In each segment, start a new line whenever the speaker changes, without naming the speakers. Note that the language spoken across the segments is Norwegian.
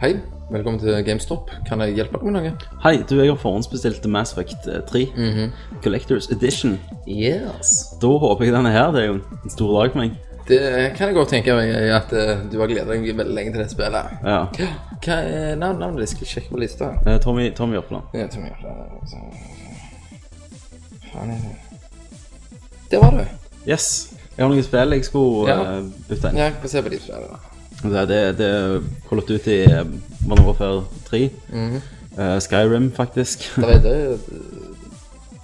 Hei, velkommen til GameStop. Kan jeg hjelpe deg med noe?
Hei, du, jeg har forhåndsbestilt Mass Effect eh, 3
Mhm.
Collectors Edition.
Yes.
Da håper jeg denne her. Det er jo en stor dag for meg.
Det kan jeg godt tenke meg at eh, du har gledet deg veldig lenge til det spillet.
Ja.
Ja, Hva er navn- navnet ditt? Skal jeg sjekke på lista?
Eh, Tommy, Tommy Jørpeland.
Ja, jeg tror jeg gjør det. Så- Faen er det Der var du.
Yes. Jeg har noen spill jeg skulle
Ja.
eh, bytte inn.
Ja, få se på de spillene.
Det, det, det er Call of Duty eh, Modern Warfare 3.
Mhm.
Eh, Skyrim, faktisk.
Der er det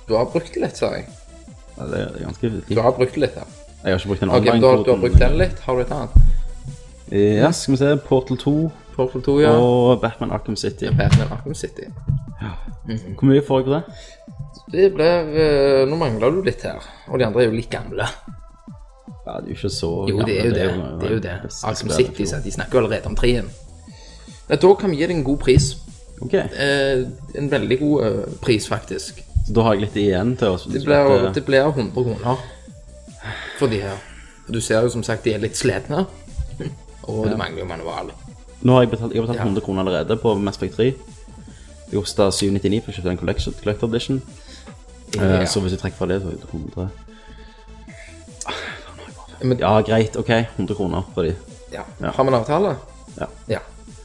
Du har brukt det litt, sa jeg.
Ja, det er ganske
Du
fint.
har brukt det litt, ja.
Jeg har ikke brukt den
Ok, men du har, du har
online-koden.
brukt den litt. Har du et annet?
Eh, Ja, skal vi se. Portal 2
Portal 2, ja.
og Batman Arkham City.
Batman Arkham City. Mhm.
Hvor mye får jeg for det?
Det blir eh, Nå mangler du litt her. Og de andre er jo litt gamle.
Ja, det er jo ikke så
Jo, det er jo det. Det er jo det. Arkham City, så de snakker jo allerede om treen. Ja, Da kan vi gi deg en god pris.
Ok,
Eh, en veldig god eh, pris, faktisk.
så da har jeg litt igjen til eh, oss.
Det blir, det blir 100 kroner for de her. Og Du ser jo som sagt de er litt slitne. Og det mangler jo manual.
Nå har jeg betalt, jeg har betalt
Ja.
100 kroner allerede på Mass Effect 3. Det kosta 799 for å kjøpe en collection, collector edition. Eh,
Ja.
Så hvis jeg trekker fra det, så er det 100
Men-
Ja, greit. Ok, 100 kroner for de.
Ja.
Ja.
Har vi en avtale?
Ja.
Ja.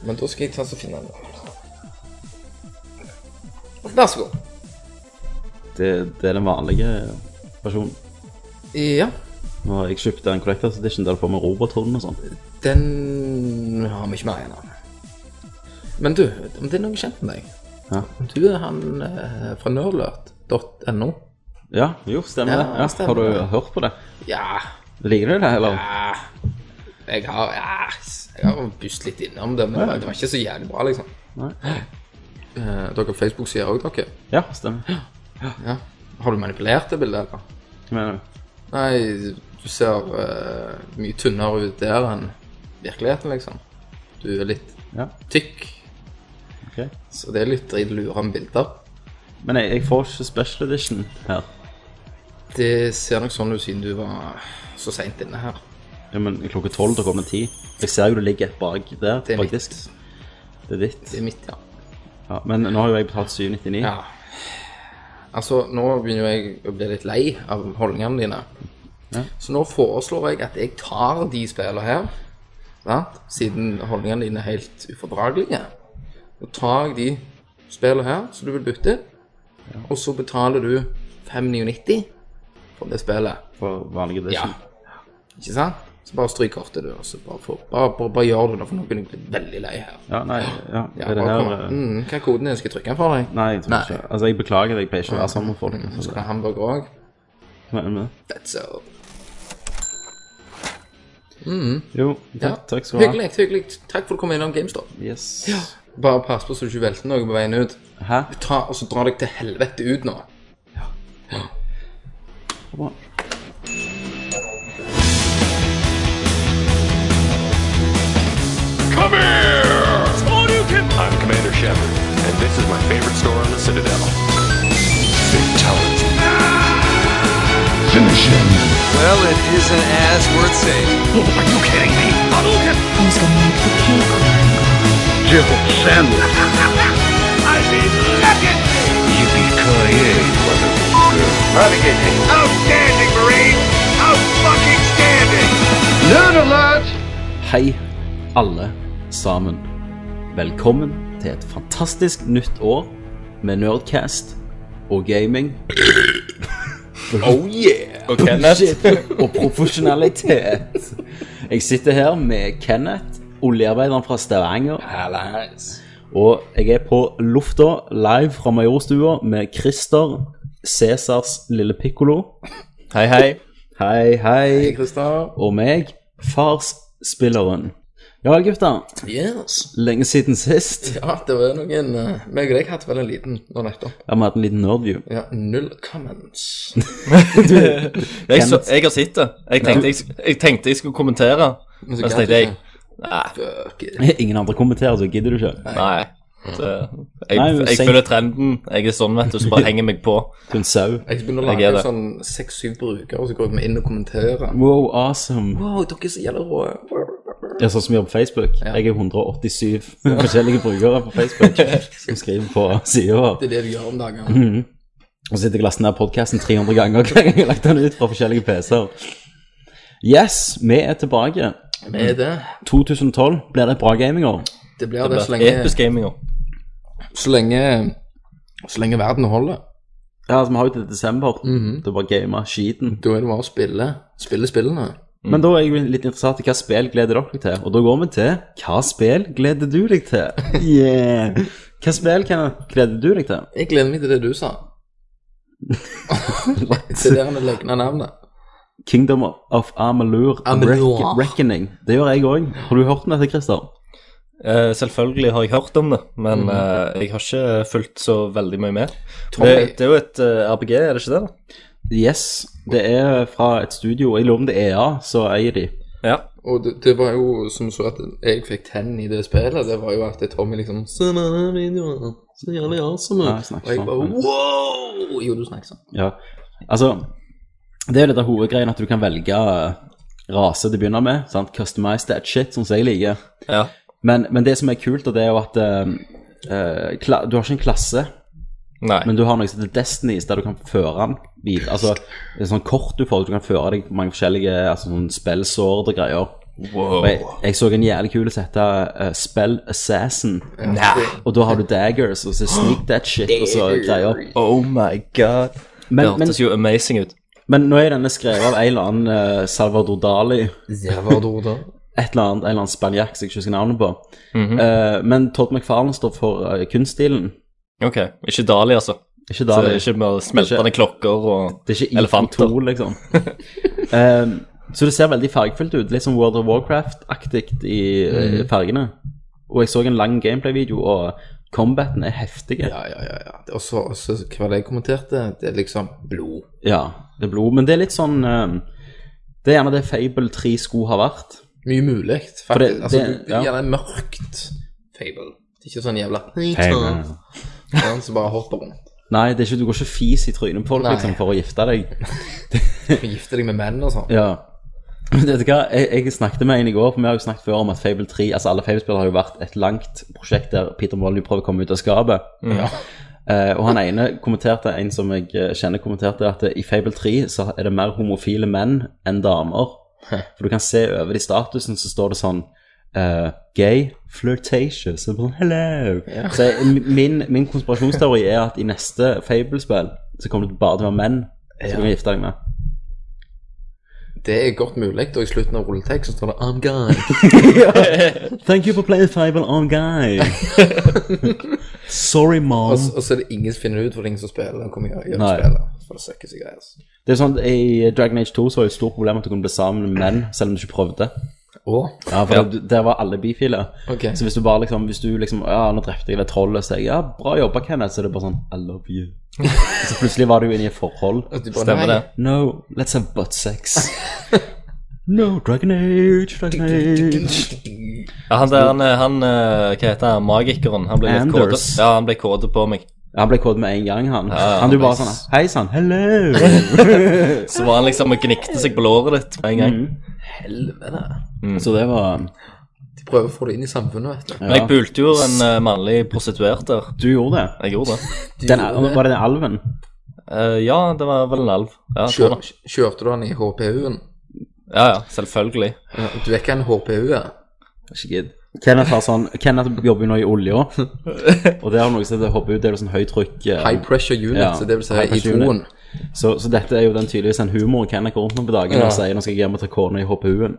Men da skal jeg ta så finne den. Vær så god.
Det, det er den vanlige versjonen.
Ja.
Nå har jeg kjøpt en collectors edition der du får med robothund og sånn.
Den har vi ikke mer igjen av. Men du, om det er noen kjent med deg
Ja.
Om du er han eh, fra nerdlert.no?
ja, jo, stemmer
Ja,
det. Ja,
stemmer
har du
det.
hørt på det?
Ja.
Liker du det, eller?
ja. Jeg har ja, Jeg har bust litt innom det, men det var- det var ikke så jævlig bra, liksom.
Nei.
Eh, dere har Facebook-sider òg, dere?
Ja, stemmer. Hva
Ja. Har du manipulert det bildet, eller?
mener du?
Nei, du ser eh, mye tynnere ut der enn virkeligheten, liksom. Du er litt
Ja,
tykk,
ok.
så det er litt drit å lure med bilder.
Men jeg, jeg får ikke special edition her.
Det ser nok sånn ut siden du var så seint inne her.
Ja, men klokka tolv til klokken ti. Jeg ser jo det ligger et bak der,
Det er mitt.
faktisk. Det er ditt.
Det er mitt, ja.
Ja, men nå har jo jeg betalt 799.
ja. Altså, nå begynner jo jeg å bli litt lei av holdningene dine.
Ja.
Så nå foreslår jeg at jeg tar de spillene her, sant? siden holdningene dine er helt ufordragelige. Så tar jeg de spillene her som du vil bytte, og så betaler du 599 for det spillet.
For vanlig edition.
Ikke sant? Så bare stryk kortet, du. Og så bare, få- bare, bare, bare gjør du det, for nå begynner jeg å bli veldig lei her.
Ja, nei, ja.
Ja,
er det
bare
her...
kom an.
eh,
mm, Hva er koden din? Skal jeg trykke den for deg?
Nei, jeg tror
Nei. Mm.
ikke. Altså, jeg beklager det. Jeg pleier ikke å være sammen med folk.
Så
Altså,
skal jeg ha hamburger òg.
men, men.
That's all.
Jo, takk,
Ja.
takk skal du ha.
Hyggelig, hyggelig. Takk for at du kom innom GameStop.
Yes.
Bare pass på så du ikke velter noe på veien ut.
Hæ?
Ta, og så dra deg til helvete ut nå.
Bra.
Come here! I'm Commander Shepard, and this is my favorite store on the Citadel. Fatality. Finish him.
Well, it isn't as worth saying.
Oh, Are you kidding me?
Who's gonna make the cake line?
I mean, look at me! Yippee-ki-yay, motherfucker. Navigating. Outstanding, Marine! Out-fucking standing!
Hei, alle sammen. Velkommen til et fantastisk nytt år med Nerdcast og gaming.
Oh yeah!
og Kenneth og profesjonalitet. Jeg sitter her med Kenneth, oljearbeideren fra Stavanger,
Allies.
og jeg er på lufta live fra Majorstua med Christer, Cæsars lille pikkolo. Hei, hei. Hei, hei.
Hei, Christer.
Og meg, farsspilleren. Ja, gutter.
Yes.
Lenge siden sist.
Ja, det var noen eh, Meg og deg hadde vel en liten nå nettopp.
Ja, Vi har hatt en liten nerdview.
Ja, null comments.
Jeg, så, jeg har sett det. Jeg tenkte jeg, sk- jeg tenkte jeg skulle kommentere.
Men
Men så tenkte jeg Nei.
Fuck it.
Ingen andre kommenterer, så gidder du ikke.
nei. Det,
Nei,
jeg
men
jeg
senk-
følger trenden. Jeg er sånn, vet du, som bare henger meg på.
Du er en sau.
Jeg begynner å
Jeg er
lage
det.
sånn seks-syv brukere, og så går vi inn og kommenterer.
Wow, awesome.
Wow, dere er så jævla rå.
Ja, sånn som vi gjør på Facebook. Jeg er 187 forskjellige brukere på Facebook som skriver på sida vår.
Det er det du gjør om dagen.
Og så sitter jeg og laster ned podkasten 300 ganger hver gang jeg har lagt den ut fra forskjellige PC-er. Yes, vi er tilbake.
Med det.
2012 blir det et bra gamingår.
Det blir det, så, lenge,
Episk gaming også.
så lenge Så lenge verden holder.
Ja, altså, vi har jo til desember. Det er bare å game skiten.
Da er det bare å spille spille spillene.
Men da er jeg jo litt interessert i hva spill gleder dere deg til. Og da går vi til hva spill gleder du deg til? Yeah. Hva spill Kenneth, gleder du deg til?
Jeg gleder meg til det du sa. til det han løgna navnet.
Kingdom of Amalur
Amalur.
Reck- Reckoning. Det gjør jeg òg. Har du hørt om dette, Christer?
Eh, selvfølgelig har jeg hørt om det, men eh, jeg har ikke fulgt så veldig mye med. Det,
Tommy.
det er jo et eh, RPG, er det ikke det? da?
Yes. Det er fra et studio. Jeg lurer om det er EA, så eier de.
Ja.
Og det, det var jo som så at jeg fikk tenn i det spillet. Det var jo at Tommy liksom Se meg den videoen. Så jævlig awesome.
Nei, jeg
ut." Og
snakker
jeg
sånn.
bare wow! Jo, du snakker sånn.
Ja, altså Det er jo dette hovedgreien at du kan velge eh, rase til å begynne med. sant? Customize that shit, sånn som jeg liker.
ja.
Men, men det som er kult, og det er jo at eh, eh, kla du har ikke en klasse,
Nei.
men du har noe som heter Destinies, der du kan føre den videre. Altså, det er sånn kort du får, du kan føre deg på mange forskjellige altså, sånn spillsord og greier.
wow.
Og jeg, jeg så en jævlig kul som heter eh, Spell Assassin.
Nei.
Og da har du daggers, og så sneak that shit, og så greier.
Oh my god. det
Men, men,
hørtes jo amazing ut.
men nå er denne skrevet av en eller annen eh, Salvador Dali.
Jævla da.
et eller annet, en eller annen spanjakk som jeg ikke husker navnet på.
Mhm.
Eh, men Todd McFarlane står for eh, kunststilen.
Ok, ikke Dali, altså.
Ikke
Så
Dali.
det er ikke med smeltende klokker og
det er ikke
elefanter.
elefanter. Liksom. Eh, så det ser veldig fargefullt ut. Litt som World of Warcraft-aktig i eh, fargene. Og jeg så en lang gameplay-video, og combaten er heftig. Ja.
Ja, ja, ja. ja. Og så, og så hva var det jeg kommenterte? Det er liksom blod.
det er blod. Men det er litt sånn eh, Det er gjerne det Fable 3 skulle ha vært.
Mye mulig, faktisk.
det-
altså,
det-
det, det,
ja.
er gjerne mørkt fable. Det er ikke sånn jævla Sånn som bare hopper rundt.
Nei, det er ikke, du går ikke fis i trynet på folk
Nei.
liksom, for å gifte deg.
Du Gifter deg med menn og sånn.
Ja. Men Vet du hva, jeg, jeg snakket med en i går, for vi har jo snakket før om at Fable 3 Altså alle Fable-spill har jo vært et langt prosjekt der Peter Molly prøver å komme ut av skapet. Eh, og han ene kommenterte, en som jeg eh, kjenner kommenterte, at i Fable 3 så er det mer homofile menn enn damer. For du kan se over i statusen, så står det sånn eh, gay, flirtatious, og bare, sånn, hello. Så jeg, min, min konspirasjonsteori er at i neste Fable-spill så kommer det bare til å være menn som du kan gifte deg med.
Det er godt mulig, og i slutten av rulletekst så står det I'm gone.
Thank you for playing Fable on Guy. Sorry, mom.
Og, så- og så er det ingen som finner ut hvor det er ingen som spiller. Hvor mye gjør
Nei.
spiller. For det søkker seg greier. altså.
Det er sånn, at I Dragon Age 2 så var det et stort problem at du kunne bli sammen med menn, selv om du ikke prøvde.
Og
Ja, for Der, der var alle bifile.
Ok.
Så hvis du bare liksom hvis du liksom, ja, nå drepte jeg det trollet, så jeg, ja, bra jobba, Kenneth, så er det bare sånn, I love you. så plutselig var du inne i et forhold.
at de bare,
Stemmer
nei.
det.
No, let's have butt sex. no, Dragon Age, Dragon Age.
Ja, han der, han, eh, han eh, hva heter han, magikeren? Han ble litt kåte.
Anders.
Ja, han ble kåte på meg.
Han ble kåt med en gang, han.
Ja,
han du bare
nice.
sånn, hei sann, hello.
Så var han liksom og gnikte seg på låret ditt med en gang.
Helvete.
Så det var
De prøver å få det inn i samfunnet, vet du.
Men jeg pulte jo en eh, mannlig prostituert der.
Du gjorde det.
Jeg gjorde det.
Den, var det den alven?
Eh, ja, det var vel en alv. Ja, jeg tror
Kjør,
det.
kjørte du han i HPU-en?
ja, ja selvfølgelig.
Ja, Du vet hva en HPU er?
Ikke gidd. Kenneth, har sånn, Kenneth jobber jo nå i olja, og det har noe som heter HPU. Det er jo sånn høytrykk eh,
High pressure unit,
Ja,
så det vil si
high
i
pressure unit.
troen.
så, så dette er jo den tydeligvis en humor Kenneth går rundt med på dagen
Ja.
og sier nå skal jeg hjem og ta kona i HPU-en.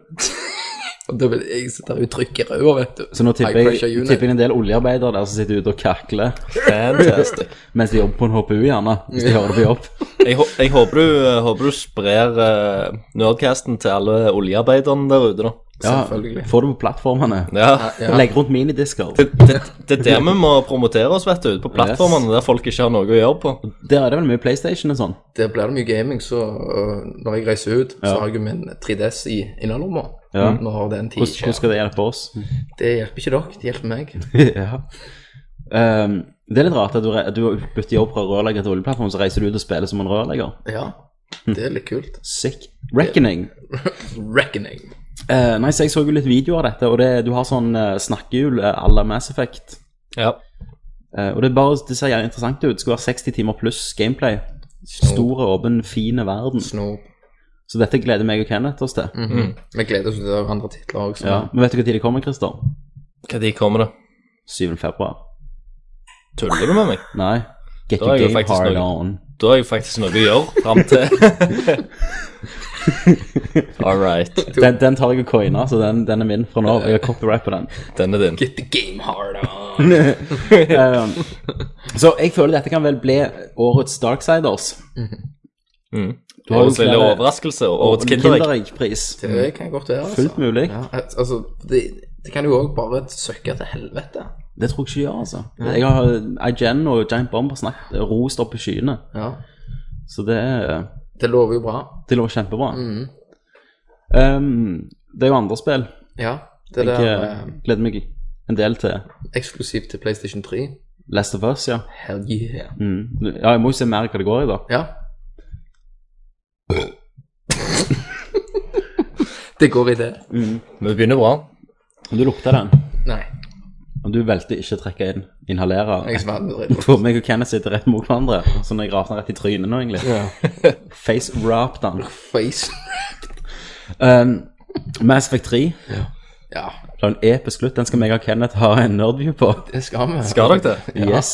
Og da vil jeg sitte og trykke i røda, vet du.
Så nå tipper
High
jeg,
pressure unit.
tipper jeg en del oljearbeidere der som sitter ute og kakler eh,
Fantastic.
mens de jobber på en HPU, gjerne. Hvis de hører det på jobb.
Jeg, hå- jeg håper, du, eh, håper du sprer eh, Nerdcasten til alle oljearbeiderne der ute, da.
Ja,
Selvfølgelig.
Får det på plattformene.
Ja.
Ja.
Legg rundt minidisker.
Det, det, det er der vi må promotere oss, vet du. På plattformene der folk ikke har noe å gjøre på.
Der er det vel mye PlayStation og sånn.
Der blir det mye gaming, så øh, når jeg reiser ut, så har jeg jo min 3DS i innerlomma.
Ja.
Når den tid
Hvordan, hvordan
skjer.
skal det hjelpe oss?
Det hjelper ikke dere, det hjelper meg.
ja. Ehm, det er litt rart at du, re- du bytter jobb fra rørlegger til oljeplattform, så reiser du ut og spiller som en rørlegger.
Ja, det er litt kult.
Sick. Reckoning.
Reckoning.
Eh, nei, så jeg så jo litt video av dette, og det, du har sånn eh, snakkehjul eh, à la Mass Effect.
Ja.
Eh, og det, er bare, det ser jævlig interessant ut. Det Skulle være 60 timer pluss gameplay. Stor, åpen, fin verden.
Snop.
Så dette gleder meg og Kenneth oss til.
Mm.
Mhm. Vi gleder oss til det er andre titler også.
Mm. Ja. Men vet du hva tid det kommer, Christer?
Hva de kommer det?
7. februar.
Tuller du med meg?
Nei. Get
Da er
your
jo
game
faktisk
hard
noe.
on.
Da har jeg faktisk noe å gjøre fram til All right.
Den, den tar jeg og coina, så den, den er min fra nå av. Jeg har copyright på den.
Den er din.
Get the game hard on.
Ehm, Så jeg føler dette kan vel bli årets Darksiders. Du har jo
Mm. Årets lille
flere-
overraskelse. og Årets kinderegg.
Kinderegg-pris.
det kan godt være, altså.
Fullt mulig.
Ja, al- altså, det, det kan jo òg bare søkke til helvete.
Det tror jeg ikke de gjør, altså. Jeg har IGN og Giant Bomb har snakket rost opp i skyene.
Ja.
Så det, er-
Det lover jo bra.
det lå kjempebra.
Mm.
Um, det er jo andre spill.
Ja. Det
Jeg
der
eh,
eh,
gleder meg en del til
eksklusivt til PlayStation 3.
Last of Us, ja.
Hell yeah.
Mm. Ja, jeg må jo se mer hva det går i, da.
Ja. det går i det.
Vi begynner bra.
Men Du lukta den,
Nei.
og du valgte ikke å trekke inn, inhalere.
Jeg er svært nedredd.
For meg og Kenneth sitter rett mot hverandre, så når jeg raser rett i trynet nå, egentlig. Face wrapped down.
Face.
Um, Mass Effect 3
Ja,
det er en episk slutt. Den skal meg og Kenneth ha en nerdview på.
det skal vi.
Skal dere det?
Yes.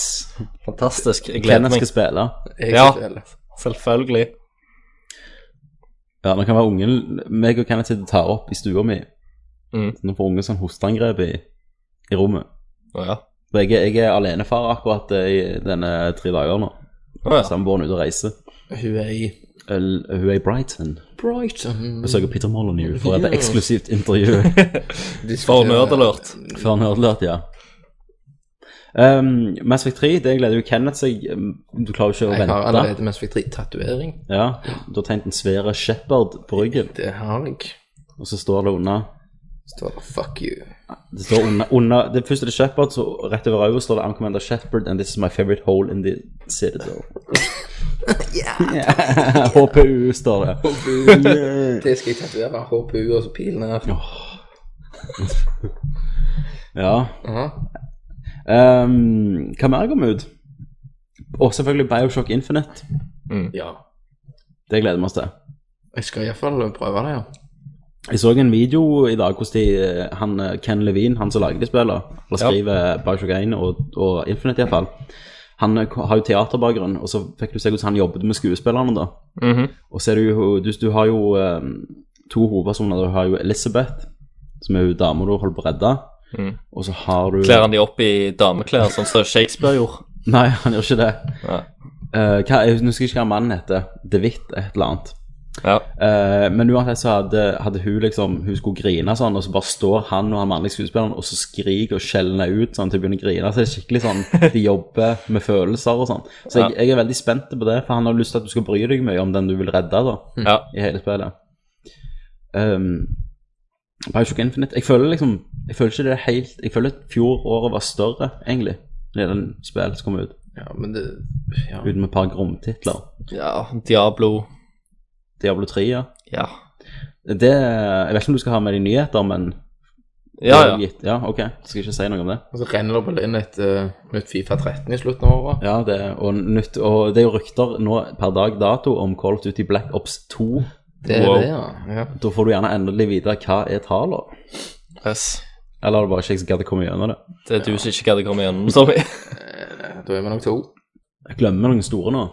Fantastisk. Jeg gleder
Kenneth
meg.
skal spille.
Jeg
Ja.
skal spille.
Selvfølgelig.
Ja, nå kan være ungen Meg og Kenneth sitter og tar opp i stua mi.
Mm.
Nå får ungen sånn hosteangrep i, i rommet.
Å ja.
For jeg, er- jeg er alenefar akkurat eh, i denne tre dager nå.
Å ja.
Samboeren er ute og reiser.
Hun er i
Øl- Hun er i Brighton.
Brighton.
Altså,
Besøker Peter Molyneux for et eksklusivt intervju.
For nerdalert.
Før han hørte det, ja. Um, Mass Effect 3, det gleder jo Kenneth seg um, Du klarer jo ikke å
Jeg har
vente.
allerede mens vi fikk tatovering.
Ja, Du har tegnet en svær shepherd på ryggen,
Det har jeg.
og så står det under
Står det 'fuck you'.
Det står under, under det første er det shepherd, så rett over øyet står det 'I'm Commander Shepherd, and this is my favorite hole in the citadel'. yeah. HPU står det.
Det skal jeg tatovere. HPU og så pilen her.
Ja.
Aha.
Um, hva mer kommer ut? Og selvfølgelig Bioshock Infinite.
Ja.
Det gleder vi oss til.
Jeg skal iallfall prøve det, ja.
Jeg så en video i dag hvordan de, han, eh, Ken Levine, han som lager de spillene, eller skriver Bioshock 1 og, og Infinite iallfall, han eh, har jo teaterbakgrunn, og så fikk du se hvordan han jobbet med skuespillerne da. Og så er det jo, du, du har jo eh, to hovedpersoner. Du har jo Elizabeth, som er jo dama du holder på å redde, og så har du
Kler han de opp i dameklær, sånn som Shakespeare gjorde?
Nei, han gjør ikke det.
Ja.
Eh, hva, jeg husker ikke hva mannen heter. DeWitt et eller annet.
Ja.
Eh, men uansett så hadde, hadde hun liksom Hun skulle grine sånn, og så bare står han og han mannlige skuespilleren og så skriker og skjelner ut sånn til hun begynner å grine. Så det er skikkelig sånn De jobber med følelser og sånn. Så jeg, jeg er veldig spent på det, for han har lyst til at du skal bry deg mye om den du vil redde da,
ja.
i hele spillet. Um, Bioshock Infinite Jeg føler liksom Jeg føler ikke det er helt Jeg føler at fjoråret var større, egentlig, når det er den spillet som kom ut.
Ja, men det Ja.
Uten med et par gromtitler.
ja. Diablo.
Diablo 3, ja.
Ja.
Det, jeg vet ikke om du skal ha med deg nyheter, men
Ja,
Det er jo
ja.
gitt. ja, ok. Skal ikke si noe om det.
Og så renner det vel inn et eh, nytt Fifa 13 i slutten av året.
Ja, det, og, nytt, og det er jo rykter nå per dag dato om Call of Duty Black Ops 2.
Det er
Wow.
det, ja. ja.
Da får du gjerne endelig vite hva er tallene.
Yes.
Eller er det bare ikke jeg som gadd å komme gjennom det?
Det er du som ikke gadd å komme gjennom, Tommy.
Eh, Da er vi nok to.
Jeg glemmer noen store nå.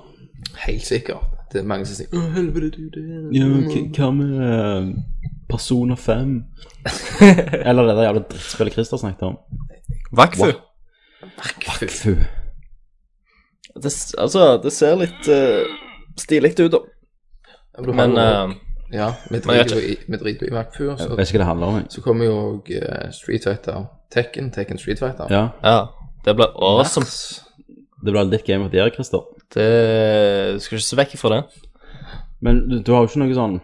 Helt sikkert. Det er mange som sier 'Å, helvete, du, det er
Ja, men k- hva med eh, Persona 5? Eller det der jævla drittspillet Christer snakket om.
Vakfu.
Fuck.
Fu.
Det, s- altså, det ser litt uh, stilig ut, da.
Men, du har
Men
jo-
eh,
Ja, vi
men jeg
driter jo i- vi driter jo i Vakfur.
Jeg
Så,
vet ikke hva det handler om. jeg.
så kommer jo eh, Street Fighter. Tekken, Tekken Street Fighter.
Ja,
ja. Det blir awesome.
Det blir ditt game of the year, Christer.
Det eh, skal ikke se vekk ifra det.
Men du, du har jo ikke noe sånn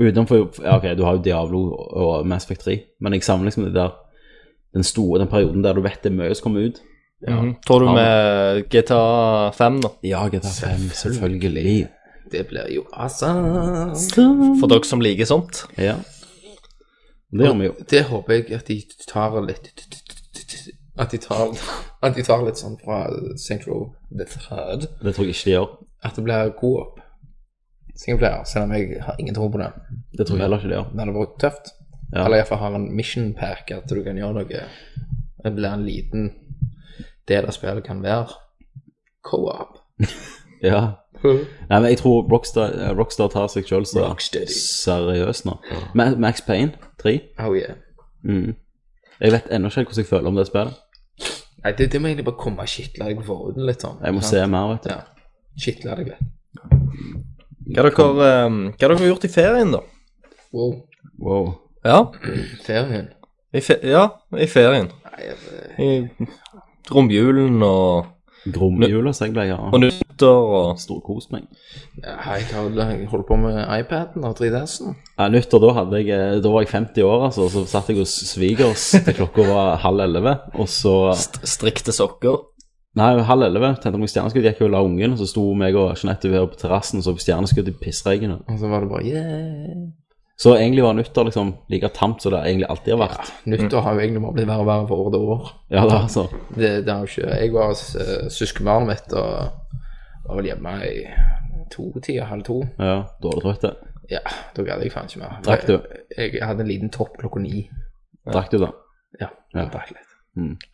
Utenfor ja, Ok, du har jo Diablo og Mass Effect 3, men jeg savner liksom det der den store den perioden der du vet det er mye som kommer ut.
Mhm. Tror du med GTA 5, da?
Ja, GTA 5, selvfølgelig.
Det blir jo awesome.
For dere som liker sånt.
Ja. Det gjør vi jo.
Det håper jeg at de tar litt At de tar, at de tar litt sånn fra St. Roe the Third.
Det tror jeg ikke de gjør.
At det blir god opp. Singleplayer, selv om jeg har ingen tro på det.
Det tror jeg heller ikke de gjør.
Men det hadde vært tøft.
Ja.
Eller iallfall har en mission pack, at du kan gjøre noe Det blir en liten del av spillet kan være co-op.
Ja. Nei, men jeg tror Rockstar, eh, Rockstar tar seg selv så
Rocksteady.
seriøst nå. Ma- Max Payne 3.
Oh yeah.
Jeg vet ennå ikke helt hvordan jeg føler om det spillet.
Nei, det, det må egentlig bare komme og kitle deg foruten litt sånn.
Jeg må
sant?
se mer, vet du.
Ja. Kitle deg litt.
Hva dere, eh, hva dere har gjort i ferien, da?
Wow.
Wow.
Ja,
Ferien.
i, fe ja, i ferien.
Nei, jeg-
I romjulen og,
Gromjula, så jeg ble ja.
og nyttår og
Storkost meg.
Ja, jeg har jeg holdt på med iPaden og 3DS-en.
Ja, nyttår, da, hadde jeg, eh, da var jeg 50 år, altså. Så satt jeg hos svigers til klokka var halv elleve. Og så
st strikte sokker.
Nei, halv elleve tente jeg meg stjerneskudd, gikk jo og la ungen, og så sto meg og Jeanette her på terrassen og så på stjerneskudd i pissregnet.
Og så var det bare yeah.
Så egentlig var nyttår liksom like tamt som det egentlig alltid har vært.
Nyttår har jo egentlig bare blitt verre og verre for år til år.
Ja, da, altså.
Det, det har jo ikke Jeg var hos eh, søskenbarnet mitt og var vel hjemme i to-tida, halv to.
Ja, dårlig trøtt. det.
Ja, da gadd jeg faen ikke mer.
Drakk du?
Jeg, jeg hadde en liten topp klokka ni.
Drakk du, da?
Ja,
Ja.
jeg drakk litt.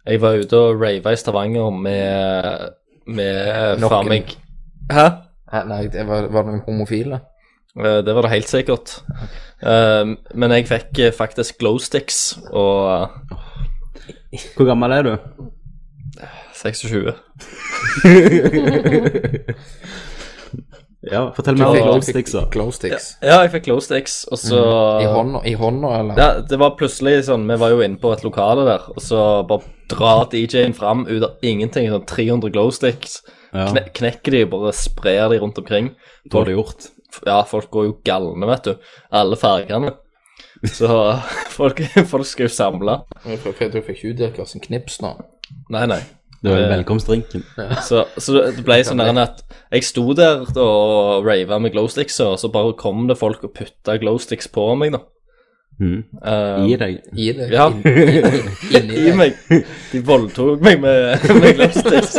Jeg var ute og rava i Stavanger med, med eh,
Noen.
faen meg Hæ?
Nei, Nei, det var, var det noen homofile?
Eh, Det var det helt sikkert. Eh, men jeg fikk eh, faktisk glow sticks og
Hvor gammel er du?
eh, 26.
Ja, fortell meg om
Fikk-
glow
fikk
sticks, da.
glow sticks.
Ja, jeg fikk glow sticks, og så
Mhm. I hånda, i hånda, eller?
ja, Det var plutselig sånn Vi var jo inne på et lokale der, og så bare drar DJ-en fram ut av ingenting. Sånn 300 glow sticks.
Ja,
Kne knekker de og bare sprer de rundt omkring.
dårlig gjort.
Ja, folk går jo galne, vet du. Alle fargene. Så folk, folk skal jo samle.
Jeg tror jeg tror jeg fikk utdelt oss en knips nå.
Nei, nei.
Det var velkomstdrinken.
Så, så det ble sånn der at jeg sto der da og rava med glowsticks, og så bare kom det folk og putta glowsticks på meg, da.
Mhm.
Eh,
Gi deg.
Gi det
Ja.
inn- inn- inni
I meg. De voldtok meg med, med glowsticks.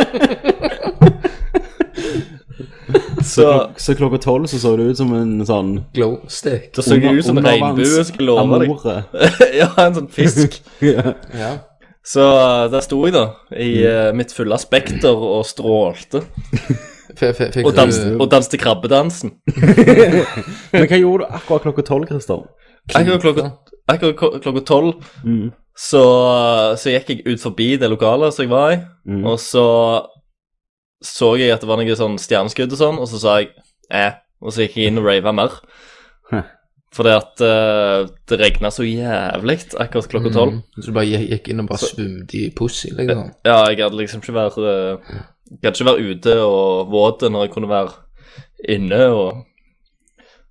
Så
Klok så klokka tolv så så du ut som en sånn
glow stick.
da så jeg ut som en
undervanns-
regnbue, skal jeg love deg.
amore.
Ja, en sånn fisk.
Ja.
Så eh, der sto jeg, da, i eh, mitt fulle spekter og strålte.
F f- fikk
Og,
du-
dans, og danste krabbedansen.
Men hva gjorde du akkurat klokka tolv, Christer?
Akkurat klokka, akkurat ko- klokka tolv så, så gikk jeg ut forbi det lokalet som jeg var i, og så så jeg at det var noe sånn stjerneskudd og sånn, og så sa jeg eh, og så gikk jeg inn og rava mer.
Hæ.
Fordi at eh, det regna så jævlig akkurat
Mm.
klokka tolv.
Så du bare gikk- gikk inn og bare svømte i pussy, liksom?
Ja, jeg hadde liksom ikke vært eh, jeg Gadd ikke være ute og våt når jeg kunne være inne og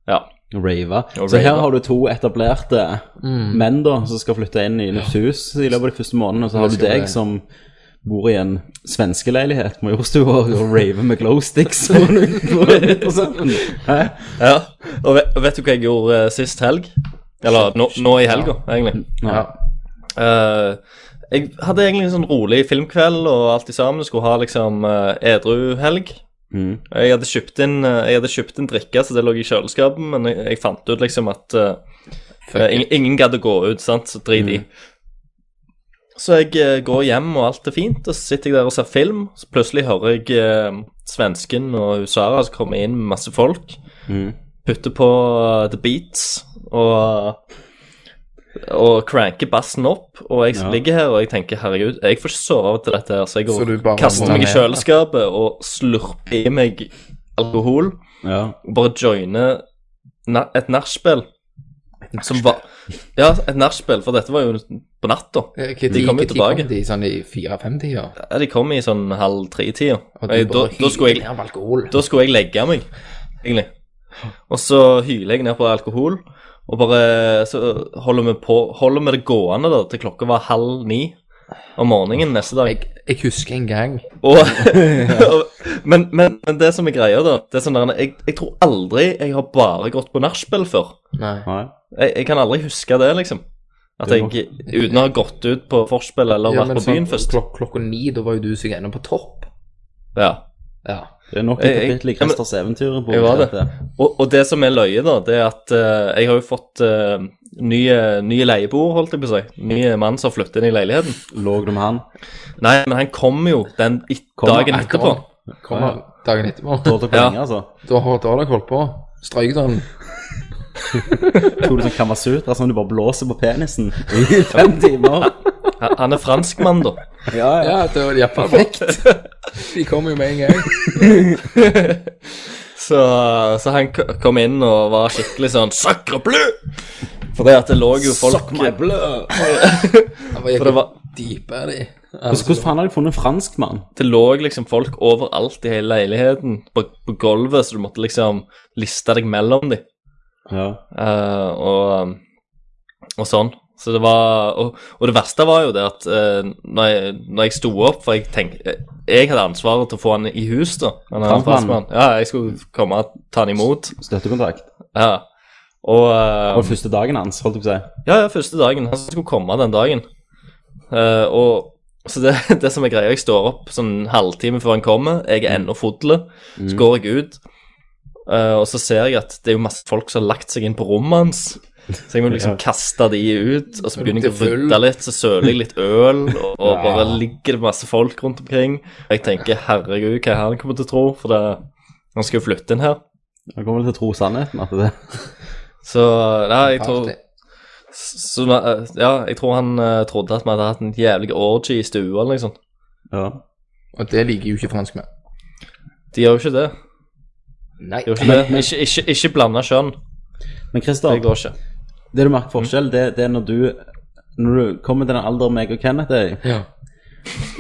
Ja.
Rave.
Og
Så her
rave.
har du to etablerte
Mm.
menn da, som skal flytte inn i nytt hus i løpet av de første månedene. Og så har du
skal
deg
det.
som bor i en svenskeleilighet på Majorstua og raver med glow sticks. og noe- noe nytt og sånn. Hæ?
ja. Og vet, vet du hva jeg gjorde eh, sist helg? Eller nå, nå i helga, egentlig.
Ja.
Eh, jeg hadde egentlig en sånn rolig filmkveld og alt i sammen. Skulle ha liksom eh, edru helg.
Mhm.
Jeg hadde kjøpt inn, eh, jeg hadde kjøpt inn drikke, så det lå i kjøleskapet, men jeg, jeg fant ut liksom at eh, eh, ingen, ingen gadd å gå ut, sant, så drit i. Så jeg eh, går hjem, og alt er fint, og så sitter jeg der og ser film. Så plutselig hører jeg eh, svensken og hun Sara som kommer inn med masse folk.
Mm.
Putter på eh, The Beats og og cranker bassen opp, og jeg
Ja.
ligger her og jeg tenker herregud, jeg får ikke sove til dette her, så jeg går,
Så du bare
kaster meg i
må-
kjøleskapet og slurper i meg alkohol
ja.
og bare joiner na- et nachspiel. Som var Ja, et nachspiel, for dette var jo på natta.
De
kom jo tilbake.
Kom de sånn i fire-fem-tida.
Ja, De kom i sånn halv tre-tida.
Og
Jeg-
du
Da,
bare
da,
hylte
skulle jeg-
ned med alkohol.
da skulle jeg legge meg, egentlig. Og så hyler jeg ned på alkohol, og bare så holder vi på Holder vi det gående da, til klokka var halv ni om morgenen neste dag.
Jeg, jeg husker en gang
Og, og- men, men, men det som er greia, da det er sånn der, jeg, jeg tror aldri jeg har bare gått på nachspiel før.
Nei.
Nei.
Jeg, jeg kan aldri huske det, liksom. At jeg, uten å ha gått ut på forspill eller vært på
sånn-
byen først.
klok klokka ni, da var jo du som gikk enda på topp.
Ja.
Ja.
Det er nok
Jeg-
et
jeg-
kapittel i
ja, men-
Christers eventyr. på
Jeg var det.
dette.
Og, og det som er løye, da, det er at eh, jeg har jo fått eh, nye, nye leieboer, holdt jeg på å si. Nye mann som har flyttet inn i leiligheten.
Lå du med han?
Nei, men han kom jo den i-
Kommer
dagen
han,
etterpå.
Kommer dagen etterpå.
Da holdt dere på
Ja.
lenge, altså?
Da har da har dere holdt på. Strøyk den.
Tok du sånn Kamasutra som du bare blåser på penisen i fem timer?
Han, han er franskmann, da.
Ja, ja.
Ja, det var ja, perfekt. De kommer jo med en gang.
Så, så han k- kom inn og var skikkelig sånn Sacre bleu! For det at det lå jo folk
Det var
For det var
dype, de.
Altså, hvordan faen har de funnet en franskmann?
det lå liksom folk overalt i hele leiligheten, på, på gulvet, så du måtte liksom liste deg mellom dem.
Ja.
Eh, og, og sånn. Så det var Og, og det verste var jo det at eh, når, jeg, når jeg sto opp For jeg tenkte Jeg hadde ansvaret til å få han i hus, da. Han er en
Franskmann.
franskmann. Ja, jeg skulle komme og ta han imot.
Støttekontakt.
Ja. Og
Det var
eh,
første dagen hans, holdt jeg på å si.
ja, ja, første dagen. Han skulle komme den dagen. Eh, og så det, det som er greia, jeg står opp sånn en halvtime før han kommer. Jeg
Mm.
er ennå fodlet. Så går jeg ut, eh, og så ser jeg at det er jo masse folk som har lagt seg inn på rommet hans. Så jeg må liksom
Ja.
kaste de ut, og så begynner jeg å
Lukter øl.
rydde litt. Så søler jeg litt øl, og, og
Ja.
bare ligger det masse folk rundt omkring. Jeg tenker herregud, hva er han kommer til å tro? For det, han skal jo flytte inn her.
Han kommer vel til å tro sannheten. at det
Så nei, jeg tror
Party.
Så da, eh, ja, jeg tror han eh, trodde at vi hadde hatt en jævlig orgy i liksom. stua, eller noe sånt.
ja.
Og det liker jo ikke franskmenn.
De gjør jo ikke det.
Nei.
De gjør ikke, det. ikke, ikke, ikke blanda kjønn.
Men Christer,
Det går ikke.
det du merker forskjell, det, det er når du når du kommer til den alderen meg og Kenneth er i,
Ja.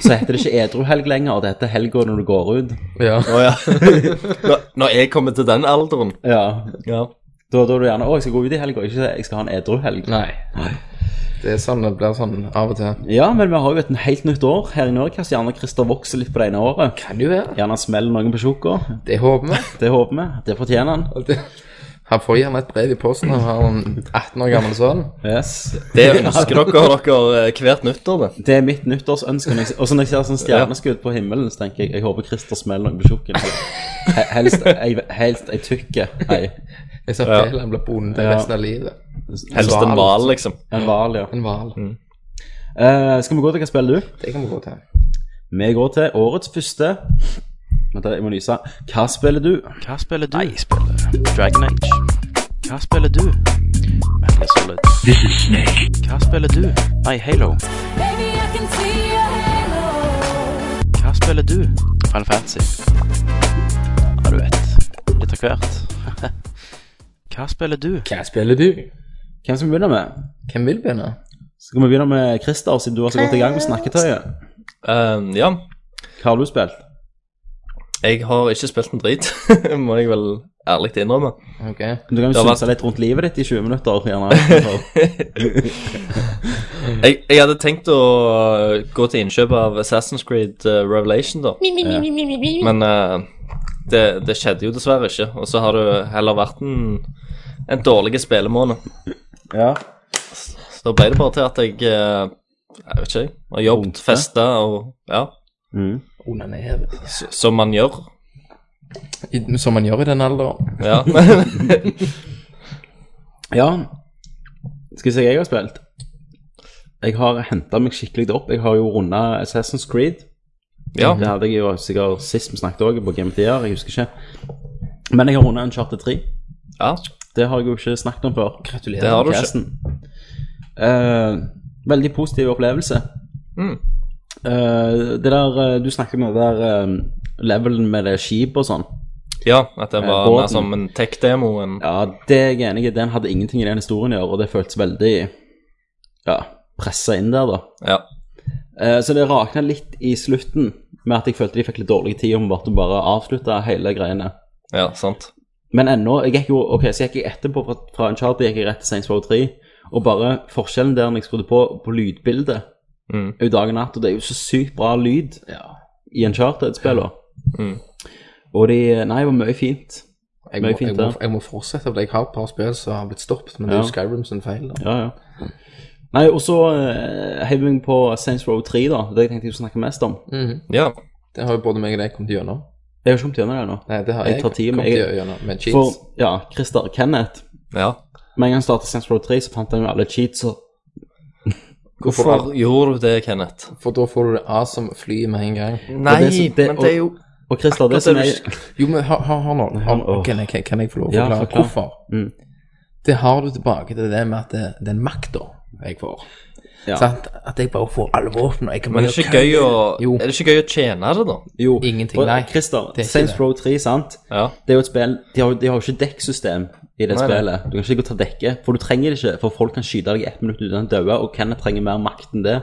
så heter det ikke edruhelg lenger, det heter helga når du går ut.
ja.
Å ja. når, når jeg kommer til den alderen
Ja.
Ja.
Da, da er du gjerne 'Å, jeg skal gå ut i helga', ikke si 'jeg skal ha en edruhelg'.
Nei. Det er sånn det blir sånn av og til.
Ja, men vi har jo et helt nytt år her i Norge, så gjerne Christer vokser litt på det ene året.
Kan jo være.
Gjerne smeller noen på tjukka.
Det håper vi.
Det håper vi. Det fortjener han.
Og det- Han får gjerne et brev i posten av han 18 år gamle sønnen.
Yes.
Det ønsker dere dere eh, hvert nyttår, det.
Det er mitt nyttårsønske. når jeg- Og så når jeg ser sånn stjerneskudd på himmelen, så tenker jeg jeg håper Christer smeller noen på tjukken. He- Helst ei- helst ei tykke ei.
Jeg sa feil, han ble bonde
Ja.
resten av livet.
Helst en
Hval.
hval, liksom.
En hval, ja.
En hval.
Eh, skal vi gå til hva spiller du?
Det kan vi gå til.
Vi går til årets første. Vent, da, jeg må nyse. Hva spiller du?
Hva spiller du? Nei, jeg spiller Dragon Age. Hva spiller du? Metal Solid. This is Snake. Hva spiller du? Nei, Halo.
Baby, I can see your halo.
Hva spiller du? Final Fantasy. Ja, du vet. Litt av hvert. Hva spiller du?
Hva spiller du?
Hvem skal vi begynne med?
Hvem vil begynne?
Skal vi begynne med Christer, siden du var så godt i gang med snakketøyet?
Eh, ja.
Hva har du spilt?
Jeg har ikke spilt en drit, må jeg vel ærlig innrømme.
Ok.
Du kan jo
Det har
synse litt rundt livet ditt i 20 minutter, gjerne.
Jeg, jeg hadde tenkt å eh, gå til innkjøp av Assassin's Creed eh, Revelation, da. Men eh, det, det skjedde jo dessverre ikke. Og så har det heller vært en, en dårlig spillemåned.
Ja.
Så da ble det bare til at jeg eh, Jeg vet ikke, jeg. Har jobbet, festa og Ja.
Mm.
Onaner.
s- Som man gjør.
I- Som man gjør i den alderen.
Ja.
Ja. Skal vi se hva jeg har spilt? Jeg har henta meg skikkelig opp. Jeg har jo runda Assassin's Creed.
ja.
Det hadde jeg jo sikkert sist vi snakket òg, på GMTR. Jeg husker ikke. Men jeg har runda Uncharted 3.
ja.
Det har jeg jo ikke snakket om før.
Det har du ikke.
Casten. Eh, veldig positiv opplevelse.
Mm.
Eh, det der eh, Du snakket om det der eh, levelen med det skipet og sånn.
ja. At det var
båten.
mer som en tech-demo enn
Ja, det er jeg enig i. Den hadde ingenting i den historien å gjøre, og det føltes veldig ja, pressa inn der, da.
Ja.
Eh, så det rakna litt i slutten, med at jeg følte de fikk litt dårlig tid om bare å bare avslutte hele greiene.
ja, sant.
Men ennå jeg gikk jo, ok, Så gikk jeg etterpå fra, fra Uncharted gikk jeg rett til Saints Row 3. Og bare forskjellen der når jeg skrudde på på lydbildet
Mm.
er jo dag og natt, og det er jo så sykt bra lyd i Uncharted-spillene.
Mm.
Og de Nei, det var mye fint.
Jeg må,
Mye fint,
jeg, må,
ja.
jeg må fortsette, for jeg har et par spill som har blitt stoppet, men det er jo
Ja.
Skyrim sin feil. da.
Ja, ja. Nei, og så eh, heiv vi meg på Saints Row 3, da. Det jeg tenkte jeg skulle snakke mest om.
Ja.
Det har jo både meg og deg kommet gjennom.
Jeg har ikke kommet gjennom det ennå.
Nei, det har
Jeg
jeg,
tar tid, men
kommet
jeg-
gjennom med
For
cheats.
ja, Christer Kenneth
ja.
Med en gang han startet Saints Row 3, så fant han jo alle cheats. Og
Hvorfor gjorde du det, Kenneth?
For, da får du det awesome flyet med en gang.
Nei,
det som- det-
men det er jo
Og Christer, det
Akkurat
som
det
er
du-
Jo, men hør hør- hør nå. Om-
åh.
Kan jeg, kan jeg få lov å
Ja,
forklare
forklar.
hvorfor?
Mm.
Det har du tilbake til det med at det, den makta jeg får.
Ja.
Sant? At jeg bare får alle våpnene. Jeg kan
Men er det
bare
ikke gøy å,
Jo.
er det ikke gøy å tjene det, da?
Jo,
Ingenting,
og
nei,
Christer,
det er ikke
Saints
det.
Row 3, sant?
Ja.
Det er jo et spill De har, jo- de har jo ikke dekksystem i det
Nei, nei.
spillet. Du kan ikke gå og ta dekke, for du trenger det ikke. For folk kan skyte deg i ett minutt uten å daue, og Kenneth trenger mer makt enn det.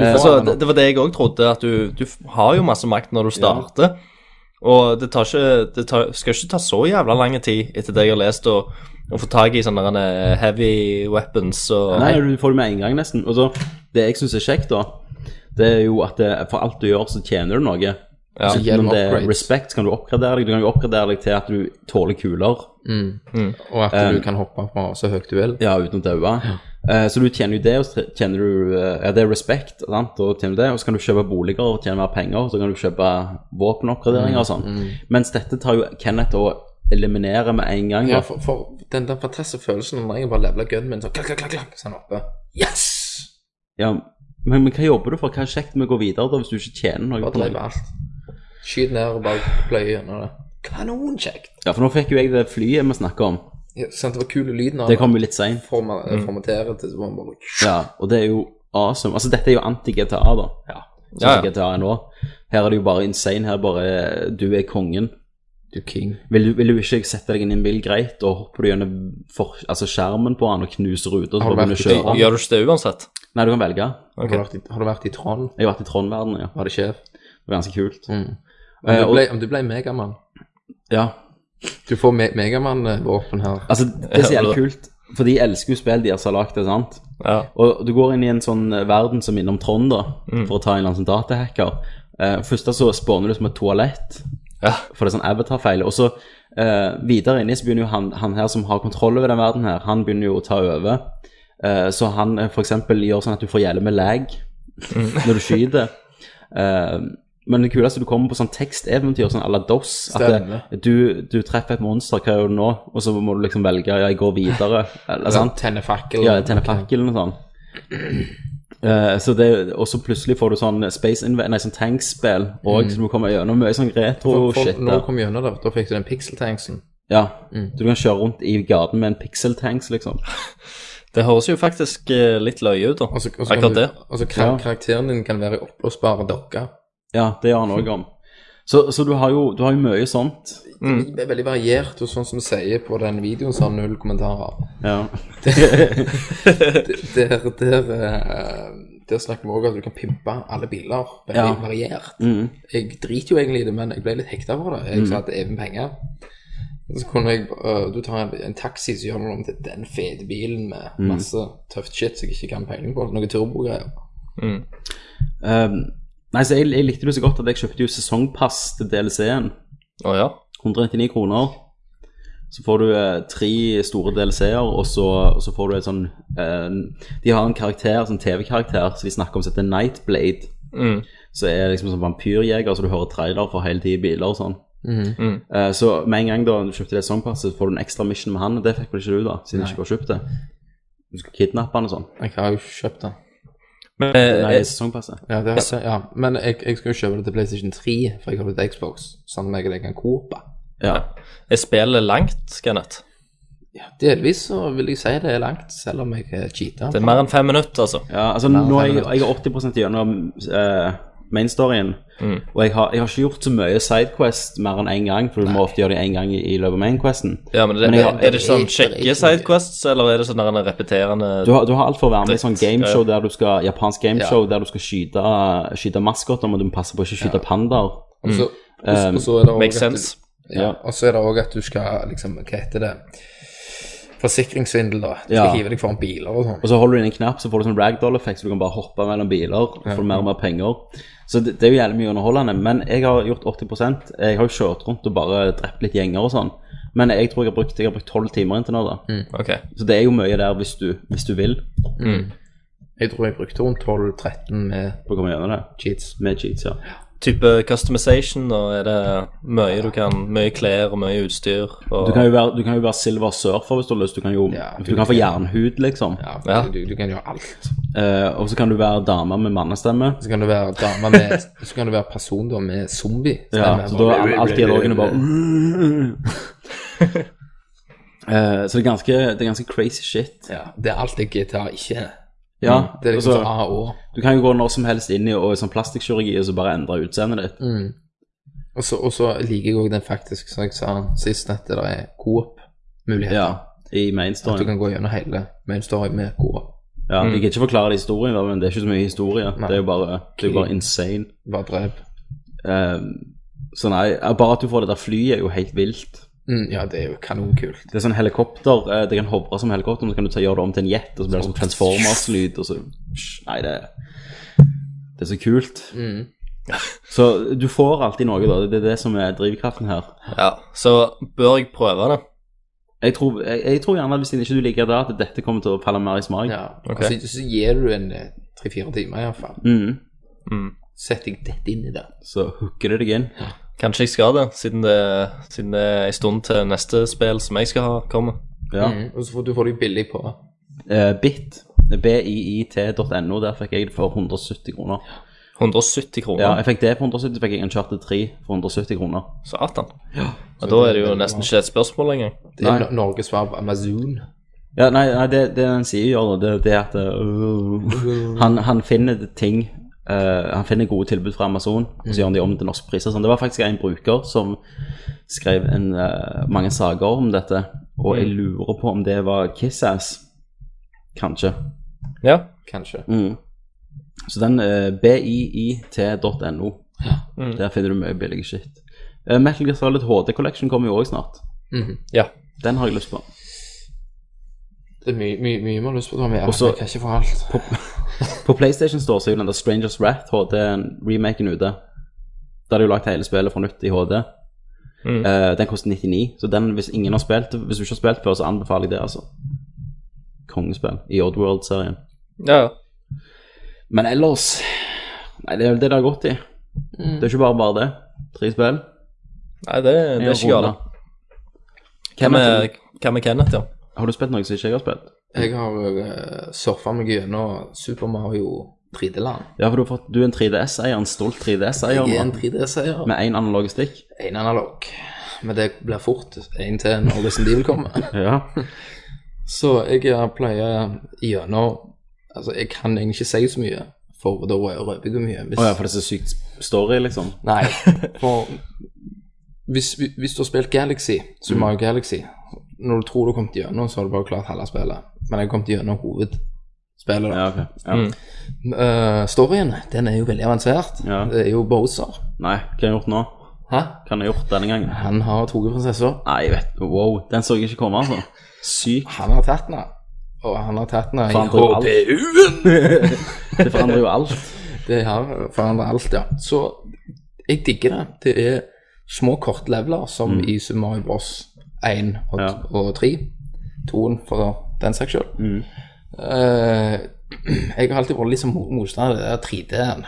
Altså, det, det var det jeg òg trodde, at du, du f- har jo masse makt når du starter. Og det, tar ikke, det tar, skal ikke ta så jævla lang tid, etter det jeg har lest, å å få tak i sånne derne heavy weapons og
Nei, du får det med en gang, nesten. Og så, Det jeg syns er kjekt, da, det er jo at det, for alt du gjør, så tjener du noe.
Ja.
Så
Gjennom
Om det er
upgrades.
respekt, så kan du oppgradere deg. Du kan jo oppgradere deg til at du tåler kuler.
Og at
Um,
du kan hoppe fra så høyt du vil.
Ja, uten å daue. Eh, Så du tjener jo det, og så tjener du eh, ja, det er respekt, sant? og tjener du det, og så kan du kjøpe boliger og tjene mer penger, så kan du kjøpe våpenoppgraderinger og sånn. Mens dette tar jo Kenneth og eliminerer med en gang.
Ja,
da.
for, for den, den fantastiske følelsen når jeg bare leveler gunnen min sånn klakk, klakk, klakk, klakk, sånn oppe. Yes!
Ja, men, men hva jobber du for? Hva er kjekt med å gå videre da, hvis du ikke tjener noe?
Bare
på noe?
drepe alt. Skyt ned og bare pløye gjennom det. Kanonkjekt!
Ja, for nå fikk jo jeg det flyet vi snakker om.
Ja, sant, det var kul lyden av
Det kom Mm. jo litt seint.
Forma- Formatere til så var man bare
Ja, og det er jo awesome. Altså, dette er jo anti-GTA, da. Ja.
Ja, ja.
GTA er nå. Her er det jo bare insane. Her er bare Du er kongen.
Du king.
Vil du, vil du ikke sette deg inn i en bil greit, og hopper du gjennom for, altså skjermen på den og knuser ruter, så
Har du
bare begynner du å
vært i
kjøre?
Gjør du ikke det uansett?
Nei, du kan velge.
Har, du vært i, har du vært i Trond?
Jeg har vært i Trondverden, ja.
Var det sjef?
Det var ganske kult.
Mm. Om
Eh,
du
og-
ble, om du ble Megamann
Ja,
Du får me Megamann-våpen her.
altså, det er så
Ja,
jævlig
det-
kult, for de elsker jo spill de har lagd, det er sant?
Ja.
Og du går inn i en sånn eh, verden som minner om Trond, da, for å ta en eller annen sånn datahacker. Eh, først da så spawner du som et toalett,
Ja.
for det er sånn avatar-feil. Og så eh, videre inni så begynner jo han, han her som har kontroll over den verden her, han begynner jo å ta over. Eh, så han eh, for eksempel gjør sånn at du får gjelde med lag når du skyter. Eh, men det kuleste, du kommer på sånn teksteventyr, sånn à la DOS. At
Stemmer.
det, du, du treffer et monster, hva gjør du nå? Og så må du liksom velge, ja, jeg går videre. Eller, sant?
Tenne fakkel.
Ja, tenne fakkelen og sånn. Eh, så det, og så plutselig får du sånn Space Inv... Nei, sånn tankspill òg, så du må komme gjennom mye sånn
Mm. For- for
retro-shit.
Når du
der.
kom Mm. gjennom der, da fikk du den pixel-tanksen.
Ja, Du kan kjøre rundt i gaten med en pixel-tanks, liksom.
Det høres jo faktisk eh, litt løye ut, da.
Og så, og så kan
Akkurat
du-
det.
Og så kar
Ja.
karakteren din kan være i oppblåsbare dokker.
Ja, det gjør han òg om. Så, så du har jo, du har jo mye sånt.
Det er veldig variert, og sånn som vi sier på den videoen, så har han null kommentarer.
Ja.
Der, der, eh, der snakker vi også at du kan pimpe alle biler. Veldig
Ja.
variert. Jeg driter jo egentlig i det, men jeg ble litt hekta på det.
Mm.
Jeg sa at det er med penger. Så kunne jeg eh, Du tar en, en taxi, så gjør du om til den fete bilen
Mm.
med masse tøft shit som jeg ikke kan peiling på. Noe turbogreier.
Mm.
Ehm, nei, så jeg, jeg likte det så godt at jeg kjøpte jo sesongpass til DLC-en.
Å ja.
199 kroner. Så får du eh, tre store DLC-er, og så, og så får du et sånn eh, De har en karakter, sånn TV-karakter, som de snakker om som heter Nightblade.
Mm.
Som er liksom sånn vampyrjeger, så du hører trailer for hele tiden i biler og sånn.
Mm.
Eh, så med en gang da du kjøpte det songpasset, så får du en ekstra mission med han, og det fikk vel ikke du, da, siden du ikke har kjøpt det. Du skal kidnappe han og sånn.
Jeg har jo ikke kjøpt den.
Men, eh,
Nei, sesongpasset.
Ja, det har jeg, ja. Men jeg, jeg skal jo kjøpe det til PlayStation 3, for jeg har blitt Xbox, sånn at jeg og deg kan coope.
Ja.
er spillet langt, Kenneth?
Delvis så vil jeg si det er langt, selv om jeg er cheater.
Det er mer enn fem minutter, altså.
Ja, altså nå er jeg, jeg er 80 gjennom eh, mainstoryen, og jeg har, jeg har ikke gjort så mye sidequest mer enn én gang, for du må ofte gjøre det én gang i, i løpet av mainquesten.
Ja, men, det,
Men jeg har-
Er det ikke sånn
jeg-
kjekke sidequests, eller er det sånn derne repeterende
Du har, du har alt for å være med i
Dritt,
sånn gameshow der du skal, japansk gameshow der du skal skyte, skyte maskoter, men du må passe på å ikke skyte pandaer.
Og så- og så- og så er det også
Mm. Makes
at du-
sense.
Ja, og så er det òg at du skal liksom, Hva heter det? Forsikringssvindel, da. Du
Ja.
skal hive deg foran biler og sånn.
Og så holder du inn en knapp, så får du sånn ragdoll-effekt, så du kan bare hoppe mellom biler og få mer og mer penger. Så det, det er jo jævlig mye underholdende, men jeg har gjort 80 Jeg har jo kjørt rundt og bare drept litt gjenger og sånn. Men jeg tror jeg har brukt Jeg har brukt 12 timer inntil nå, da.
Ok.
Så det er jo mye der hvis du, hvis du vil.
Jeg tror jeg brukte rundt 12-13 med
For å komme gjennom det.
cheats.
Med cheats, ja.
Type customization, og er det mye du kan Mye klær og mye utstyr. Og,
Du kan jo være, du kan jo være silver surfer hvis du har lyst. Du kan jo
Ja,
du,
du-
kan få jernhud, liksom.
Ja,
Ja.
Du, du kan gjøre alt.
Eh, og så kan du være dame med mannestemme.
Så kan du være dame med Så kan du være person da med zombie.
Ja, så da er alt dialogene bare Eh, Så det er, ganske, det er ganske crazy shit.
Ja, det er alt det GTA ikke er.
Ja,
Det er liksom
altså,
så A og Å.
Du kan jo gå når som helst inn i og i sånn plastikkirurgi og så bare endre utseendet ditt.
Mm. Og så- Og så liker jeg òg den faktisk, som jeg sa sist, at det er coop-muligheter.
Ja, sånn. i
At du
mainstoryen.
kan Mm. gå gjennom hele main story med coop.
Ja, jeg kan ikke forklare det i historien, da, men det er ikke så mye historie. Det er jo bare, det er jo bare insane.
Bare drep.
Eh, så nei, eh, bare at du får det der flyet, er jo helt vilt.
Mm, ja, det er jo kanonkult.
Det er sånn helikopter, eh, det kan hovre som helikopter, men så kan du ta, gjøre det om til en jet, og så blir det sånn Transformers-lyd, og så Nei, det, det er så kult.
Mm.
Så du får alltid noe, da. Det er det som er drivkraften her.
ja. Så bør jeg prøve det.
Jeg tror, jeg, jeg tror gjerne at hvis ikke du liker det, at dette kommer til å falle mer i smak.
Ja, altså, Så gir du en eh, tre-fire timer, iallfall.
Mm.
Sett deg dette inn i det.
Så hooker det deg inn.
Kanskje jeg skal det, siden det, siden det er en stund til neste spill som jeg skal ha, kommer.
Ja.
Mm, og så får du får deg billig på.
Eh, bit, biit.no, der fikk jeg det for 170 kroner.
170 kroner.
Ja, jeg fikk det for 170, så fikk jeg en charter 3 for 170 kroner.
Satan. Ja, da er det jo nesten ikke et spørsmål engang.
Det er no- Norges svar på Amazon.
Ja, nei, nei det, det han sier gjør, da, det, det er at øh, han, han finner ting øh, Han finner gode tilbud fra Amazon, og så gjør han de om til norske priser. og Sånn. Det var faktisk en bruker som skrev en, øh, mange saker om dette, og jeg lurer på om det var Kissass. Kanskje.
Ja.
Kanskje.
Mm. Så den uh, biit.no, der finner du mye billig shit. Eh, Metal Gear Solid HD Collection kommer jo òg snart.
ja.
Den har jeg lyst på.
Det er mye mye- mye man har lyst på, Tommy.
Og
Ja,
så-
jeg kan ikke få alt.
På PlayStation Store så er jo den der Strangers Wrath HD-remaken ute. Der er jo lagt hele spillet fra nytt i HD. Eh, den koster 99, så den, hvis ingen har spilt Hvis du ikke har spilt før, så anbefaler jeg det, altså. Kongespill i Oddworld-serien.
ja. ja.
Men ellers Nei, det er vel det det har gått i. Det er ikke bare bare det. Tre spill.
Nei, det, det er ikke
Runde.
galt. Hva med, hva med Kenneth, ja?
Har du spilt noe som ikke jeg har spilt?
Jeg har uh, surfa meg gjennom Super Mario 3D-land.
Ja, for du, har fått, du er en 3DS-eier, en stolt 3DS-eier
Jeg er en
nå,
3D-seier.
med én analog stikk.
En analog. Men det blir fort en til når Resident Evil kommer.
Ja.
Så jeg eh, pleier gjennom Altså, jeg kan egentlig ikke si så mye, for da røper jeg jo mye. Hvis,
Å ja, for det er så sykt story, liksom.
Nei, for hvis, hvis du har spilt Galaxy,
Mm.
Super Mario Galaxy Når du tror du har kommet gjennom, så har du bare klart halve spillet. Men jeg har kommet gjennom hovedspillet. da.
Ja, ok. Ja.
Mm. Eh, storyen den er jo veldig avansert.
Ja.
Det er jo Bowser.
Nei, hva har jeg gjort nå?
Hæ?
Hva har jeg gjort denne gangen?
Han har tatt prinsessa.
Nei, jeg vet Wow, den så jeg ikke komme, altså. Sykt.
Han har tatt den. Og han har tatt den i
Forandrer jo alt.
HPU-en!
Det forandrer jo alt.
det har forandret alt, ja. Så jeg digger det. Det er små kortleveler, som i Super Mario Bros. 1 og,
Ja.
og 3. Toen for den saks skyld. Eh, jeg har alltid vært litt som mo- motstander av det der 3D-en.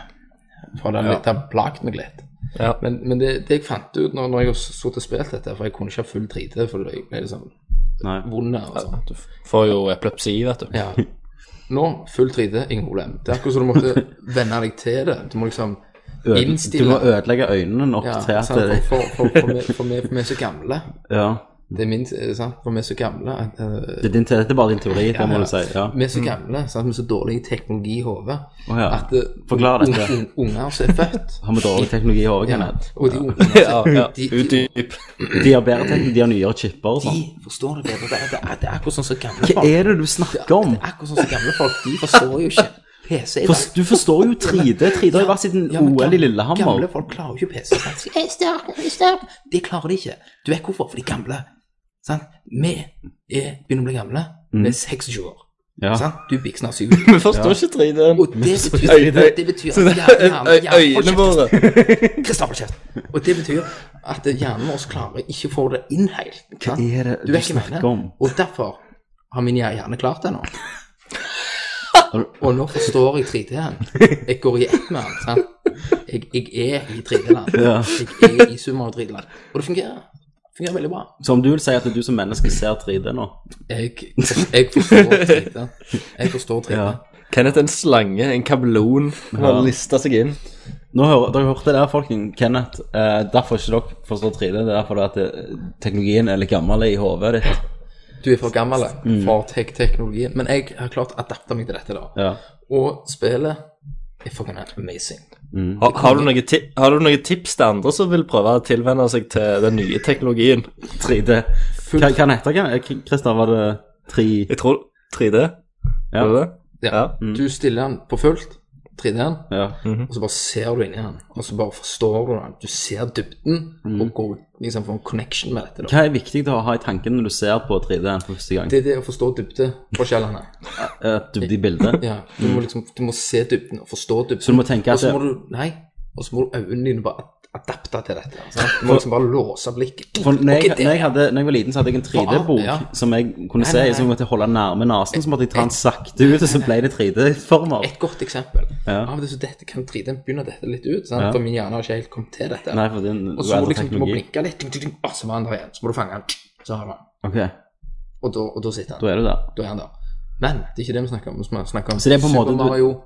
For det har litt- det har plaget meg litt.
Ja.
Men, men det, det jeg fant ut når, når jeg har sittet og spilt dette, for jeg kunne ikke ha full 3D, for jeg ble liksom
Nei.
vond og sånn.
Du får jo epilepsi, vet du.
Ja. Nå, full 3D, ingen problem. Det er akkurat som du måtte venne deg til det. Du må liksom
Øde-
innstille
Du må ødelegge øynene nok
ja,
til at
sant?
det
For, for, for, for, vi- for vi- for vi er så gamle.
Ja.
Det er min, eh, sant? For vi er så gamle. at, eh,
Det er din, te- dette er bare din teori, det må du si. Ja. Mm.
Vi er så gamle, sant? vi er så dårlig teknologi i hodet
Å ja.
at eh,
Forklar
un-
dette.
un- unger som er født
Har vi dårlig teknologi i hodet,
ja,
Kenneth?
Og de ungene som-
Ja, ja.
de- de-
Utdyp.
De har bedre teknologi, de har nyere chipper og
De
sånn.
forstår det bedre. Det er, det er, det er akkurat sånn som gamle
Hva
folk.
er det du snakker om?
Det er akkurat sånn som gamle folk. De forstår jo ikke PC i dag.
For- Du forstår jo 3D. 3D har jo vært siden
Ja, men
OL i
gamle-
Lillehammer.
Gamle folk klarer jo ikke PC. sant? Så, «Eh, Stopp, stopp. Det klarer de ikke. Du
Mm.
vet hvorfor? For de gamle. Sant? Vi er, begynner å bli gamle. Vi er 26 år.
Ja.
Sant? Du biksna syv.
Vi forstår ikke 3D-en.
Og det betyr,
Øyne.
det betyr at hjernen, hjernen
Øynene våre.
Kristoffer kjeft. Og det betyr at hjernen vår klarer ikke å få det inn helt. Hva
er det du snakker om?
Og derfor har min hjerne klart det nå. Og nå forstår jeg 3D-en. Jeg går i ett med den. sant? Jeg, jeg er i 3D-land. Jeg er i summer av 3D-land. Og det fungerer. Det fungerer veldig bra.
Så om du vil si at du som menneske ser 3D nå
Jeg, jeg forstår 3D. Jeg forstår 3D.
Ja.
Kenneth er en slange, en kablon. Han har lista seg inn.
Nå hører, Dere hørte det der, folkens. Kenneth. Eh, derfor ikke dere forstår 3D. Det er derfor det at eh, teknologien er litt gammel i hodet ditt.
Du er for gammel eh, for tek teknologien. Men jeg har klart å adapte meg til dette. da.
Mm. Ja.
Og spillet er fucking amazing.
Har, har, du noen ti- har du noen tips til andre som vil prøve å tilvenne seg til den nye teknologien?
3D. Hva hva den heter den? Christer, var det 3
Jeg tror 3D.
Ja. Mhm.
Er det det?
Ja.
Ja.
Du stiller den på fullt, 3D-en,
Ja.
og så bare ser du inni den. Og så bare forstår du den. Du ser dybden, og går, liksom får en connection med dette. da.
Hva er viktig å ha i tanken når du ser på 3D-en for første gang? Eh,
Det er det å forstå dybdeforskjellene.
Et dybde i bildet?
Ja, du må liksom, du må se dybden og forstå dybden.
Så du må tenke at
Og så
det-
må du, nei, og så må du øynene dine bare ad- adapte til dette. sant? Du må liksom bare låse blikket.
For når jeg,
Ok, det-
når, jeg hadde, når jeg var liten, så hadde jeg en 3D-bok
Ja.
som jeg kunne
nei, nei.
se, som jeg måtte holde nærme nesen. Så måtte jeg ta den sakte ut, og så ble det 3D-former.
Et godt eksempel.
Ja.
Av og til så dette kan 3D begynne dette litt ut, sant?
Ja.
for min hjerne har ikke helt kommet til dette.
Nei, for det er en
og så må du
uendret
liksom, du må
teknologi.
blinke litt, ding, ding, ding, og så var han der igjen. Så må du fange han, så har du han.
Ok, da
Og da, og da sitter han.
er du der.
Da er han der. Men det er ikke det vi snakker om. Vi snakker om
Så det er på en måte du-
Super Mario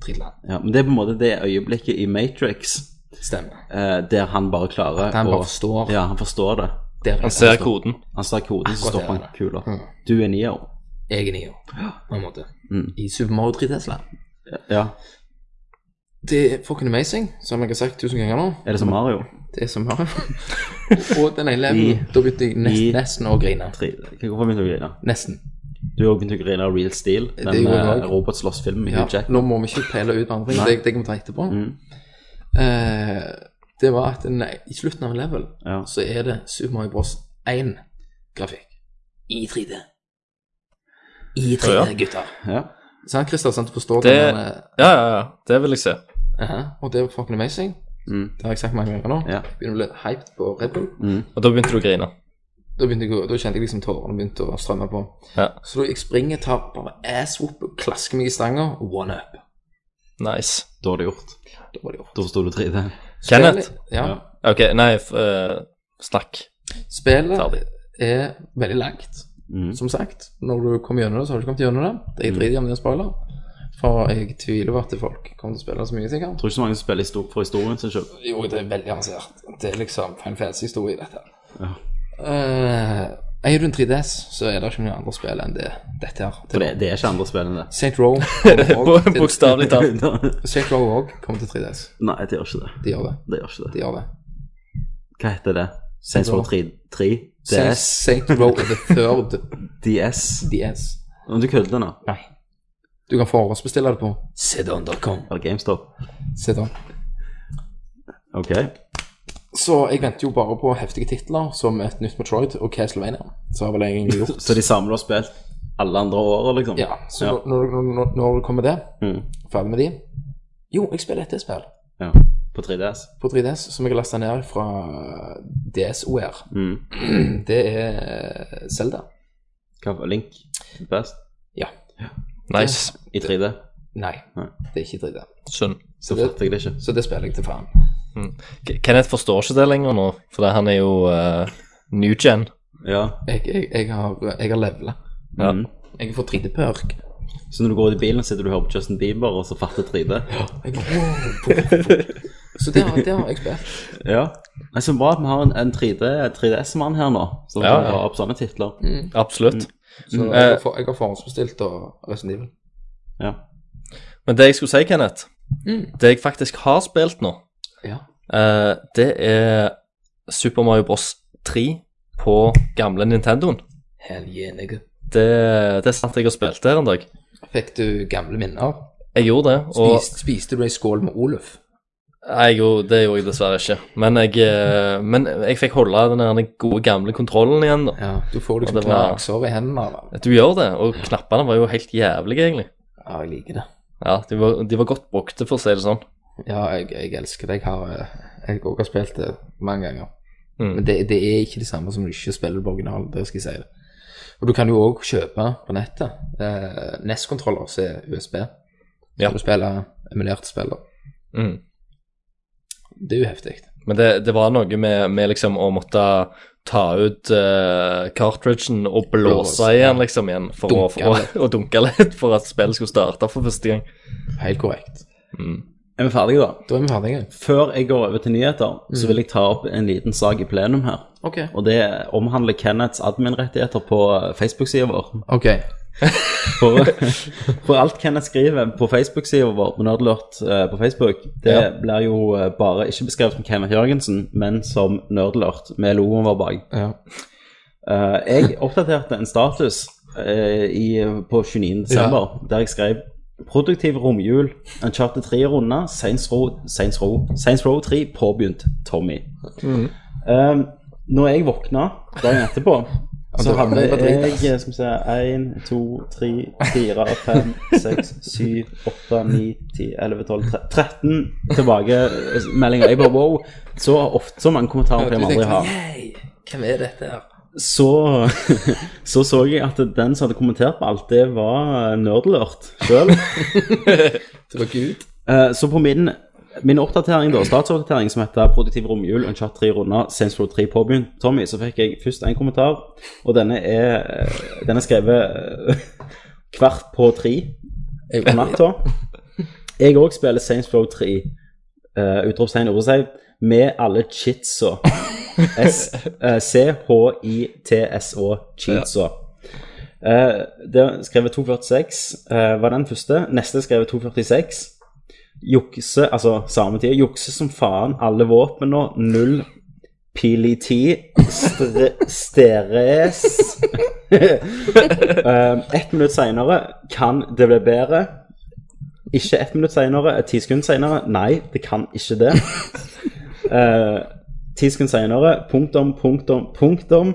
3D-land.
Ja, men det er på en måte det øyeblikket i Matrix
Stemmer.
eh, der han bare klarer
At han
å-
bare forstår.
Ja, han forstår det.
Der er altså
Han
det.
ser koden.
Han ser koden, så
Akkurat
stopper
det
han
er det.
kula.
Mm.
Du er Neo.
Jeg er Neo, på en måte.
Mm.
I Super Mario 3D-land.
Ja.
Det er fucking amazing, som jeg har sagt tusen ganger nå.
Er det som Mario?
Det er som Mario. og den ene levelen, da begynte jeg nest,
I-
nesten å grine.
3D. Hvorfor begynte du å grine?
Nesten.
Du har begynte å grine av Real Steel, den
gjorde jeg
eh,
også.
robotslåssfilmen med
Ja,
Hugh Jackman.
nå må vi ikke pele ut andre ting.
Nei. Mm.
Det, det kan vi ta etterpå. Eh, det var at en, i slutten av en level
Ja.
så er det Super Mario Bros. 1-grafikk i 3D. I 3D,
Ja, ja.
gutter.
Ja.
Sant, Christer? Sant, du forstår
Det,
den der,
ja, ja, ja. Det vil jeg se.
eh, aha, Og det var fucking amazing.
Mm.
Det har jeg sagt mange ganger nå.
Ja.
Jeg Begynner å bli hyped på Red Bull.
Og da begynte du å grine.
Da, begynte jeg, å- da kjente jeg liksom tårene begynte å strømme på.
Ja.
Så da jeg springer, tar bare ass-whoop, klasker meg i stanga, one up.
Nice.
Da var det gjort.
Da var det gjort.
Da forsto du 3D.
Kenneth?
Spillet- Ja.
Ja.
Ok, nei, f eh, snakk.
Spillet
Ferdig.
er veldig langt,
Mm.
som sagt. Når du kommer gjennom det, så har du ikke kommet gjennom det. Det er dritig om det er en spoiler, for jeg tviler på at folk kommer til å spille så mye, sikkert.
Tror ikke så mange som spiller histor for historien sin selv.
Jo, det er veldig avansert. Det er liksom Final Fantasy-historie, dette.
Ja.
Eh, er du en 3DS, så er det ikke noen andre spill enn det, dette her.
For det, det er ikke andre spill enn det.
St. Row kommer også til-
Bokstavelig talt.
Saints Row også kommer til 3DS.
Nei, det gjør ikke det.
De gjør det.
Det gjør
De
ikke det.
gjør det.
Hva heter det? Saints Row 3, 3 DS?
Saint Row er the third
DS?
DS.
Om du kødder nå?
Nei. Du kan forhåndsbestille det på sedan.com.
Er det GameStop?
Sedan.
Ok.
Så jeg venter jo bare på heftige titler som et nytt Metroid og Castlevania. Så har vel jeg egentlig gjort
Så de samler og spilt alle andre året, liksom?
Ja, så
Ja.
Når, når, når, når det kommer det,
Mm.
ferdig med de Jo, jeg spiller et spill
ja. På 3DS?
på 3DS som jeg har lasta ned fra DSOR.
Mm.
Det er eh, Zelda.
Hva var Link? Best?
Ja.
Nice.
I 3D?
Nei,
Nei.
det er ikke 3D.
Sunn.
Så fatter jeg det ikke.
Så det spiller jeg til faen.
K- Kenneth forstår ikke det lenger nå, for han er jo eh, new gen.
Ja.
Jeg, jeg, jeg har, jeg har levela.
Ja.
Mm.
Jeg får 3D-perk.
Så når du går ut i bilen, sitter du og hører på Justin Bieber, og så fatter 3D?
Jeg bare, wow, wow, wow. Så det har, det har jeg spilt.
Ja. Nei, så bra at vi har en, en 3D, 3DS-mann her nå, som
Ja,
kan
ja.
dra opp sånne titler.
Absolutt.
Mm. Så
Mm.
jeg,
Eh.
har for, jeg har forhåndsbestilt og Resident Evil.
Ja.
Men det jeg skulle si, Kenneth,
Mm.
det jeg faktisk har spilt nå,
Ja.
eh, det er Super Mario Bros. 3 på gamle Nintendoen.
Hell yeah, nigga.
Det, det er sant jeg har spilt der en dag.
Fikk du gamle minner?
Jeg gjorde det, og
Spiste, spiste du ei skål med Oluf?
Nei, jo, det gjorde jeg dessverre ikke. Men jeg, eh, men jeg fikk holde den der gode, gamle kontrollen igjen, da.
Ja.
Du får liksom
Og det var-
knagsår i hendene. da.
Du gjør det, og knappene var jo helt jævlige, egentlig.
Ja, jeg liker det.
Ja, de var, de var godt brukte, for å si det sånn.
Ja, jeg, jeg elsker det. Jeg har eh, jeg også har spilt det mange ganger.
Mm.
Men det, det er ikke det samme som du ikke spiller på originalen. Det skal jeg si det. Og du kan jo òg kjøpe på nettet eh, NES-kontroller som er USB.
Ja.
Ja. Du spiller emulert spiller.
Mm.
Det er jo heftig.
Men det, det var noe med, med liksom å måtte ta ut eh, cartridgen og blåse
Blåse,
i den liksom igjen, for å,
Dunke
for å, og dunke litt for at spillet skulle starte for første gang.
Helt korrekt.
Er vi ferdige, da?
Da er vi ferdige.
Før jeg går over til nyheter, så vil jeg ta opp en liten sak i plenum her.
Ok.
Og det omhandler Kenneths adminrettigheter på Facebook-sida vår.
Ok.
For, for alt Kenneth skriver på Facebook-sida vår, på Nerdlurt eh, på Facebook, det
Ja.
blir jo eh, bare ikke beskrevet som Kenneth Jørgensen, men som Nerdlurt, med logoen vår bak.
Ja.
Eh, jeg oppdaterte en status eh, i, på 29. desember, der jeg skrev Produktiv romjul, Uncharted 3-runde, Saints, Row- Saints, Row- Saints Row 3 påbegynt, Tommy.
Mm.
Eh, når jeg våkna dagen etterpå, så
det var-
hadde
det var drit,
jeg
ass.
skal vi se, 1, 2, 3, 4, 5, 6, 7, 8, 9, 10, 11, 12, 13 tilbakemeldinger. Jeg bare wow. Så ofte så mange kommentarer kan
Du
jeg aldri
tenkte,
ha
«Yay, hvem er dette her?
så så, så jeg at den som hadde kommentert på alt, det var Nerdlert sjøl.
Det var Gud.
Eh, så på min, min oppdatering, da, statsoppdatering som heter 'Produktiv romjul, unchat 3 runder, Saints Row 3 påbegynt', Tommy, så fikk jeg først en kommentar, og denne er, eh, den er skrevet eh, hvert på tre
Jeg,
på natta. Jeg òg spiller Saints Row 3, eh, utropstegn, utropstegn, med alle chitsa. S- eh, C-H-I-T-S-Å, chitsa. Eh, det er skrevet 246 eh, var den første. Neste er skrevet 246. Jukse, altså samme tid, jukse som faen. Alle våpen nå. Null pil i ti. Stre, steres. Eh, ett minutt seinere kan det bli bedre. Ikke ett minutt seinere, ti sekunder seinere. Nei, det kan ikke det. Eh, Ti sekunder seinere, punktum, punktum, punktum.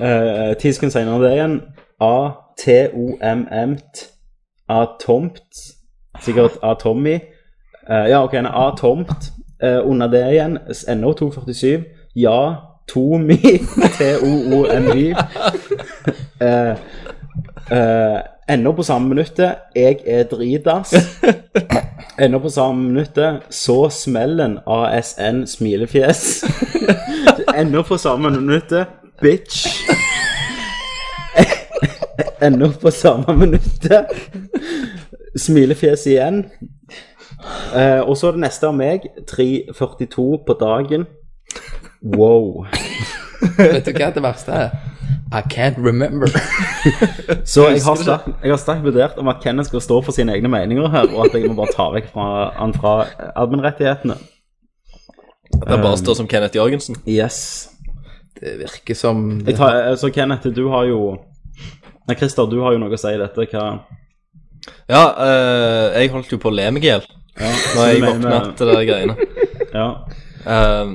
Eh, Ti sekunder seinere det igjen. A-T-O-M-M-T. Atomt. Sikkert Atomi. Eh, ja, OK, en A-tomt. Eh, under det igjen, NO247. Ja, Tomi. T-O-O-M-Y. Eh, eh, Ender på samme minuttet. Jeg er dritass. Ender på samme minuttet. Så smellen ASN smilefjes. Ender på samme minuttet. Bitch. Ender på samme minuttet. Smilefjes igjen. Eh, og så er det neste av meg. 3.42 på dagen. Wow.
vet du hva det verste er? I can't remember.
Så jeg har, sterkt, jeg har sterkt vurdert om at Kenneth skal stå for sine egne meninger her, og at jeg må bare ta vekk fra, han fra admin-rettighetene.
At han bare står som Kenneth Jørgensen.
Yes.
Det virker som
Jeg tar, så Kenneth, du har jo Nei, Christer, du har jo noe å si i dette. Hva
Ja, eh, jeg holdt jo på å le meg i hjel
så
når
du
jeg
mener-
våkna til de greiene.
Ja.
Ehm,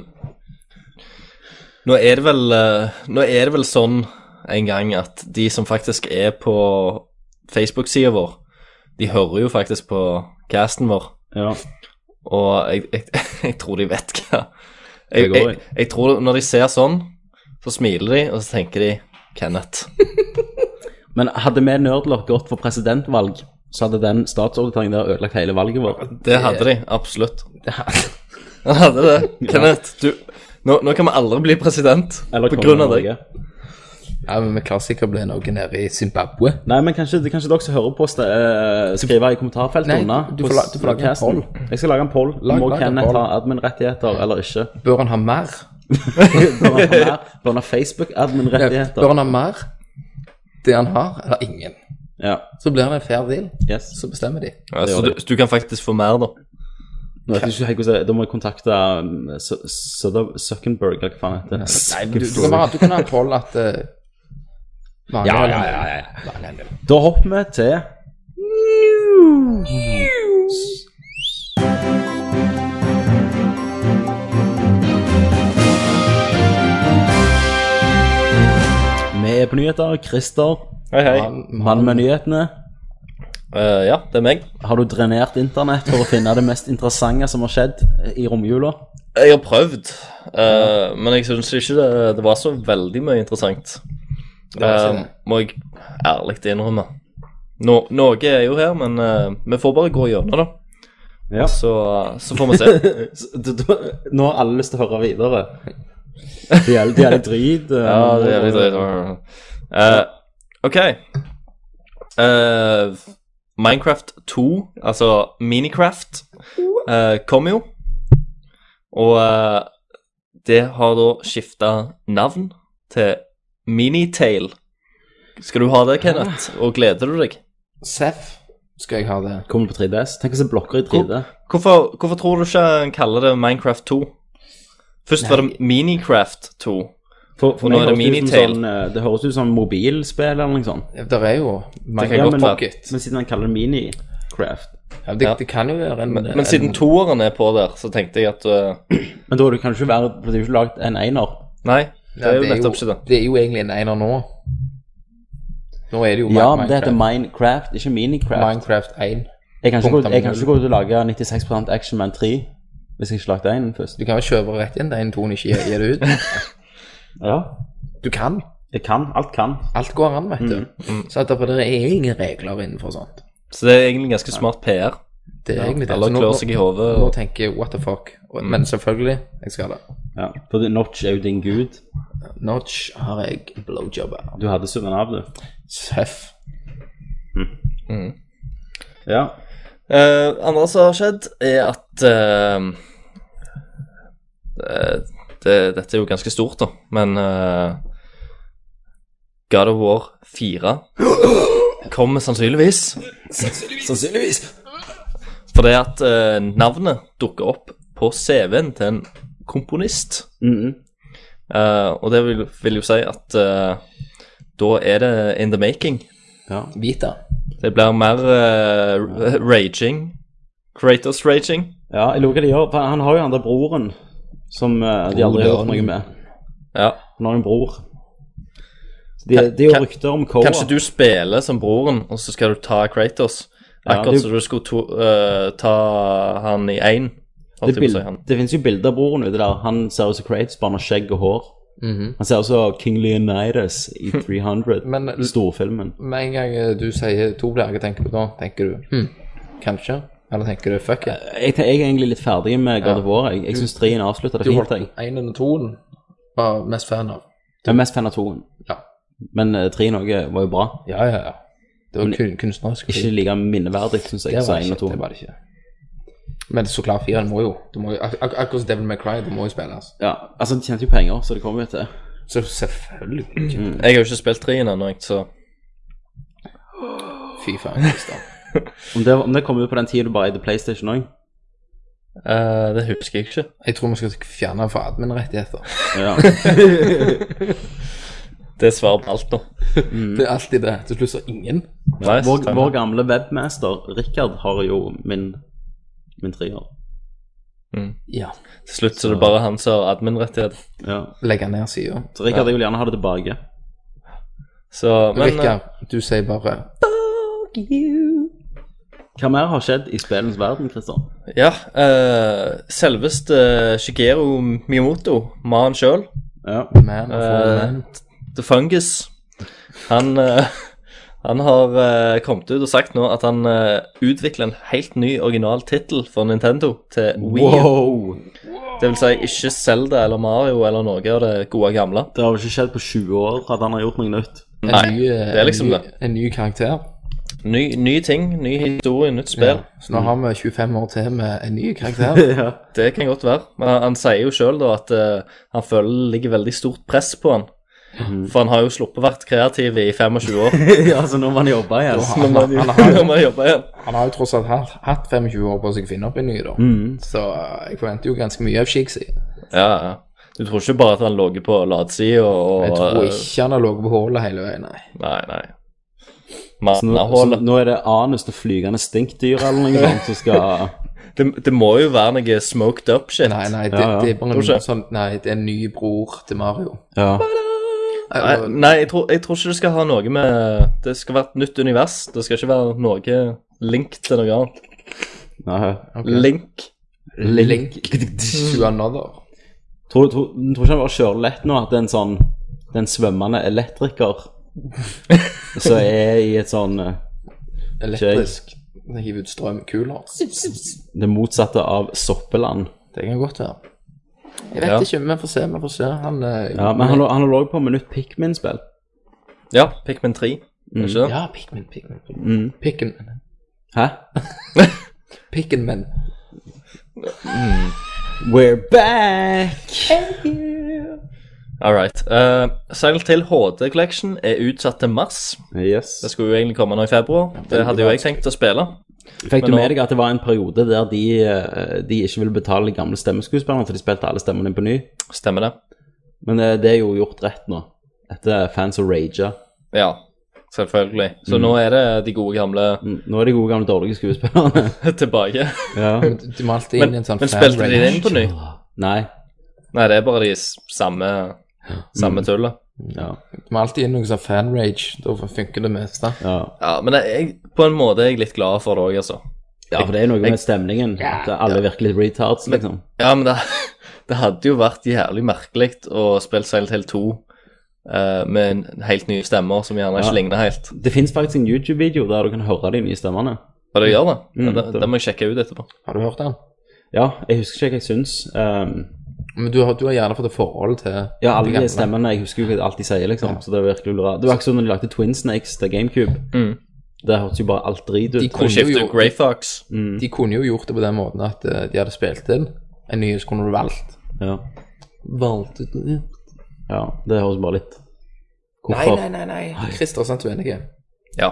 nå, er det vel, eh, nå er det vel sånn en gang at de som faktisk er på Facebook-sida vår, de hører jo faktisk på casten vår,
ja.
og jeg, jeg, jeg tror de vet hva
Det
jeg,
går,
jeg, jeg tror Når de ser sånn, så smiler de, og så tenker de Kenneth.
Men hadde vi nerdlert gått for presidentvalg, så hadde den statsordningen der ødelagt hele valget vårt.
Det hadde de, absolutt. Han hadde det. Kenneth, du nå, nå kan vi aldri bli president
Eller
på grunn av deg.
Norge.
Ja, men vi klarer sikkert å bli noe nede i Zimbabwe.
Nei, men kanskje, kanskje dere som hører på, st- eh, skriver i kommentarfeltet
Nei,
unna.
du får la- du får lage en poll.
Jeg skal lage en poll.
Lag-
Må
lag en
Kenneth
poll.
ha admin-rettigheter eller ikke?
Bør han ha mer?
Bør han ha mer- bør han ha
Bør
Facebook-admin-rettigheter?
han ha mer? Det han har, eller ingen?
Ja.
Så blir det en fair deal.
Yes.
Så bestemmer de.
Ja, så du, så du kan faktisk få mer, da.
Nå vet jeg ikke helt hvordan jeg- Da må jeg kontakte um, Su- Su- Zuckerberg, eller hva faen heter det
Nei, men du, du, kan, bare, du kan ha en poll at eh, mange-
Ja, ja, ja, ja,
Mange-
Da hopper vi til er på nyheter. Christer,
Hei, hei.
mann med nyhetene.
Eh, ja, det er meg.
Har du drenert internett for å finne det mest interessante som har skjedd i romjula?
Jeg har prøvd, eh, men jeg syns ikke det, det var så veldig mye interessant.
var ikke
Eh, må jeg ærlig innrømme. Nå, Norge er jo her, men eh, vi får bare gå gjennom, da.
Ja.
Så, eh, så får vi se.
Så du- du- Nå har alle lyst til å høre videre. Det gjelder, det gjelder drit. eh,
Ja, det er litt dritt. Eh, ok. Eh, Minecraft 2, altså Minicraft, eh, kom jo. Og eh, det har da skifta navn til Minitail. Skal du ha det, Kenneth? Og gleder du deg?
Seff skal jeg ha det.
Kommer på 3DS. Tenk å se blokker i 3D.
Hvorfor, hvorfor tror du ikke han kaller det Minecraft 2? Først var det Minicraft 2.
For, for
Nå
meg
er det
høres ut som
Minitail.
Sånn, eh, det høres ut som mobilspill eller noe sånt.
Der er jo
kan
mange
godt
men,
være.
pocket.
men siden han kaller det Minicraft
Ja, det, det kan jo være en
Men, men siden toeren er på der, så tenkte jeg at eh,
Men da har du kanskje være, for det er jo ikke lagd en einer.
Nei, det
Ja,
er jo nettopp ikke det.
Det er jo egentlig en einer nå. Nå er det jo
Ja,
Mi-
men det heter Minecraft, ikke Minicraft.
Minecraft 1.
jeg kan ikke gå- jeg kan
punktum
ikke gå ut og lage 96 Action Man 3 hvis jeg ikke lagde en først.
Du kan jo kjøpe rett inn den tonen ikke gir- gir det ut.
Ja,
Du kan.
jeg kan. Alt kan.
Alt går an, vet du.
Mm,
Så at derfor, det er ingen regler innenfor sånt.
Så det er egentlig ganske smart PR.
Det er egentlig det.
Alle
Så nå-
klør seg i
nå-
hodet.
Nå
og- Mm.
tenker jeg what the fuck. Og- Men selvfølgelig, jeg skal det.
Ja, for det- Notch er jo din gud.
Notch har jeg blowjob av.
Du hadde summen av, du.
Seff.
Ja.
Eh, andre som har skjedd, er at eh, eh, det, Dette er jo ganske stort, da, men eh, God of War 4 kommer sannsynligvis.
Sannsynligvis.
Fordi at eh, navnet dukker opp på CV-en til en komponist. Eh, og det vil, vil jo si at eh, da er det in the making.
Ja.
Vita.
Det blir mer eh, raging. Kratos raging.
ja, jeg lurer hva de gjør. For han har jo han der broren som eh, de aldri har gjort noe med.
Ja.
Han har jo en bror. De, de
kan-
gjør rykter om Koa.
Kanskje du spiller som broren, og så skal du ta Kratos.
Ja,
Akkurat
det-
som du skulle to, eh, ta han i én.
Det,
holdt jeg på å
bild,
si, han.
det finnes jo bilder av broren ute der. Han ser ut som Kratos, bare med skjegg og hår. Han ser ut som King Leonidas i 300,
Mhm. Men-
storfilmen.
Med en gang eh, du sier to blir jeg tenker på da, tenker du hm, kanskje? Eller tenker du fuck it?
Jeg, jeg er egentlig litt ferdig med God of War. Jeg, jeg syns 3-en avslutta det
Eh,
Du
fint.
holdt
Jeg.
én under toen var mest fan av.
jeg er mest fan av 2-en,
Ja.
men 3-en også var jo bra.
Ja, ja, ja. Det var kun, kunstnerisk.
Ikke like minneverdig, syns jeg.
det
som
var,
en og
ikke,
to.
det var det ikke. Men så klart, fireren må jo, du må jo ak ak Akkurat som Devil May Cry, det må jo spilles.
Ja, altså, de tjente jo penger, så det kommer jo til.
Så selvfølgelig.
Jeg har jo ikke spilt treen ennå, jeg, så
Fy faen, Kristian.
Om det, om det kommer ut på den tida du bare eide PlayStation òg
eh, det husker jeg ikke.
Jeg tror vi skal fjerne fra admin-rettigheter.
ja.
Det er svaret på alt nå.
Mm.
Det er alltid det. Til slutt så ingen.
Nice,
vår,
takk.
vår gamle webmaster, Rikard, har jo min, min treer.
Ja.
Til slutt så er det bare han som har admin-rettighet.
Ja.
Legge ned sida.
Så Rikard, jeg vil gjerne ha det tilbake.
Så, men eh,
Rikard, du sier bare
Hva mer har skjedd i spillens verden, Christer?
ja, eh, selveste Shigeru Miyamoto, mannen sjøl,
Ja.
man of all
Eh,
man.
The Fungus. Han, eh, han har eh, kommet ut og sagt nå at han uh, utvikler en helt ny original tittel for Nintendo til Wii.
Wow!
Det vil si ikke Zelda eller Mario eller noe av det gode gamle.
Det har vel ikke skjedd på 20 år at han har gjort noe nytt.
En
nei,
ny, eh,
det er liksom
en ny,
det.
En ny karakter.
Ny, ny ting, ny historie, nytt spill.
Så nå har vi 25 år til med en ny karakter.
Ja.
Det kan godt være. Men han, han sier jo sjøl da at eh, han føler det ligger veldig stort press på han.
Mhm.
For han har jo sluppet å vært kreativ i 25 år.
ja, så nå må han jobbe igjen.
Nå må han jo- nå må han jobbe igjen.
Han har jo tross alt hatt, hatt 25 år på seg å finne opp en ny, da. Så eh, jeg forventer jo ganske mye av Shigzy.
Ja, ja. Du tror ikke bare at han lå på eh, latsida og
Jeg tror ikke han har ligget på hullet hele veien, nei.
Nei, nei.
Nå, så
Manneholdet.
nå er det anus til flygende stinkdyr eller noe sånt som skal
Det, det må jo være noe smoked up shit.
Nei, nei, det,
Ja, ja.
det er bare
Tror
en,
ikke.
sånn, nei, det er en ny bror til Mario.
Ja.
Nei, nei jeg, tror, jeg tror ikke det skal ha noe med Det skal være et nytt univers. Det skal ikke være noe link til noe annet.
Nei.
Link.
Link to another.
Tror, tror, tror ikke han bare kjører lett nå at det er en sånn det er en svømmende elektriker som er i et sånn eh,
Elektrisk. Hiv ut strømkuler.
Det motsatte av Soppeland.
Det kan godt være. Jeg vet
Ja.
ikke, vi får se. Vi får se. Han eh,
Ja, men han, lå- han lå på minutt Pikmin-spill.
Ja, Pikmin 3. er det Ikke det?
Mm. Ja, Pikmin, Pikmin. Pikmin. Pikmin.
Hæ?
Pikmin.
We're back!
All right. Uh, Seil til HD Collection er utsatt til mars.
Yes.
Det skulle jo egentlig komme nå i februar. Det hadde jo jeg tenkt å spille.
Fikk du
Men nå-
med deg at det var en periode der de, eh, de ikke ville betale de gamle stemmeskuespillerne, for de spilte alle stemmene på ny?
Stemmer det?
Men eh, det er jo gjort rett nå. Etter fans og rager.
Ja. Selvfølgelig. Så
Mm.
nå er det de gode gamle
N- Nå er de gode gamle dårlige skuespillerne.
tilbake.
ja.
De malte inn
Men,
i en sånn
men spilte de det inn på ny?
Nei.
Nei, det er bare de s- samme,
Mm.
samme tullet.
Ja.
De malte inn noe sånn fanrage. Da funker det meste.
ja.
Ja, men jeg, jeg, på en måte er jeg litt glad for det òg, altså.
Ja, for det er noe med stemningen. At alle virker litt retards, liksom.
Ja, men det, det hadde jo vært jævlig merkelig å spille Silent Hill 2 eh, med en helt nye stemmer som gjerne ikke
Ja.
ligner helt.
Det fins faktisk en YouTube-video der du kan høre de nye stemmene.
Og det gjør det. Ja,
Mm,
det,
det-
det må jeg sjekke ut etterpå.
Har du hørt den?
Ja, jeg husker ikke hva jeg syns. Um,
Men du har, du har gjerne fått et forhold til
ja, alle
de
de
gamle.
stemmene, jeg husker jo ikke alt de sier, liksom. Så det er virkelig lura. Det var ikke sånn når de lagde Twin Snakes til GameCube.
Mm.
Det hørtes jo bare alt drit ut.
De
Du
kunne, jo,
skifter jo Grey Fox.
Mm.
de kunne jo gjort det på den måten at eh, de hadde spilt inn en ny, så kunne du valgt.
Ja.
Valgt ut Nei,
ja, det høres bare litt Hvorfor?
nei, nei. nei. Christer er sant uenig.
Ja.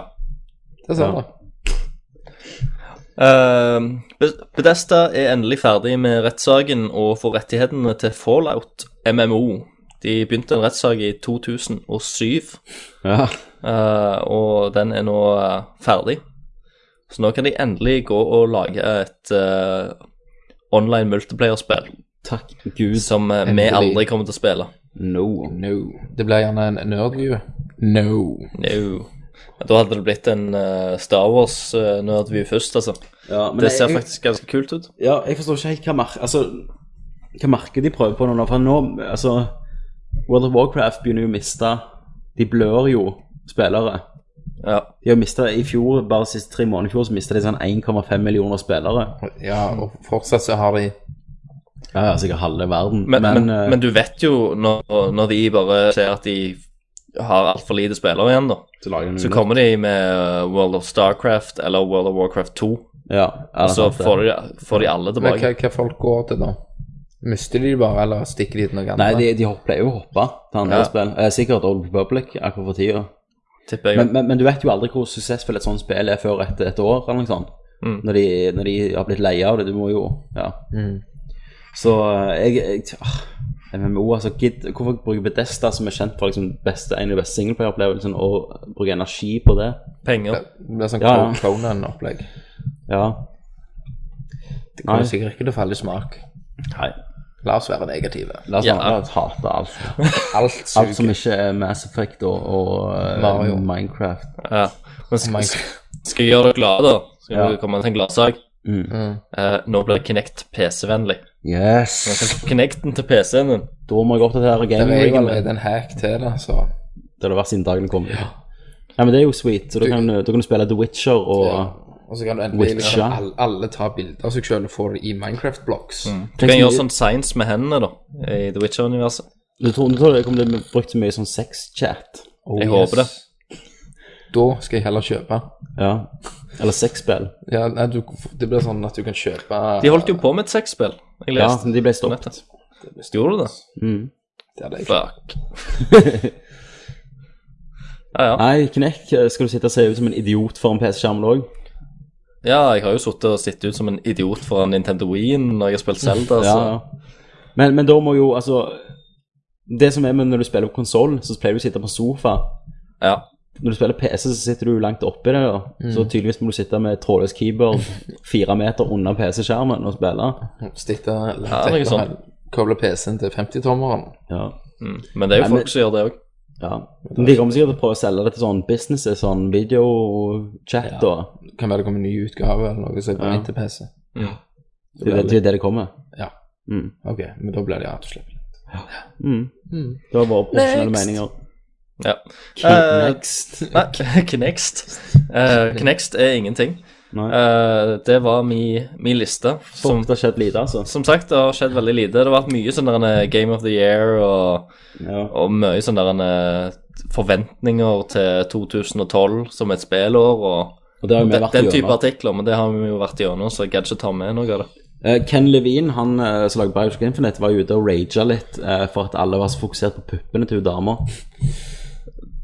Det sånn, sa
Ja.
han.
Eh, Be- Bethesda er endelig ferdig med rettssaken og får rettighetene til Fallout MMO. De begynte en rettssak i 2007.
Ja.
Eh, og den er nå eh, ferdig. Så nå kan de endelig gå og lage et eh, online multiplayer-spill
Takk gud.
som eh, vi
Endelig.
aldri kommer til å spille.
No.
No. Det blir gjerne en nerdview. No.
No. Da hadde det blitt en eh, Star Wars-nerdview først, altså.
Ja, men
Det ser
jeg-
faktisk ganske kult ut.
Ja, jeg forstår ikke helt hva mer... Altså, hva merker de prøver på nå, for nå, altså, World of Warcraft begynner jo å miste, de blør jo spillere.
Ja.
De har mistet, i fjor, bare de siste tre måneder i fjor, så mistet de sånn 1,5 millioner spillere.
Ja, og fortsatt så har de
Ja, ja, sikkert halve verden.
Men, men, men,
eh,
du vet jo når, når de bare ser at de har altfor lite spillere igjen, da.
så lager de
Så
noe.
kommer de med eh, World of Starcraft eller World of Warcraft 2,
Ja, ja,
og så
sant det.
får de, får de alle
Men hva,
tilbake.
hva folk går til da? Mister de det bare, eller stikker de til noe annet?
Nei, de, de hopp- pleier jo å hoppe til andre
Ja.
spill. Eh, sikkert Old Republic akkurat for tida.
Tipper jeg.
Men, men, men du vet jo aldri hvor suksessfullt et sånt spill er før et, et år, eller noe sånt.
Mm.
Når, de, når de har blitt lei av det. Du må jo Ja.
Mm.
Så eh, jeg, jeg ah, MMO, altså gidd Hvorfor bruke Bedesta, som er kjent for liksom, beste, en av de beste singleplayer-opplevelsene, og bruke energi på det?
Penger.
Det blir sånn
Ja, ja.
Conan-opplegg.
Ja.
Det kommer
Nei.
sikkert ikke til å falle i smak.
Nei.
La oss være negative.
La oss
Ja.
la oss hate alt.
Alt
Alt som
suger.
ikke er Mass Effect og, og eh,
Mario.
Minecraft.
Ja. Men
my
skal, skal jeg gjøre deg glad, da? Skal
Oh Ja.
vi komme til en gladsak?
Mm.
Eh, nå blir Kinect PC-vennlig. Nå
Yes!
kan Kinecten til PC-en din.
Da må jeg oppdatere
Det er jo
gamingregelen.
allerede en hack til det, så
Det har det vært siden dagen kom. Ja. men det er jo sweet. Så da kan eh, da kan du spille The Witcher og
ja. Og så kan du endelig liksom,
Witcher.
alle, alle ta bilder av seg selv og få det i Minecraft-blocks.
Du kan gjøre sånn science med hendene, da, i The Witcher-universet.
Du tror, du tror det kommer til å bli brukt så mye sånn sexchat?
Oh,
Jeg håper det.
Da skal jeg heller kjøpe.
Ja. Eller sexspill.
Ja, nei, du, det blir sånn at du kan kjøpe
De holdt jo på med et sexspill. Jeg
Ja,
leste
men de ble stoppet.
nettet. Gjorde du det?
Det er det jeg-
Fuck. ja, ja.
Nei, knekk. eh, Skal du sitte og se ut som en idiot foran PC-skjermen òg?
ja, jeg har jo sittet og sett ut som en idiot foran Nintendo Wien når jeg har spilt Zelda,
Ja,
så
ja. Men, men da må jo altså Det som er med når du spiller på konsoll, så pleier du å sitte på sofa.
ja.
Når du spiller PC, så sitter du langt oppi det. da.
Mm.
Så tydeligvis må du sitte med trådløs keyboard fire meter under PC-skjermen og spille.
Stitte
Ja, det er ikke sånn.
Koble PC-en til 50-tommeren.
Ja.
Mm. Men det er jo
Nei, men-
folk som gjør det òg.
Ja. Men de kommer sikkert til å prøve å selge det til sånn businesses, sånn videochat og
Kan være det kommer en ny utgave eller noe som er på
Ja.
vei til PC.
Det er det, det, er det det kommer.
Ja.
Mm.
Ok, men da blir det rett og slett
Mm. Det var våre profesjonelle meninger.
Ja.
Next.
Eh, Nei, Knext. Eh, Knext er ingenting.
Nei.
Eh, det var mi, mi liste. Som,
Fuck, det har skjedd lite, altså.
som sagt, det har skjedd veldig lite. Det har vært mye sånn der en Game of the Year og,
Ja.
og mye sånn der en eh, forventninger til 2012 som et spillår og
Og det har jo vi
den,
vært
den type
gjennom.
artikler, men det har vi jo vært gjennom, så jeg gadd ikke ta med noe av det.
Eh, Ken Levine, han eh, som lager Bioshock Infinite, var jo ute og raga litt eh, for at alle var så fokusert på puppene til hun dama.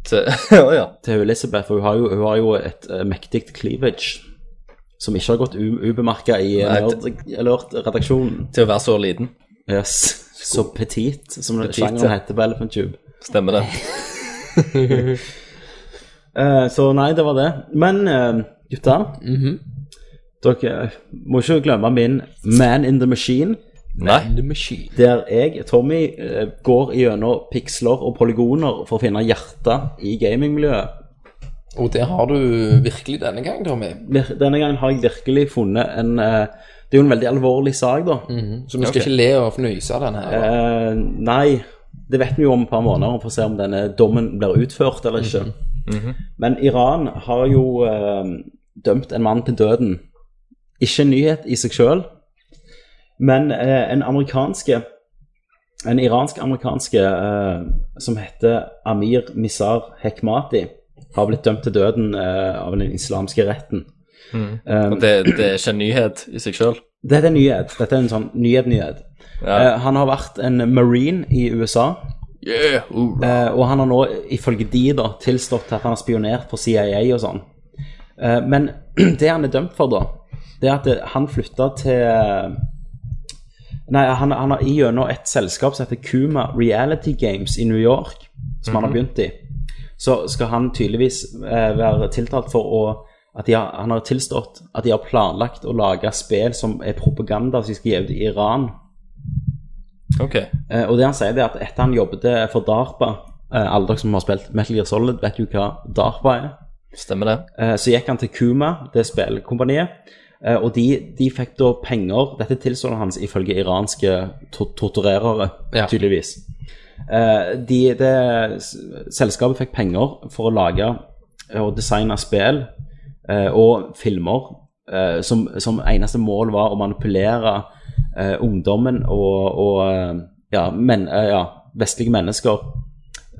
Til, Å ja.
Til hun Elizabeth, for hun har jo, hun har jo et eh, mektig cleavage som ikke har gått ubemerka i eh,
Nei,
Nerd Alert-redaksjonen.
til å være så liten.
Yes. Så petit, som
Petit,
sjangeren
ja.
heter på Elephant Tube.
Stemmer det.
Eh, så nei, det var det. Men eh, gutter,
Mhm.
dere eh, må ikke glemme min Man in the Machine.
Nei.
Der jeg, Tommy, eh, går gjennom piksler og polygoner for å finne hjertet i gamingmiljøet.
Og det har du virkelig denne gang, Tommy.
Vir- Denne gangen har jeg virkelig funnet en eh, Det er jo en veldig alvorlig sak, da.
Mhm.
Så vi skal ikke le og fnyse av den her.
Eh, nei, det vet vi jo om et par måneder, for å se om denne dommen blir utført eller ikke. Men Iran har jo eh, dømt en mann til døden. Ikke en nyhet i seg sjøl, men eh, en amerikanske En iransk-amerikanske eh, som heter Amir Misar Hekmati, har blitt dømt til døden eh, av den islamske retten.
Og Det, det er ikke en nyhet i seg sjøl.
Dette er en nyhet. Dette er en sånn nyhet-nyhet.
Ja.
Eh, han har vært en marine i USA.
Yeah, hurra.
Eh, og han har nå, ifølge de, da, tilstått at han har spionert for CIA og sånn. Eh, men det han er dømt for, da, det er at eh, han flytta til eh, Nei, han, han har gjennom et selskap som heter Kuma Reality Games i New York, som han har begynt i, så skal han tydeligvis eh, være tiltalt for å at de har, Han har tilstått at de har planlagt å lage spill som er propaganda som de skal gi ut i Iran.
Ok.
Eh, og det han sier, det er at etter han jobbet for DARPA eh, Alle dere som har spilt Metal Gear Solid, vet jo hva DARPA er.
Stemmer det.
Eh, så gikk han til Kuma, det spillkompaniet, eh, og de, de fikk da penger Dette tilstår hans ifølge iranske to torturerere,
Ja.
tydeligvis. Eh, de, det, s- selskapet fikk penger for å lage og designe spill eh, og filmer eh, som, som eneste mål var å manipulere eh, ungdommen og, og eh, ja, men, eh, ja, vestlige mennesker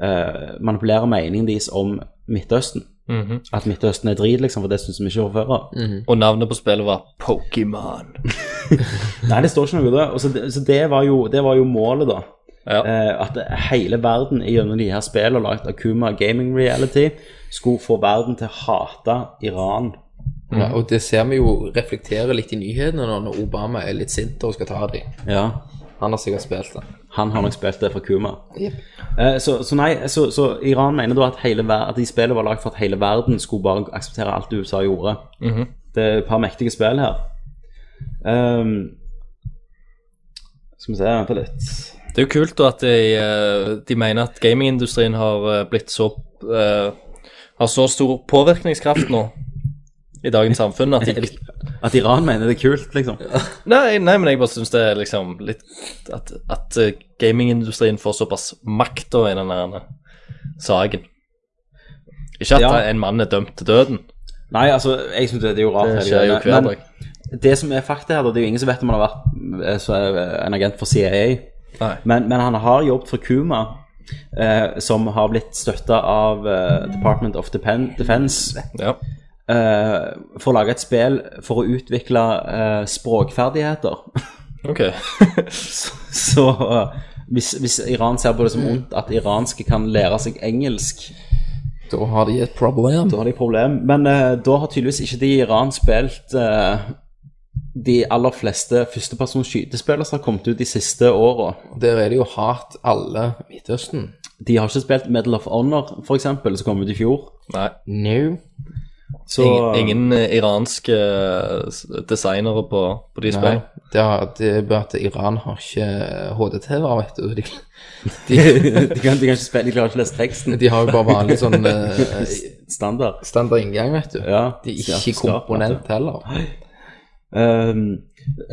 eh, manipulere meningen deres om Midtøsten. At Midtøsten er drit, liksom, for det syns vi ikke fra før av.
Mhm.
Mhm.
Og navnet på spillet var Pokémon.
Nei, det står ikke noe der. Og Så, det, så det, var jo, det var jo målet, da.
Ja.
Eh, at hele verden gjennom de her spillene lagd av Kuma Gaming Reality skulle få verden til å hate Iran.
Ja, og det ser vi jo reflekterer litt i nyhetene nå, når Obama er litt sint og skal ta dem.
Ja.
Han har sikkert spilt det.
Han har nok spilt det fra Kuma. Eh, så, så nei, så, så Iran mener da at, hele ver at de spillene var lagd for at hele verden skulle bare akseptere alt USA gjorde.
Mhm.
Det er et par mektige spill her. Ehm, skal vi se, vent litt.
Det er jo kult da at de, eh, de mener at gamingindustrien har eh, blitt så eh, Har så stor påvirkningskraft nå i dagens samfunn at de
At Iran mener det er kult, liksom.
Nei, nei men jeg bare syns det er liksom litt At, at eh, gamingindustrien får såpass makt da i den der saken. Ikke at
Ja.
en mann er dømt til døden.
Nei, altså, jeg syns det er jo rart.
Det
hele
skjer jo
greiene.
hver
Men
dag.
Det som er fakta her, da, det er jo ingen som vet om han har vært eh, så, eh, en agent for CIA.
Nei.
Men, men han har jobbet for Kuma, eh, som har blitt støtta av eh, Department of Depen- Defense
Ja.
eh, for å lage et spill for å utvikle eh, språkferdigheter.
Ok.
så eh, hvis, hvis Iran ser på det som ondt at iranske kan lære seg engelsk,
Da har de et problem.
da har de et problem. Men eh, da har tydeligvis ikke de i Iran spilt eh, de aller fleste førstepersons skytespill som har kommet ut de siste åra.
Der er det jo hat alle Midtøsten.
De har ikke spilt Medal of Honor, f.eks., som kom ut i fjor.
Nei.
No.
Så
Ingen, ingen iranske s- designere på, på de
Nei,
spillene.
det har- det er bare at Iran har ikke eh, HDTV, vet du. De, de,
de, kan, de kan ikke spille, de klarer ikke å lese teksten.
de har jo bare vanlig sånn eh,
Standard.
standard inngang, vet du.
Ja,
De er
ja,
ikke
skarp,
komponent heller.
Um,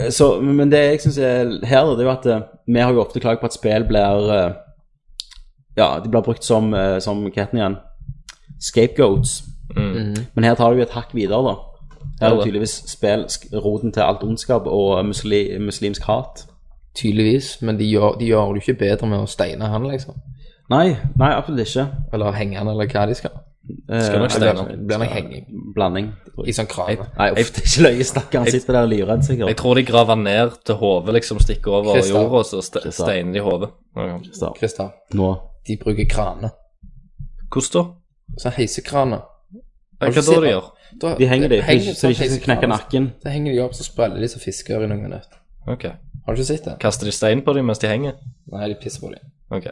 så, men det jeg syns er her, da, det er jo at eh, vi har jo ofte klaget på at spill blir eh, Ja, de blir brukt som, eh, som hva heter den igjen? Scapegoats. Men her tar du jo et hakk videre, da. Her er jo tydeligvis spill sk- roten til alt ondskap og musli, muslimsk hat.
Tydeligvis, men de gjør, de gjør det jo ikke bedre med å steine han, liksom.
Nei, nei, absolutt ikke.
Eller henge han, eller hva de skal.
Eh,
Skal nok
Det
steine
blir
han.
nok- blir nok henging
Blanding.
i sånn kran.
Nei, uff, det er ikke løye. Stakkar, han sitter der livredd,
Jeg
sikkert.
tror de graver ned til hodet, liksom stikker over
Kristall.
jorda, og så ste
Kristall.
steiner de hodet. Ja.
Så,
Kristian,
Nå.
de bruker kraner.
Hvordan da?
Sånn heisekraner.
Ja, Hva da
sett-
de gjør?
Da-
De henger de, for ikke- så de
sånn
ikke skal knekke
heisekraner,
nakken.
Så henger de opp, så spreller de som fisker i noen minutter.
Ok.
Har du ikke sett det?
Kaster de stein på dem mens de henger?
Nei, de pisser på dem.
Ok.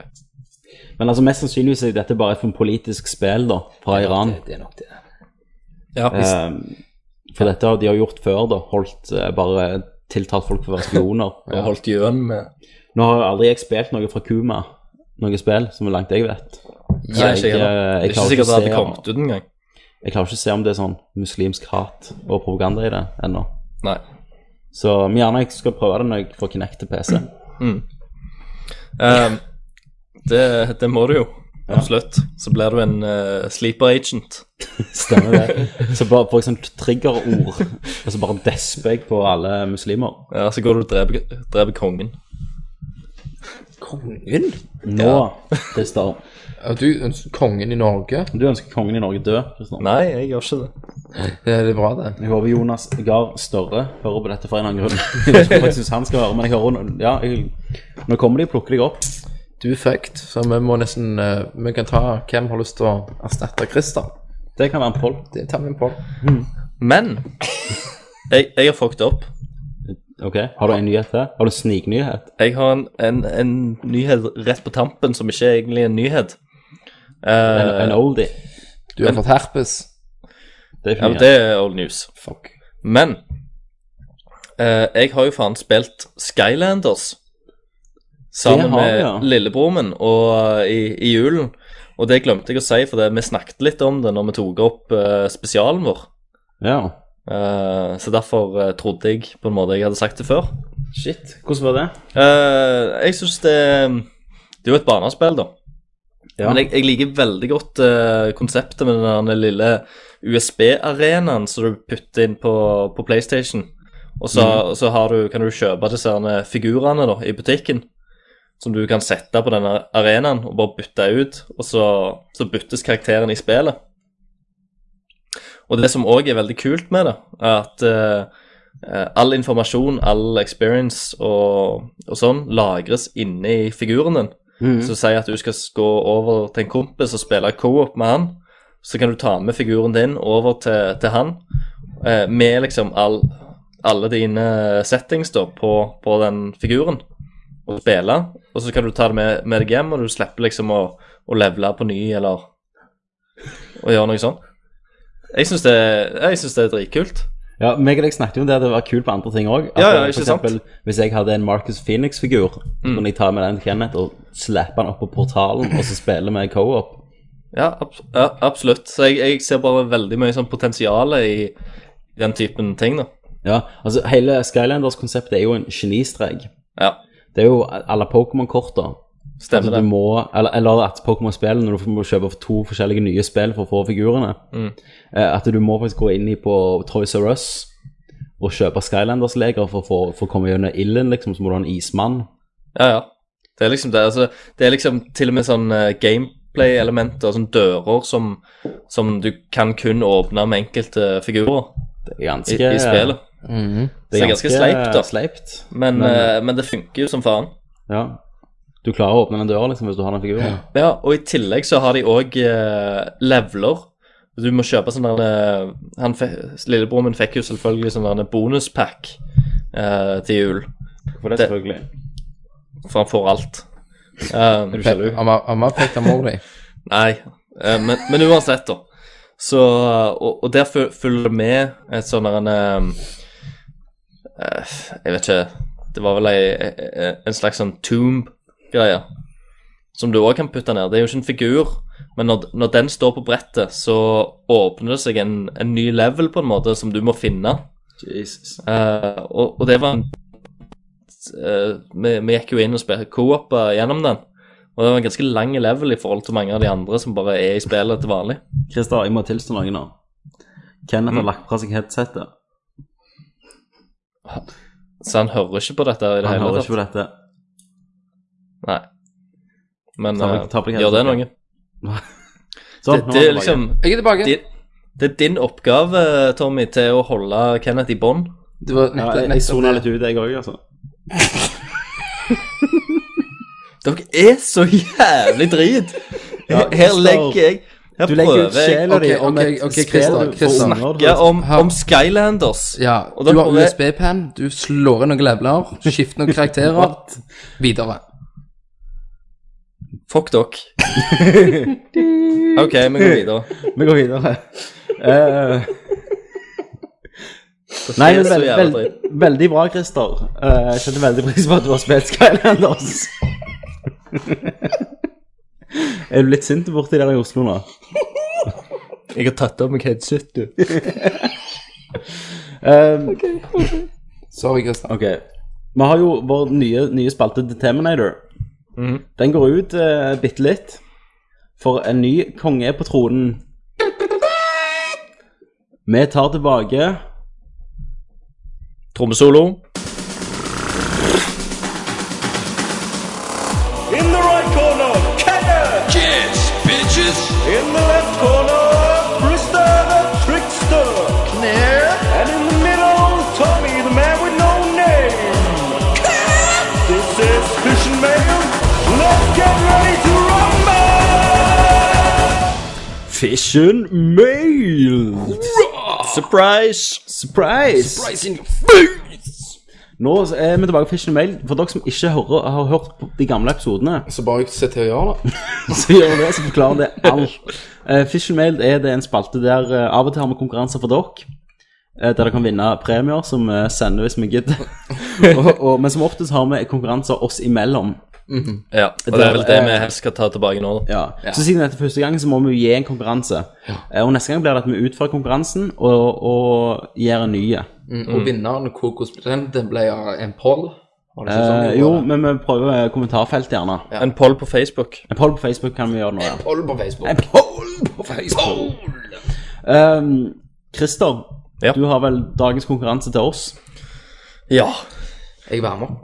Men altså, mest sannsynligvis er dette bare et sånn politisk spill da, fra Iran.
Det, det er nok det.
Ja,
Eh, for dette har de har gjort før, da. Holdt eh, bare tiltalt folk for å være spioner.
og holdt gjøn med
Nå har jo aldri jeg spilt noe fra Kuma, noe spill, som er langt jeg vet.
Nei, ikke jeg,
jeg,
heller.
eh, jeg
Det er ikke
klarer ikke
sikkert det
å
hadde
se-
kommet ut engang.
Jeg klarer ikke å se om det er sånn muslimsk hat og propaganda i det ennå.
Nei.
Så men gjerne jeg skal prøve det når jeg får Kinect til PC.
Ehm, det, det må du jo. Absolutt. Så blir du en eh, sleeper agent.
Stemmer det. Så bare får jeg sånn triggerord, og så bare desper jeg på alle muslimer.
Ja, Så går du og dreper, dreper kongen.
Kongen?
Nå, Christer.
Ja, du, ønsker kongen i Norge?
Du ønsker kongen i Norge død? Christer.
Nei, jeg gjør ikke det.
Det er det bra, det.
Jeg håper Jonas Gahr Større hører på dette for en eller annen grunn. Jeg tror faktisk han skal høre, men jeg hører noen- ja, jeg, Nå kommer de og plukker deg opp.
Du er fucked, så vi må nesten eh, Vi kan ta hvem har lyst til å erstatte Christer.
Det kan være en poll.
Det tar vi på.
Men jeg, jeg har fucked opp.
Ok, Har du en nyhet til? Har du en sniknyhet?
Jeg har en, en, en nyhet rett på tampen som ikke er egentlig er en nyhet. Eh,
En, en oldie?
Du har fått herpes.
Det er ikke
ja, men
nyhet.
det er old news.
Fuck.
Men eh, jeg har jo faen spilt Skylanders sammen
Det har vi,
med
ja.
lillebroren min og, eh, i, i julen. Og det glemte jeg å si, for det, vi snakket litt om det når vi tok opp eh, spesialen vår.
ja.
Eh, så derfor eh, trodde jeg på en måte jeg hadde sagt det før.
Shit. Hvordan var det?
Eh, jeg syns det Det er jo et barnespill, da.
Ja.
Men jeg, jeg liker veldig godt eh, konseptet med den der lille USB-arenaen som du putter inn på, på PlayStation. Og så, og så har du, kan du kjøpe disse herne figurene da, i butikken. Som du kan sette på denne arenaen og bare bytte ut. Og så, så byttes karakteren i spillet. Og det som òg er veldig kult med det, er at eh, eh, all informasjon, all experience og, og sånn lagres inni figuren din. Så si at du skal gå over til en kompis og spille co-op med han. Så kan du ta med figuren din over til, til han eh, med liksom all, alle dine settings da på, på den figuren og spille. Og så kan du ta det med, med deg hjem, og du slipper liksom å, å levele på ny eller å gjøre noe sånt. Jeg syns det, jeg synes det er dritkult.
Ja, meg og deg snakket jo om det at det var kult på andre ting òg.
Ja, ja, ikke Mm.
Hvis jeg hadde en Marcus Phoenix-figur, så kunne jeg ta med den til Kenneth og slappe han opp på portalen, og så spille med co-op.
Ja, abs ja absolutt. Så jeg, jeg ser bare veldig mye sånn potensial i, i den typen ting, da.
Ja, altså Hele Skylanders-konseptet er jo en genistrek.
Ja,
Det er jo alle Pokémon-korta.
stemmer
Altså, du
det.
må, eller, eller at Pokémon-spillene, når du må kjøpe to forskjellige nye spill for å få figurene,
Mm.
eh, at du må faktisk gå inn i på Toys R Us og kjøpe Skylanders-leger for, å få- for å komme gjennom ilden, liksom, så må du ha en ismann.
Ja, ja. Det er liksom det. Altså, det er liksom til og med sånn eh, gameplay-elementer, sånn dører som, som du kan kun åpne med enkelte figurer
Det er ganske,
i, i spillet.
det
så det er ganske sleipt, da.
Sleipt.
Men, eh, men det funker jo som faen.
Ja. Du klarer å åpne den døra liksom, hvis du har den figuren.
Ja, og i tillegg så har de òg eh, leveler. Du må kjøpe sånn der eh, han fe- Lillebroren min fikk jo selvfølgelig sånn der bonuspack eh, til jul,
For det,
Det-
selvfølgelig.
for han får alt. Um,
Amma fikk av mor di.
Nei, eh, men, men uansett, da. Så, og, og der føl- følger det med et sånn der en ehm, eh, Jeg vet ikke Det var vel ei, eh, en slags sånn tomb-greie. Som du òg kan putte ned. Det er jo ikke en figur, men når, når den står på brettet, så åpner det seg en, en ny level, på en måte, som du må finne.
Jesus.
Eh, og, og det var en eh, vi, vi gikk jo inn og spilte co-op eh, gjennom den. Og det var en ganske lang level i forhold til mange av de andre som bare er i spillet til vanlig.
Christer, jeg må tilstå noe nå. Kenneth
Mm.
har lagt fra seg headsetet.
Så han hører ikke på dette i det
Han
hele
hører
tatt.
ikke på dette.
Nei. Men
Ta på-
eh,
ta på deg
gjør det
headsetet.
noe.
Sånn, nå
Det
er
er
han
liksom
Jeg er tilbake.
din, Det er din oppgave, Tommy, til å holde Kenneth i bånd.
Det var nettopp,
tilbake. ja, jeg- Jeg
nettopp
sona
det.
litt ut, jeg òg, altså.
Dere er så jævlig drit!
Ja,
her
Christer,
legger jeg Her
Du legger ut
prøver jeg
sjela di
Ok,
om
ok,
et
ok,
spill
Christer,
du
Christer.
for unger, du
å
vet.
om, om Skylanders.
Ja,
Og
du
da
har
prøver jeg-
USB-penn, du slår inn noen leveler, skifter noen karakterer, videre.
Fuck dere. OK, vi går videre.
Vi går videre. Eh, Nei, men
Det er så
veld,
jævla
veld, veldig bra, Christer. Eh, jeg setter veldig pris på at du har spilt Skylanders. er du litt sint borti der i Oslo nå?
Jeg har tatt av meg headset, du.
Eh,
Sorry, Kristian.
ok. Vi har jo vår nye, nye spalte Determinator.
Mhm.
Den går ut uh, bitte litt. For en ny konge er på tronen. Vi tar tilbake
Trommesolo.
In the right corner, Kenneth.
Yes, bitches.
In the left corner, Krista the trickster. And in the middle, Tommy the man with no name. This is Fish and Mail. Let's get ready to rumble!
Fission Mail.
Surprise!
Surprise!
in your face.
Nå er vi tilbake på Fish and Mail. For dere som ikke hører, har hørt på de gamle episodene,
Så Altså, bare se til å gjøre det.
så gjør vi det, så forklarer det alt. Eh, Fish and Mail er det en spalte der eh, av og til har vi konkurranser for dere. eh, Der dere kan vinne premier som vi sender hvis vi gidder. og, og, men som oftest har vi konkurranser oss imellom.
Ja, og det er vel det vi helst skal ta tilbake nå. da.
Ja. Så siden dette er første gang, så må vi jo gi en konkurranse. Eh, Og neste gang blir det at vi utfører konkurransen og, og gjør en ny.
Mm, Og vinneren, Kokos Blend, den ble av en poll. Var det ikke sånn?
Eh,
vi
jo,
gjorde det?
men vi prøver eh, kommentarfelt, gjerne.
En poll på Facebook.
En poll på Facebook kan vi gjøre nå, ja.
Poll på Facebook.
Ehm, Christer,
Ja.
du har vel dagens konkurranse til oss.
Ja.
Jeg varmer.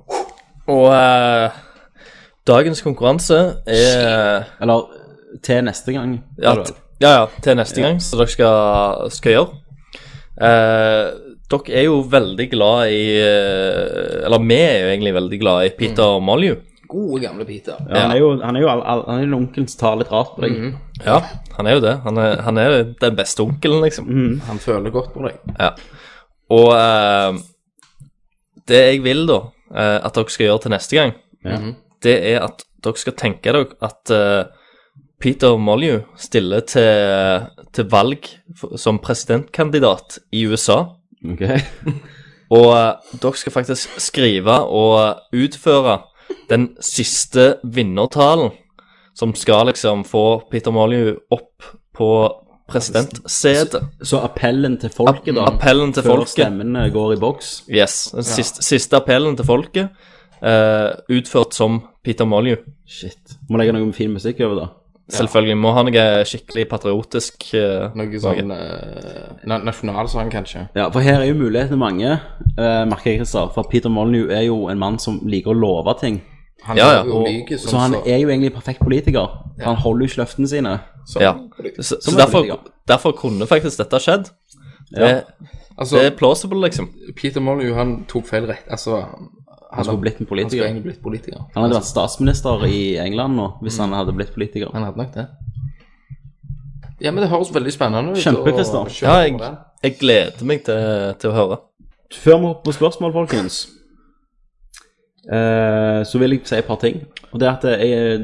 Og eh, dagens konkurranse er
Eller til neste gang.
ja,
Eller-
t- ja, ja, til neste gang, så dere skal, skal gjøre. Eh, dere er jo veldig glad i eh, Eller vi er jo egentlig veldig glad i Peter Molyu.
Gode, gamle Peter.
ja, han er jo, han er jo all, all, han er jo onkelen som tar litt rart på deg.
Ja, han er jo det. Han er, han er den beste onkelen, liksom.
Han føler godt på deg.
Og eh, det jeg vil da, eh, at dere skal gjøre til neste gang, det er at dere skal tenke dere at eh, Peter Molyu stiller til, til valg f- som presidentkandidat i USA.
Ok.
Og eh, dere skal faktisk skrive og utføre den siste vinnertalen som skal liksom få Peter Molyu opp på presidentsetet.
Så appellen til folket, da.
Appellen til
før
folket.
stemmene går i boks.
Yes. Den siste, siste appellen til folket, eh, utført som Peter Molyu.
Shit. Må legge noe fin musikk over, da.
Selvfølgelig må ha noe skikkelig patriotisk eh,
Noe sånn eh, na nasjonalsang, kanskje.
Ja, for her er jo mulighetene mange, eh, merker jeg, Christer. For Peter Molyneux er jo en mann som liker å love ting.
Han
Ja, ja.
er jo
Og-
like sånn
Så han er jo egentlig en perfekt politiker.
Ja.
Han holder jo ikke løftene sine.
så-
Ja. Så, så
Som
derfor,
politiker.
derfor kunne faktisk dette skjedd. Det,
Ja.
Altså,
det er plausible, liksom.
Peter Molyneux, han tok feil rett. Altså, han,
Han skulle blitt
han
en
skulle
politiker.
egentlig blitt politiker.
Han
Altså-
hadde vært statsminister i England nå, hvis
Mhm.
han hadde blitt politiker.
Han hadde nok det. Ja, men det høres veldig spennende ut.
Kjempe,
og-
Christian.
og kjøre
Ja, jeg,
på den.
jeg gleder meg til, til å høre.
Før vi hopper på spørsmål, folkens, eh, så vil jeg si et par ting. Og det er at jeg,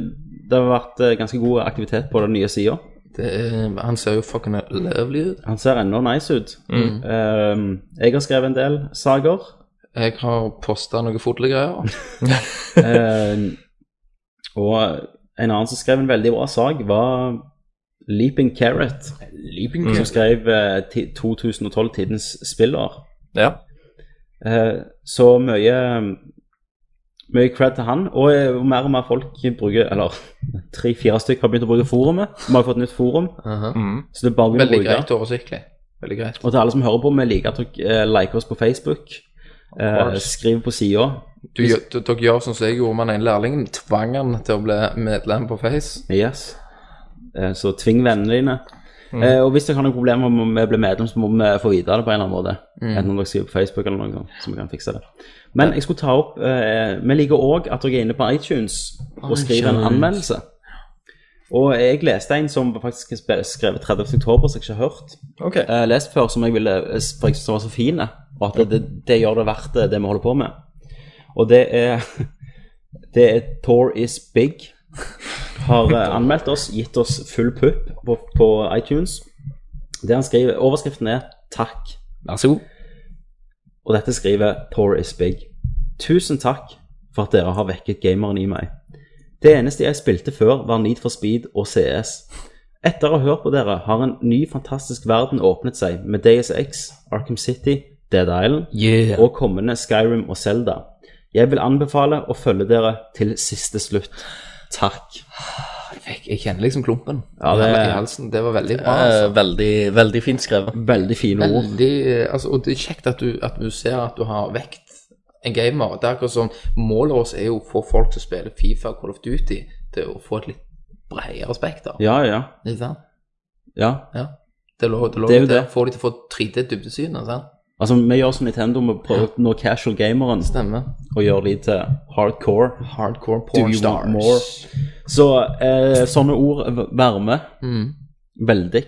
det har vært eh, ganske god aktivitet på den nye sida.
Det er, han ser jo fucking løvlig ut.
Han ser ennå nice ut. Ehm, jeg har skrevet en del sager.
Jeg har posta noen fotogreier.
Ehm, og en annen som skrev en veldig bra sag, var Leaping Carrot. Som skrev eh, ti- 2012 Tidens spiller.
Ja.
Eh, så mye mm, mye cred til han, og eh, og mer og mer folk bruker Eller tre-fire stykker har begynt å bruke forumet. Vi har jo fått nytt forum, så det er bare å begynne å
Mm. Veldig
bruke.
greit og oversiktlig. Veldig greit.
Og til alle som hører på, vi liker at dere eh, liker oss på Facebook. Eh,
course.
skriv på sida.
Du, gjør- du- dere gjør sånn som jeg gjorde med den ene lærlingen. Tvang han til å bli medlem på Face.
Yes. Eh, så tving vennene dine. Eh, og hvis dere har noen problemer med å bli medlem, så må vi få vite det på en eller annen måte. Enten om dere skriver på Facebook eller noe sånt, så vi kan fikse det. Men jeg skulle ta opp eh, Vi liker òg at dere er inne på iTunes og skriver en anmeldelse. Og jeg leste en som faktisk er skrevet 30. oktober, som jeg ikke har hørt.
Ok.
eh, lest før, som jeg ville eh, for jeg synes den var så fin, og at det, det, det gjør det verdt eh, det, det vi holder på med. Og det er Det er Tour is big. Har eh, anmeldt oss, gitt oss full pupp på, på iTunes. Det han skriver, Overskriften er 'Takk',
Vær så god.
og dette skriver Tour is big. Tusen takk for at dere har vekket gameren i meg. Det eneste jeg spilte før, var Need for Speed og CS. Etter å ha hørt på dere, har en ny, fantastisk verden åpnet seg med Deus X, Arkham City, Dead Island og kommende Skyrim og Zelda. Jeg vil anbefale å følge dere til siste slutt. Takk.
Jeg, jeg kjenner liksom klumpen
Ja, det-
i halsen. Det var veldig bra.
Eh,
Altså.
veldig, veldig fint skrevet.
Veldig fine ord.
Veldig, eh, altså, og det er kjekt at du, at du ser at du har vekt en gamer. Det er akkurat som Målet vårt er jo å få folk som spiller Fifa og Call of Duty, til å få et litt bredere spekter.
Ja, ja.
Ikke sant?
ja.
Ja. Det lå, det lå
Det er jo
der.
det.
Få de til å få 3D-dybdesyn. sant?
Altså, vi gjør som Nintendo, vi prøver å nå casual gameren
Stemmer.
og gjør de til hardcore.
Hardcore
Do
porn
you want
stars.
more? Så eh, sånne ord v- varmer
Mm.
veldig.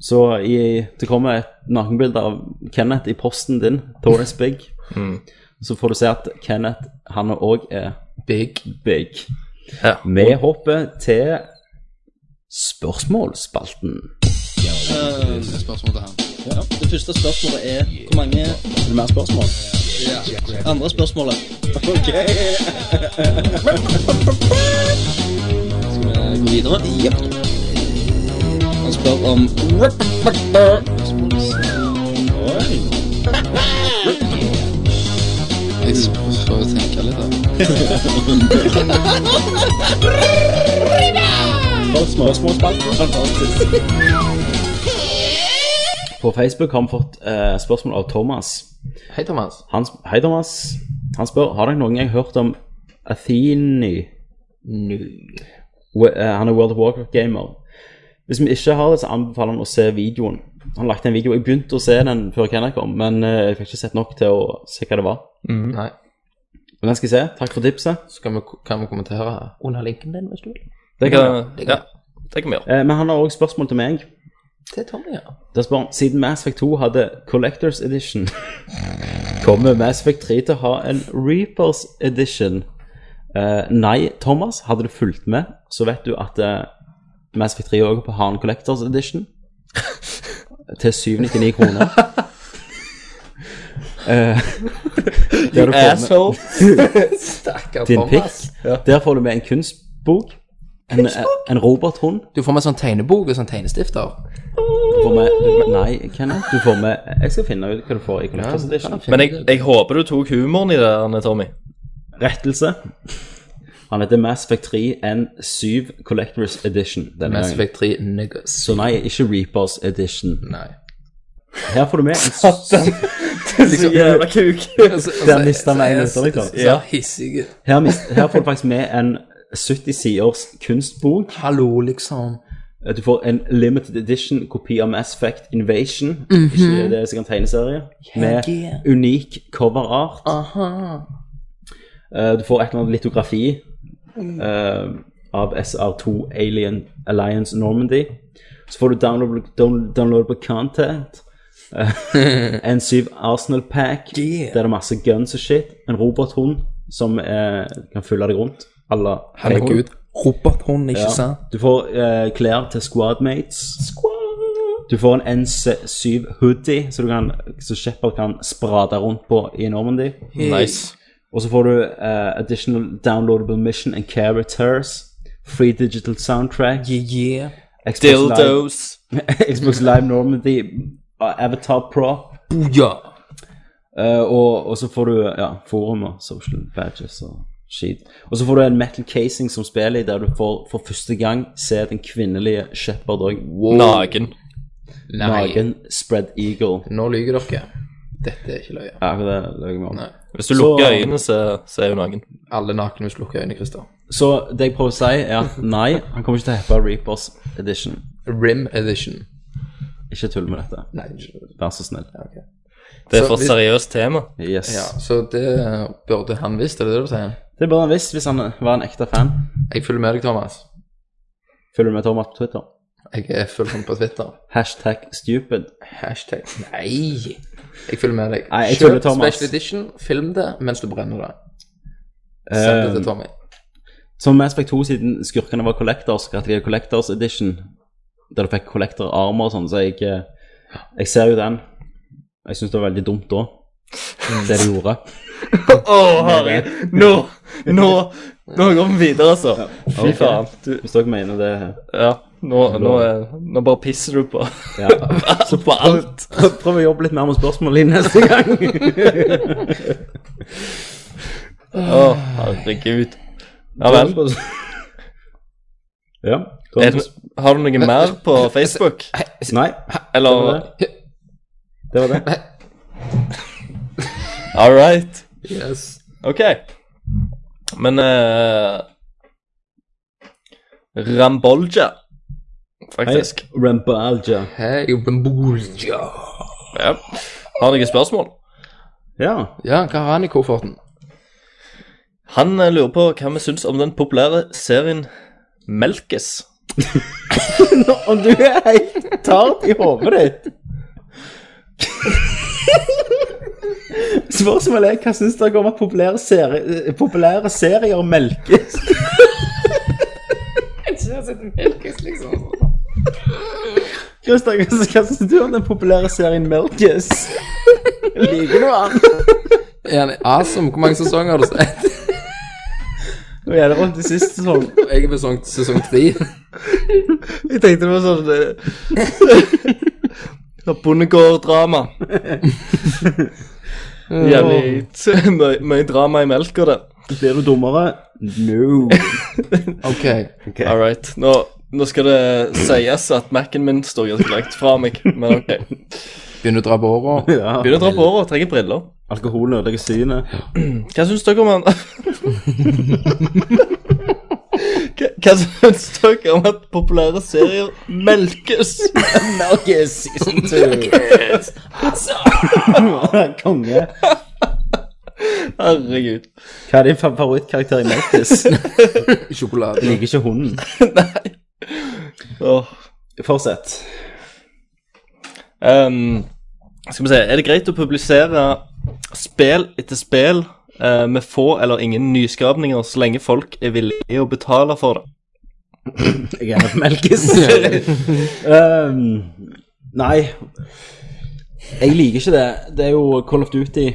Så i, det kommer et nakenbilde av Kenneth i posten din, Torres Big. Så får du se at Kenneth, han òg er eh,
Big.
big.
Ja.
Vi hopper til spørsmålsspalten.
Det første spørsmålet er hvor mange
Er det mer spørsmål?
andre spørsmålet. Ok. Skal vi gå videre? Jepp. Han spør om
På Facebook har vi fått eh, spørsmål av Thomas.
Hei, Thomas.
Han, sp- hei, Thomas. Han spør har dere noen gang hørt om Athene. We- eh, Han er World of Warcraft-gamer. Hvis vi ikke har det, så anbefaler han å se videoen. Han lagte en video, Jeg begynte å se den før Kenneth kom, men eh, jeg fikk ikke sett nok til å se hva det var.
Nei.
Men den skal jeg se. Takk for tipset.
Så kan vi, kan vi kommentere under linken din, hvis du vil.
Det kan jeg.
Ja, det kan vi gjøre.
Eh, Men han har òg spørsmål til meg.
Til Tommy, ja.
Da spør han Siden Mass Effect 2 hadde Collectors Edition, kommer Mass Effect 3 til å ha en Reapers Edition? Eh, nei, Thomas, hadde du fulgt med, så vet du at eh, Mass Effect 3 også har en Collectors Edition til 799 kroner. Eh, der du får med-
Stakkar
Din pikk.
Thomas.
Der får du med en kunstbok, en, eh, en robothund
Du får med sånn tegnebok og sånn tegnestifter.
Du får med du, Nei, Kenneth, du får med Jeg skal finne ut hva du får i Collectors Edition.
Men jeg, jeg håper du tok humoren i det, Arne Tommy.
Rettelse. Han heter Mass Effect 3 N7 Collectors Edition. Denne
Mass
gangen.
Effect 3 niggas.
Så nei, ikke Reapers Edition.
Nei.
Her får du med en s-
Så jævla kuk.
Altså,
Den lista med en liste, liksom.
Ja, hissige.
Her, mis- her får du faktisk med en 70 siders kunstbok.
Hallo, liksom.
Du får en limited edition kopi av Mass Effect Invasion. Ikke det er sikkert en tegneserie. Med unik coverart. Eh, Du får et eller annet litografi eh, av SR2 Alien Alliance Normandy. Så får du downloadable, down- downloadable content. eh, en 7 Arsenal Pack. Der det er masse guns og shit. En robothund som eh, kan følge deg rundt. Alla
Herregud. Robothånd, ikke
Ja.
sant?
Du får eh, klær til squadmates. Du får en NC7 hoodie så, du kan, så Shepard kan sprade rundt på i Normandy.
Nice.
Og så får du eh, additional downloadable mission and characters. Free digital soundtrack.
Yeah, yeah.
Xbox Live,
Dildos.
Xbox Live Normandy. eh, Avatar Pro.
Booyah!
Eh, og, og så får du ja, forum og social badges og skit. Og så får du en metal casing som spiller i, der du får for første gang se den kvinnelige Shepard òg.
Naken.
Nei,
Nagen spread eagle.
nå lyver dere. Dette er ikke løye.
Ja, det løy jeg meg om.
Nei.
Hvis du
Så-
lukker øynene, så, så er hun naken.
Alle nakne hvis du lukker øynene, Christer.
Så det jeg prøver å si, er at nei, han kommer ikke til å heppe Reapers Edition.
Rim edition.
Ikke tull med dette.
Nei, ikke-
Vær så snill.
ok.
Det er
Så
for et
hvis-
seriøst tema.
Yes.
Ja, så det burde han visst, er det det du sier?
Det burde han visst hvis han var en ekte fan.
Jeg følger med deg, Thomas.
Følger du med Thomas på Twitter?
Jeg er følger med på Twitter.
Hashtag stupid.
Hashtag Nei! Jeg følger med deg.
Nei, jeg
Kjøp
følger Thomas.
Special edition, film det mens du brenner det. Send det
Eh,
til Tommy.
som Mass Effect 2 siden skurkene var collectors, at de er collectors edition, der du fikk collector armer og sånn, så jeg, eh, jeg ser jo den. Jeg syns det var veldig dumt da,
Mm.
det de gjorde.
Å, herregud. Nå! Nå! Nå går vi videre, altså. Fy faen. Du,
Hvis dere mener det
ja. Nå, nå, er, nå bare pisser du på
ja.
Så på alt.
Prøv å jobbe litt mer med spørsmålet ditt neste gang.
Å, herregud. Ja vel.
ja.
Er det, har du noe mer på Facebook?
Nei, det var
Eller
det. Det var det.
All right.
Yes.
OK. Men eh, Rambolja, faktisk.
Rambalja.
Hei, Bambuja.
Ja. Har noen spørsmål?
Ja.
Ja, hva har han i kofferten?
Han eh, lurer på hva vi syns om den populære serien Melkes.
Om du er helt tart i hodet ditt Spørsmålet er hva syns dere om at populære, seri eh, populære serier melkes? Christer, hva syns- hva syns du om den populære serien Melkes? Liker du den?
Er han awesome? Hvor mange sesonger har du sett?
Nå gjelder det rundt i siste sesong.
Jeg er på sesong- sesong tre.
Jeg tenkte det var sånn uh, Bondegård-drama. Jævlig t- mye mye drama i melka, det.
Blir du dummere? No.
Ok.
All right. Nå, nå skal det sies at Mac-en min står ganske langt fra meg, men OK.
Begynner å dra på åra.
Ja.
Begynner å dra på håret og trenger briller.
Alkoholen ødelegger synet.
Hva syns dere om han Hva hva syns dere om at populære serier melkes?
Melkes season two. Konge.
Herregud.
Hva er din fa- favorittkarakter i Melkes?
Sjokolade.
Liker ikke hunden.
Åh.
Fortsett.
Ehm, skal vi se, er det greit å publisere spill etter spill eh, med få eller ingen nyskapninger så lenge folk er villige å betale for det?
Jeg er med Melkes. um, nei. Jeg liker ikke det. Det er jo Call of Duty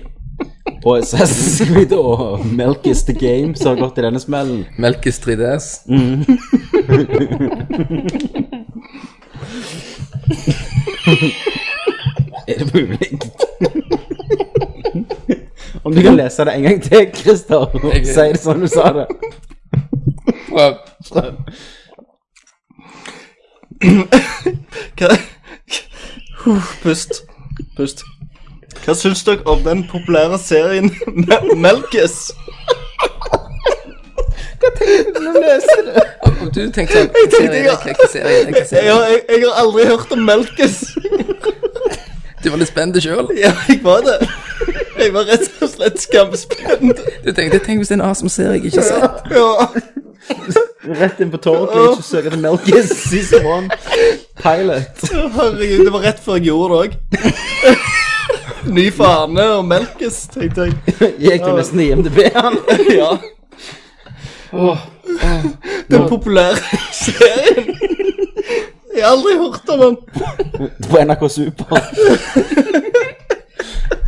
og Assassin's Creed og Melkes The Game som har gått i denne smellen.
Melkes 3DS.
Er det mulig? Om du kan lese det en gang til, Christer, og si det sånn du sa det.
Prøv.
Hva... Huh, Pust. Pust. Hva syns dere om den populære serien Mel- Melkes?
Og Du tenkte sånn Jeg
tenkte, ja.
tenkte serien, jeg
Jeg,
serien.
har- jeg, jeg har aldri hørt om Melkes.
Du var litt spent sjøl.
Ja, jeg var det. Jeg var rett og slett skamspent.
Du tenkte tenk hvis det er en awesome serie jeg ikke har sett.
Ja.
Rett inn på Torrent og søke til Melkes season one pilot.
Herregud, det var rett før jeg gjorde det òg. Ny fane og melkes, tenkte jeg.
Gikk du nesten i IMDb, han?
Ja. Den populære serien. Jeg har aldri hørt om den.
På NRK Super.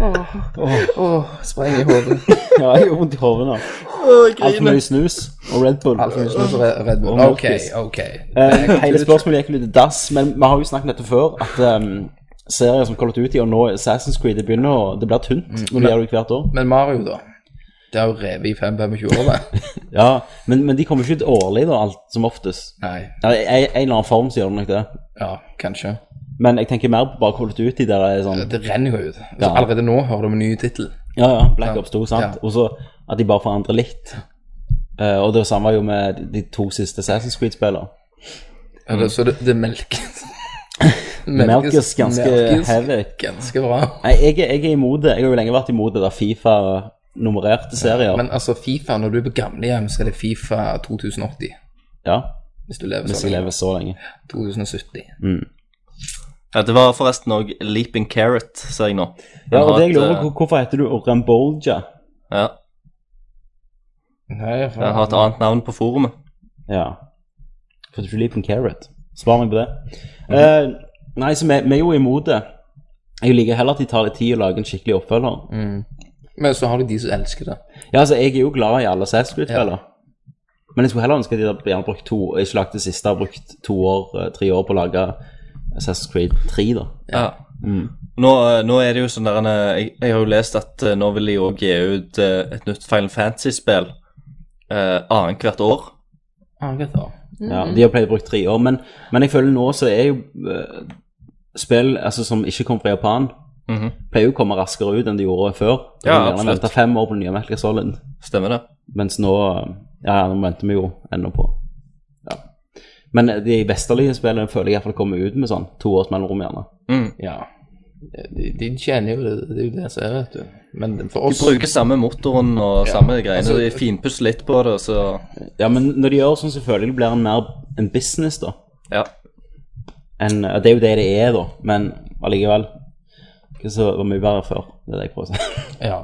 Åh, spreng i hodet.
Ja, jeg har vondt i hodet nå.
Å, jeg
Altfor
griner.
mye snus og Red Bull.
Alt mye snus og Red- Red Bull.
Og
OK,
Mortis.
OK.
Eh, hele spørsmålet gikk litt i dass, men vi har jo snakket dette før, at eh, serier som Call of Duty og nå Assassin's Creed, det begynner å Det blir tynt
Mm.
når du gjør det hvert år.
Men Mario, da? Det har jo revet i 5-25 år, det.
Ja, men, men de kommer ikke ut årlig, da, alt som oftest.
Nei.
Ja, i en, en eller annen form så gjør de nok det.
Ja, kanskje.
Men jeg tenker mer på bare Call of Duty, der det er sånn
Det renner jo ut. Altså,
Ja.
allerede nå hører du om en ny tittel.
Ja, ja, Black
Ja.
Ops 2, sant?
Ja.
Og så at de bare forandrer litt. Eh, og det samme jo med de- de to siste Assassin's Creed-spillene.
Eller, Så det, det melkes.
Melkes ganske
melkes
heavy.
Ganske bra.
Nei, jeg, er- jeg er imot det. Jeg har jo lenge vært imot det der Fifa-nummererte serier.
Men altså, Fifa, når du er på gamlehjem, så er det Fifa 2080.
ja,
Hvis du lever sånn.
Hvis
så
jeg
lenge.
lever så lenge.
2070.
Ja, det var forresten òg Leaping Carrot, ser jeg nå.
Ja, og
har
det jeg
et,
lurer
eh,
på, Hvorfor heter du Rambolja?
Ja,
Nei, for...
jeg har et annet navn på forumet.
Ja. For du liker en carrot. Svar meg på det.
Mhm.
Eh, nei, så vi, vi er jo imot det. Jeg liker heller at de tar litt tid å lage en skikkelig oppfølger.
Mm. Men så har du de som elsker det.
Ja, altså, jeg er jo glad i alle Assassin's Creed-spiller. Men jeg skulle heller ønske at de hadde gjerne brukt to, ikke lagt det siste, har brukt to år, eh, tre år på å lage Assassin's Creed 3, da.
Ja. Nå, eh, nå er det jo sånn der en, eh, jeg, jeg har jo lest at eh, nå vil de òg gi ut eh, et nytt Final Fantasy-spill eh, annethvert år.
Ah, greit da.
Ja,
Mhm.
de har pleid å bruke tre år, men, men jeg føler nå så er jo eh, spill altså, som ikke kommer fra Japan, pleier jo å komme raskere ut enn de gjorde før. Da
Mhm. Ja,
kan vi gjerne
absolutt.
vente fem år på den nye Metal Gear Solid,
Stemmer det?
mens nå eh, Ja, nå venter vi jo ennå på ja. Men eh, de vestlige spillene føler jeg iallfall kommer ut med sånn to års mellomrom, gjerne.
Mm.
Ja. De, de tjener jo det, det er jo det som er, vet du. Men for
De
oss
bruker samme motoren og samme greiene.
altså-
de finpusser litt på det, og så
Ja, men når de gjør sånn, så føler jeg det blir en mer en business, da.
Ja.
enn- og det er jo det det er, da, men allikevel. Ikke så var mye verre før, det er det jeg prøver å si.
Ja.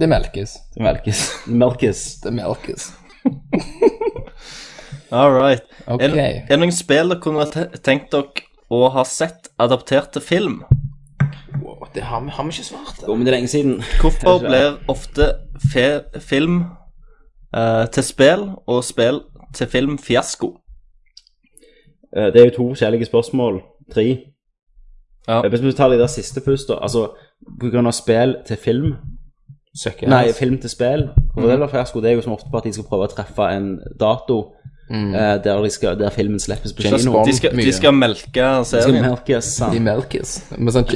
Det melkes.
Det Melkes. Melkes.
Det melkes.
All right.
Ok.
Er, det- er det noen spill dere kunne ha te- tenkt dere å ha sett adaptert til film?
Wow, det har vi, har vi ikke svart.
Jo, men det er lenge siden.
Hvorfor blir ofte fe film eh, til spill og spill til film fiasko?
Eh, Det er jo to forskjellige spørsmål. Tre.
Ja.
Eh, Hvis vi tar de der siste først, da. Altså, på grunn av spill til film
Søkker.
Nei, film til spill. Og det, er fiasko, det er jo som ofte på at de skal prøve å treffe en dato eh, der, de skal, der filmen slippes på
James
kino.
Bond.
De skal,
Mye.
de skal melke
De skal
serien.
melkes,
De
sant?
melkes. Men sånn,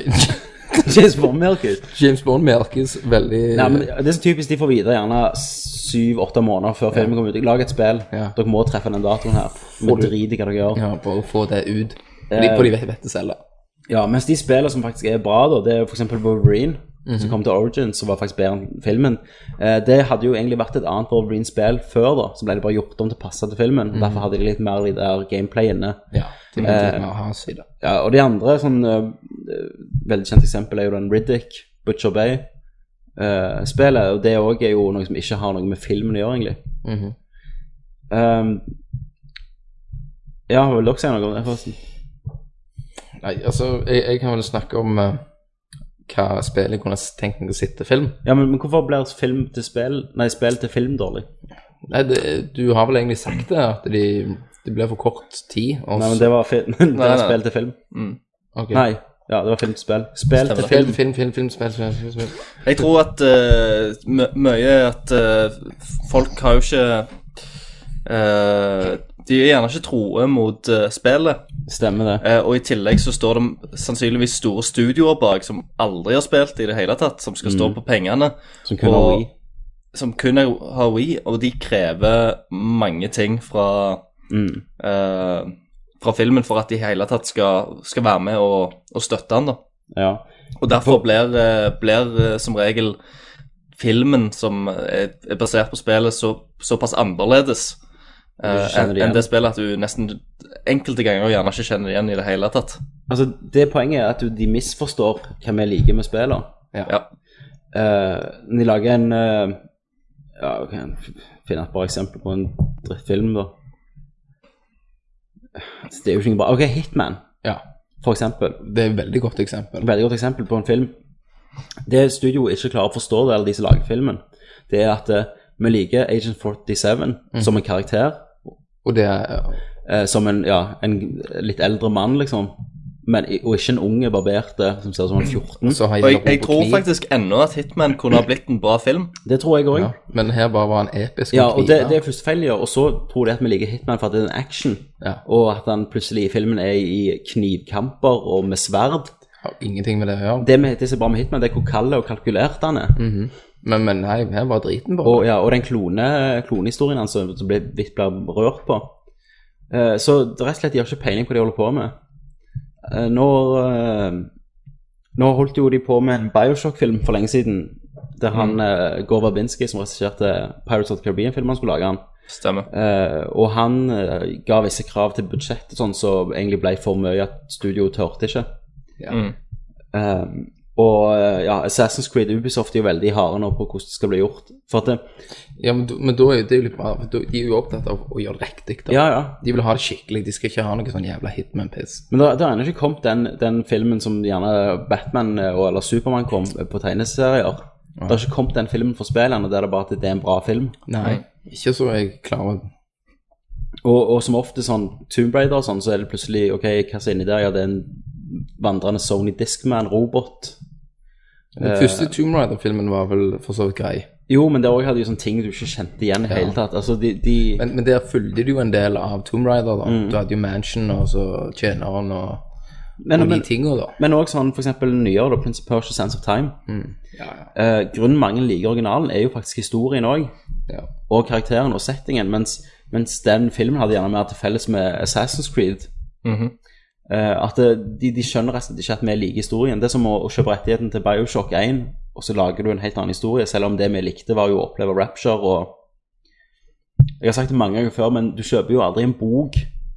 James Bond melkes.
James Bond melkes veldig
Nei, men det er så typisk de får vite gjerne syv-åtte måneder før filmen kommer ut. Lag et spill.
Ja.
Dere må treffe den datoen her. Men drit i hva dere gjør.
Ja, bare få det ut. Fordi, fordi de vet, vet det selv, da.
Ja, mens de spillene som faktisk er bra, da, det er jo f.eks. Wolverine, som kom til Origins, som var faktisk bedre enn filmen. Eh, det hadde jo egentlig vært et annet Wolverine-spill før, da, så ble det bare gjort om til å passe til filmen. Derfor hadde de litt mer i der gameplay inne.
Ja. Eh. De må ikke ha hans side.
Ja, og de andre, sånn eh, eh, veldig kjent eksempel, er jo den Riddick, Butcher Bay-spelet. og det òg er jo noe som ikke har noe med filmen å gjøre, egentlig. um, ja, vil dere si noe om det, forresten?
Nei, altså, jeg, jeg kan vel snakke om eh, hva spillet kunne s- tenkt meg å sitte film.
Ja, men, men hvorfor blir film til spill, nei, spill til film dårlig?
Nei, det, du har vel egentlig sagt det, at de, det ble for kort tid. Og
Nei, men
så-
det var, film. det var
Nei, nei.
spill til film.
Ok.
Nei, ja, det var film til spill. Spill til
Film,
film.
film, film, film, spill, spill, spill, spill.
Jeg tror at eh, mø- mye at eh, folk har jo ikke eh, De er gjerne ikke troe mot eh, spillet.
Stemmer det.
Eh, og i tillegg så står det sannsynligvis store studioer bak som aldri har spilt i det hele tatt, som skal stå på pengene.
Mm. Som kun
og-
har Wii.
Som kun er, har Wii, og de krever mange ting fra
Mm.
eh, fra filmen for at de i hele tatt skal, skal være med og, og støtte han da.
Ja.
Og derfor blir, eh, blir eh, som regel filmen som er, er basert på spillet så, såpass annerledes eh,
Du kjenner
enn
det igjen.
enn det spillet at du nesten enkelte ganger gjerne ikke kjenner det igjen i det hele tatt.
Altså, det poenget er at du, de misforstår hva vi liker med spillene.
Ja.
Ja.
Eh, når de lager en eh, ja, ok, en f- finne et par eksempler på en drittfilm, da. Altså, Det er jo ikke noe bra. Ok, Hitman,
Ja,
for eksempel.
det er et veldig godt eksempel.
Et veldig godt eksempel på en film. Det studioet ikke klarer å forstå, det, eller de som lager filmen, det er at eh, vi liker Agent 47
Mm.
som en karakter,
Og det er
eh, som en, ja, en litt eldre mann, liksom, men, i- og ikke en unge barberte som ser ut som han er 14.
så har
Og jeg,
Jakob
jeg
på
tror
kniv.
faktisk ennå at Hitman kunne ha blitt en bra film.
Det tror jeg òg.
ja. Men her bare var han episk.
Ja,
med
og det,
kniver.
det er første feil, ja. Og så tror de at vi liker Hitman for at det er en action,
Ja.
og at han plutselig i filmen er i knivkamper og med sverd.
har ingenting med det å gjøre.
Det, med, det som er bra med Hitman, det er hvor kald og kalkulert han er.
Men, men nei, her var driten bare.
Og, ja, og den klone, klonehistorien hans som som blir, vidt blir rørt på. Eh, så det er rett og slett de har ikke peiling på hva de holder på med. Eh, nå, eh, nå holdt jo de på med en Bioshock-film for lenge siden, der han eh, Gore Verbinski, som regisserte Pirates of the Caribbean-filmen, skulle lage han.
Stemmer.
Eh, og han eh, ga visse krav til budsjettet, sånn så egentlig ble for mye at studio tørte ikke.
Ja.
Mm.
Eh, og eh, ja, Assassin's Creed Ubisoft er jo veldig harde nå på hvordan det skal bli gjort. For at det,
Ja, men, da- men da er jo det jo litt bra, for da- de er jo opptatt av å gjøre det riktig. da.
ja, ja.
De vil ha det skikkelig, de skal ikke ha noe sånn jævla hitman-piss.
Men det har ennå ikke kommet den, den filmen som gjerne Batman eh, og, eller Supermann kom eh, på tegneserier. Det har ikke kommet den filmen for spillerne der det bare at det er en bra film.
Nei, ikke så jeg klarer
Og, og som ofte sånn Tomb Raider og sånn, så er det plutselig OK, hva er inni der? Ja, det er en vandrende Sony Discman-robot.
Den første
Eh.
Tomb Raider-filmen var vel for så vidt grei.
Jo, men det òg hadde jo sånne ting du ikke kjente igjen i det hele tatt. Altså, de, de
Men, men der fulgte du jo en del av Tomb Raider, da.
Mm.
Du hadde jo Mansion og så tjeneren og,
Men,
og de
men,
tinga, da.
men også sånn for eksempel nyere, da, Prince of Persia, Sense of Time. Eh, grunnen mange liker originalen, er jo faktisk historien òg,
Ja.
og karakteren og settingen, mens, mens den filmen hadde gjerne mer til felles med Assassin's Creed. Eh, at det- de, de skjønner rett og slett ikke at vi liker historien. Det er som å, å kjøpe rettigheten til Bioshock 1, og så lager du en helt annen historie, selv om det vi likte, var jo å oppleve Rapture og Jeg har sagt det mange ganger før, men du kjøper jo aldri en bok,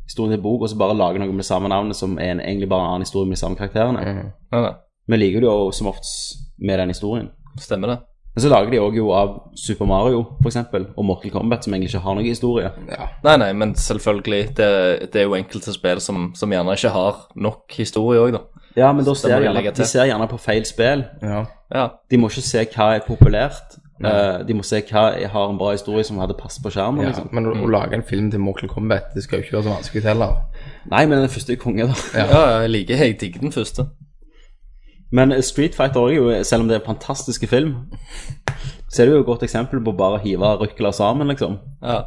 historien til en bok, og så bare lager noe med samme navnet som er en, egentlig bare en annen historie med de samme karakterene.
Mm.
Nei, nei.
Vi liker det jo som oftest med den historien.
Stemmer det.
Men så lager de òg jo av Super Mario, for eksempel, og Mortal Kombat, som egentlig ikke har noen historie.
Nei, nei, men selvfølgelig. Det, det er jo enkelte spill som, som gjerne ikke har nok historie òg, da.
Ja, men da
må
ser
vi
de gjerne,
legge til.
de ser gjerne på feil spill.
ja.
Ja.
De må ikke se hva er populært. Eh, de må se hva er- har en bra historie som hadde passet på skjermen.
Ja,
Liksom.
men å, å lage en film til Mortal Kombat det skal jo ikke være så vanskelig heller.
Nei, men den første er konge, da.
Ja, ja, jeg liker jeg digger den første.
Men eh, Street Fighter er jo, selv om det er en fantastisk film, så er det jo et godt eksempel på bare å hive røkler sammen, liksom.
Ja.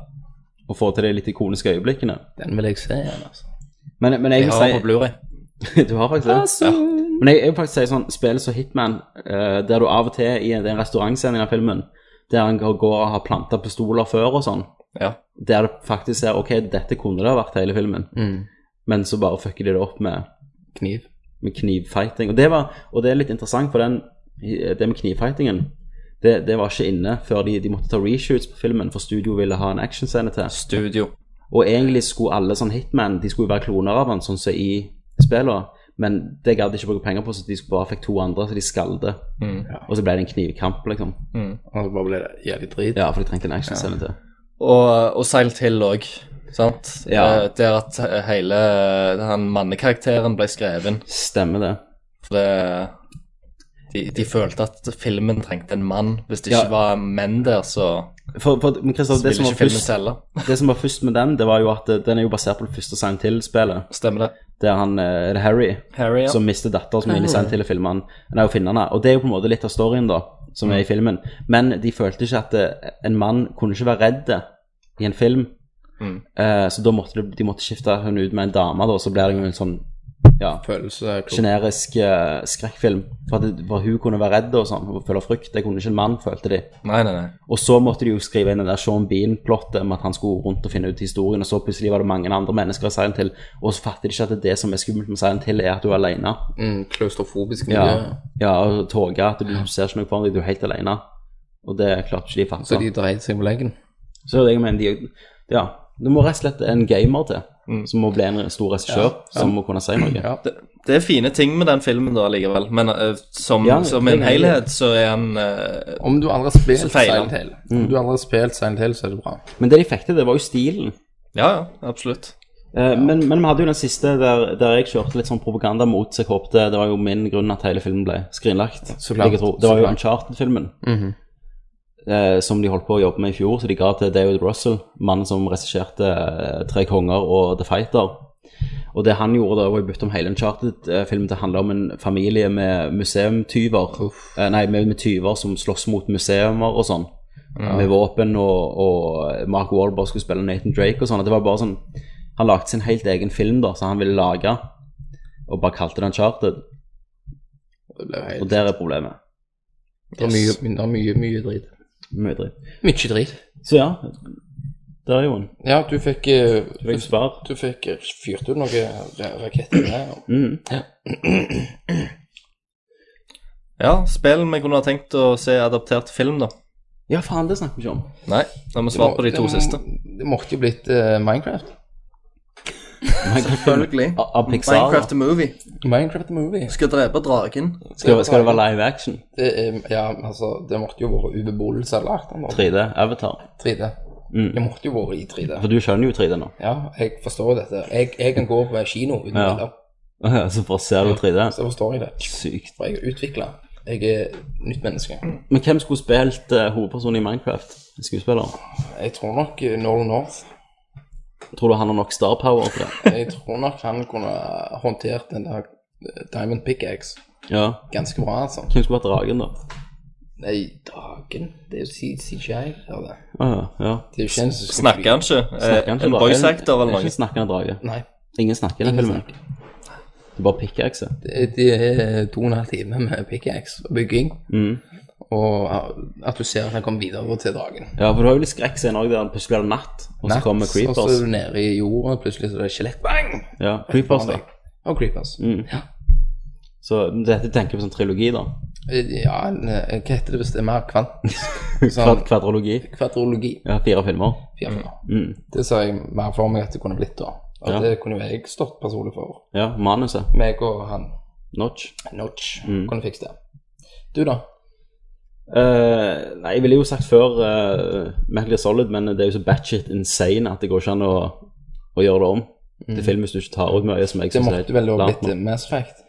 Og få til de litt ikoniske øyeblikkene.
Den vil jeg se igjen, altså.
Men, men jeg,
Jeg
vil
har den
si-
på Blu-ray.
Du har faktisk det. Men jeg, jeg vil faktisk si sånn, spill som Hitman, eh, der du av og til i en, det er en restaurantscene i den filmen, der han går går og har planta pistoler før og sånn,
Ja.
der det faktisk ser ok, dette kunne det ha vært hele filmen, men så bare fucker de det opp med,
Kniv.
med knivfighting. Og det, var, og det er litt interessant, for den, det med knivfightingen det, det var ikke inne før de, de måtte ta reshoots på filmen, for studio ville ha en actionscene til.
Studio.
Og egentlig skulle alle sånn hitman De skulle jo være kloner av han, sånn som i spillene. Men det gadd de ikke bruke penger på, så de skulle bare fikk to andre, så de skalde.
Mm.
Og så ble det en knivkamp, liksom.
Og så bare ble det jævlig drit.
Ja, for de trengte en actionscene til.
Og, og Silent Hill òg, sant?
Ja.
Eh, Der at hele eh, han mannekarakteren ble skrevet inn.
Stemmer det.
For det de, de følte at filmen trengte en mann. Hvis det
Ja.
ikke var menn der, så
For, for, men Christoph, det,
ville
som var
ikke filmen
først,
selge.
det som var først med den, det var jo at eh, den er jo basert på det første Silent Hill-spillet,
Stemmer det?
der han eh, er det Harry
Harry, ja.
som mister datteren som er inne i Silent Hill-filmen. Nei, og finnene. Og det er jo på en måte litt av storyen, da, som
Mm.
er i filmen. Men de følte ikke at eh, en mann kunne ikke være redd i en film. Eh, så da måtte de, de måtte skifte hun ut med en dame, da, og så ble det jo en sånn ja,
Følelse klok.
generisk eh, skrekkfilm. For, at det, for hun kunne være redd og sånn, og føle frykt. Det kunne ikke en mann, følte de.
Nei, nei, nei.
Og så måtte de jo skrive inn den der Sean Bean-plottet om at han skulle rundt og finne ut historien, og så plutselig var det mange andre mennesker i Silent Hill, og så fatter de ikke at det, er det som er skummelt med Silent Hill, er at du er alene.
Mm, klaustrofobisk miljø.
Ja, ja og toget at du ser ikke noe foran deg, du er helt alene. Og det klarte ikke de fatta.
Så de dreide seg på leggen.
Så jeg mener, de, ja, det må rett og slett en gamer til.
Mm.
som må bli en stor regissør som må kunne si noe.
Det, det er fine ting med den filmen da allikevel, men eh, som,
Ja,
som
det er
en
jeg enig i.
helhet så er han eh,
Om du aldri har spilt
Så feiler han.
Silent Hill, Om du aldri har spilt Silent Hill, så er det bra.
Men det de fikk til, det var jo stilen.
Ja, ja, absolutt.
Eh, Men, men vi hadde jo den siste der, der jeg kjørte litt sånn propaganda mot seg håpte. Det var jo min grunn at hele filmen ble skrinlagt.
Så klart,
vil jeg tro. Det var
så klart.
jo
Mhm.
Uncharted-filmen. eh, som de holdt på å jobbe med i fjor, så de ga til David Russell, mannen som regisserte eh, Tre konger og The Fighter. Og det han gjorde da, var å bytte om hele Uncharted-filmen til å handle om en familie med museumtyver. Eh, nei, med, med tyver som slåss mot museumer og sånn. Med våpen, og, og Mark Wahlberg skulle spille Nathan Drake og sånn. at Det var bare sånn han lagde sin helt egen film da, som han ville lage, og bare kalte den Charted.
Det ble jo
Og
helt
der er problemet.
det er mye, mye, mye, mye drit.
Mye dritt.
Mye drit.
Så ja, der er jo den.
Ja, du fikk eh,
Det er jo svar.
Du fikk eh, fyrt ut noen raketter der.
Mm.
Ja, spill vi kunne ha tenkt å se adaptert til film, da.
Ja, faen, det snakker vi ikke om.
Nei, da har vi svart på de to
Det må-
siste.
Det måtte jo blitt eh, Minecraft.
Selvfølgelig.
Av av Pixar.
Minecraft the Movie.
Minecraft the Movie.
Skal drepe dragen.
Skal, skal det være live action?
Det, er, ja, altså, det måtte jo vært Uwe Boll som hadde lagt den. da.
3D, Avatar.
3D. Det måtte jo vært i 3D.
For du skjønner jo 3D nå.
Ja, jeg forstår jo dette. Jeg, jeg kan gå på kino uten
Ja.
briller.
Så bare ser du 3D.
Så forstår jeg det.
Sykt.
For jeg er utvikla. Jeg er nytt menneske.
Men hvem skulle spilt eh, hovedpersonen i Minecraft? Skuespiller?
Jeg tror nok eh, Nolan North
Tror du han har nok star power til det?
Jeg tror nok han kunne håndtert den der eh, Diamond Pickaxe
Ja.
ganske bra, altså.
Hvem skulle vært dragen, da?
Nei, dagen Det er jo C- CGI. Ja, det.
Ah, ja.
det er jo ikke en som skal
Snakker han ikke?
Snakker han
Eh,
ikke
En
drage?
voice actor eller
Ikke
noe?
snakkende drage.
Nei.
Ingen snakker i den
Ingen
filmen. Det er bare pickaxe.
Det, det er to og en halv time med pickaxe og bygging.
Mm.
Og eh, at du ser at han kommer videre til dagen.
Ja, for du har jo litt skrekkscene òg der han plutselig blir det natt, og så
Natt,
kommer
Og så er
creepers.
du nede i jorda, og plutselig så er det skjelett. Bang!
Ja, creepers da. Mm.
Og creepers. Ja.
Så dette tenker jeg på sånn trilogi, da.
ja, en, eh, hva heter det hvis det er mer kvant?
Kvad
Sånn
kvadrologi.
kvadrologi.
Ja, fire filmer. Mm.
Fjerne. Det sa jeg mer for meg at det kunne blitt da. At
Ja.
det kunne jo jeg stått personlig for.
Ja, manuset.
Meg og han
Notch.
Notch
Mm.
kunne fikse det. Du da?
Eh, nei, jeg ville jo sagt før uh, Metal Gear Solid, men det er jo så batshit insane at det går ikke an å, å gjøre det om til film hvis du ikke tar ut mye som jeg
Mm. Det
synes er
måtte vel også
lavt
blitt eh, Mass Effect.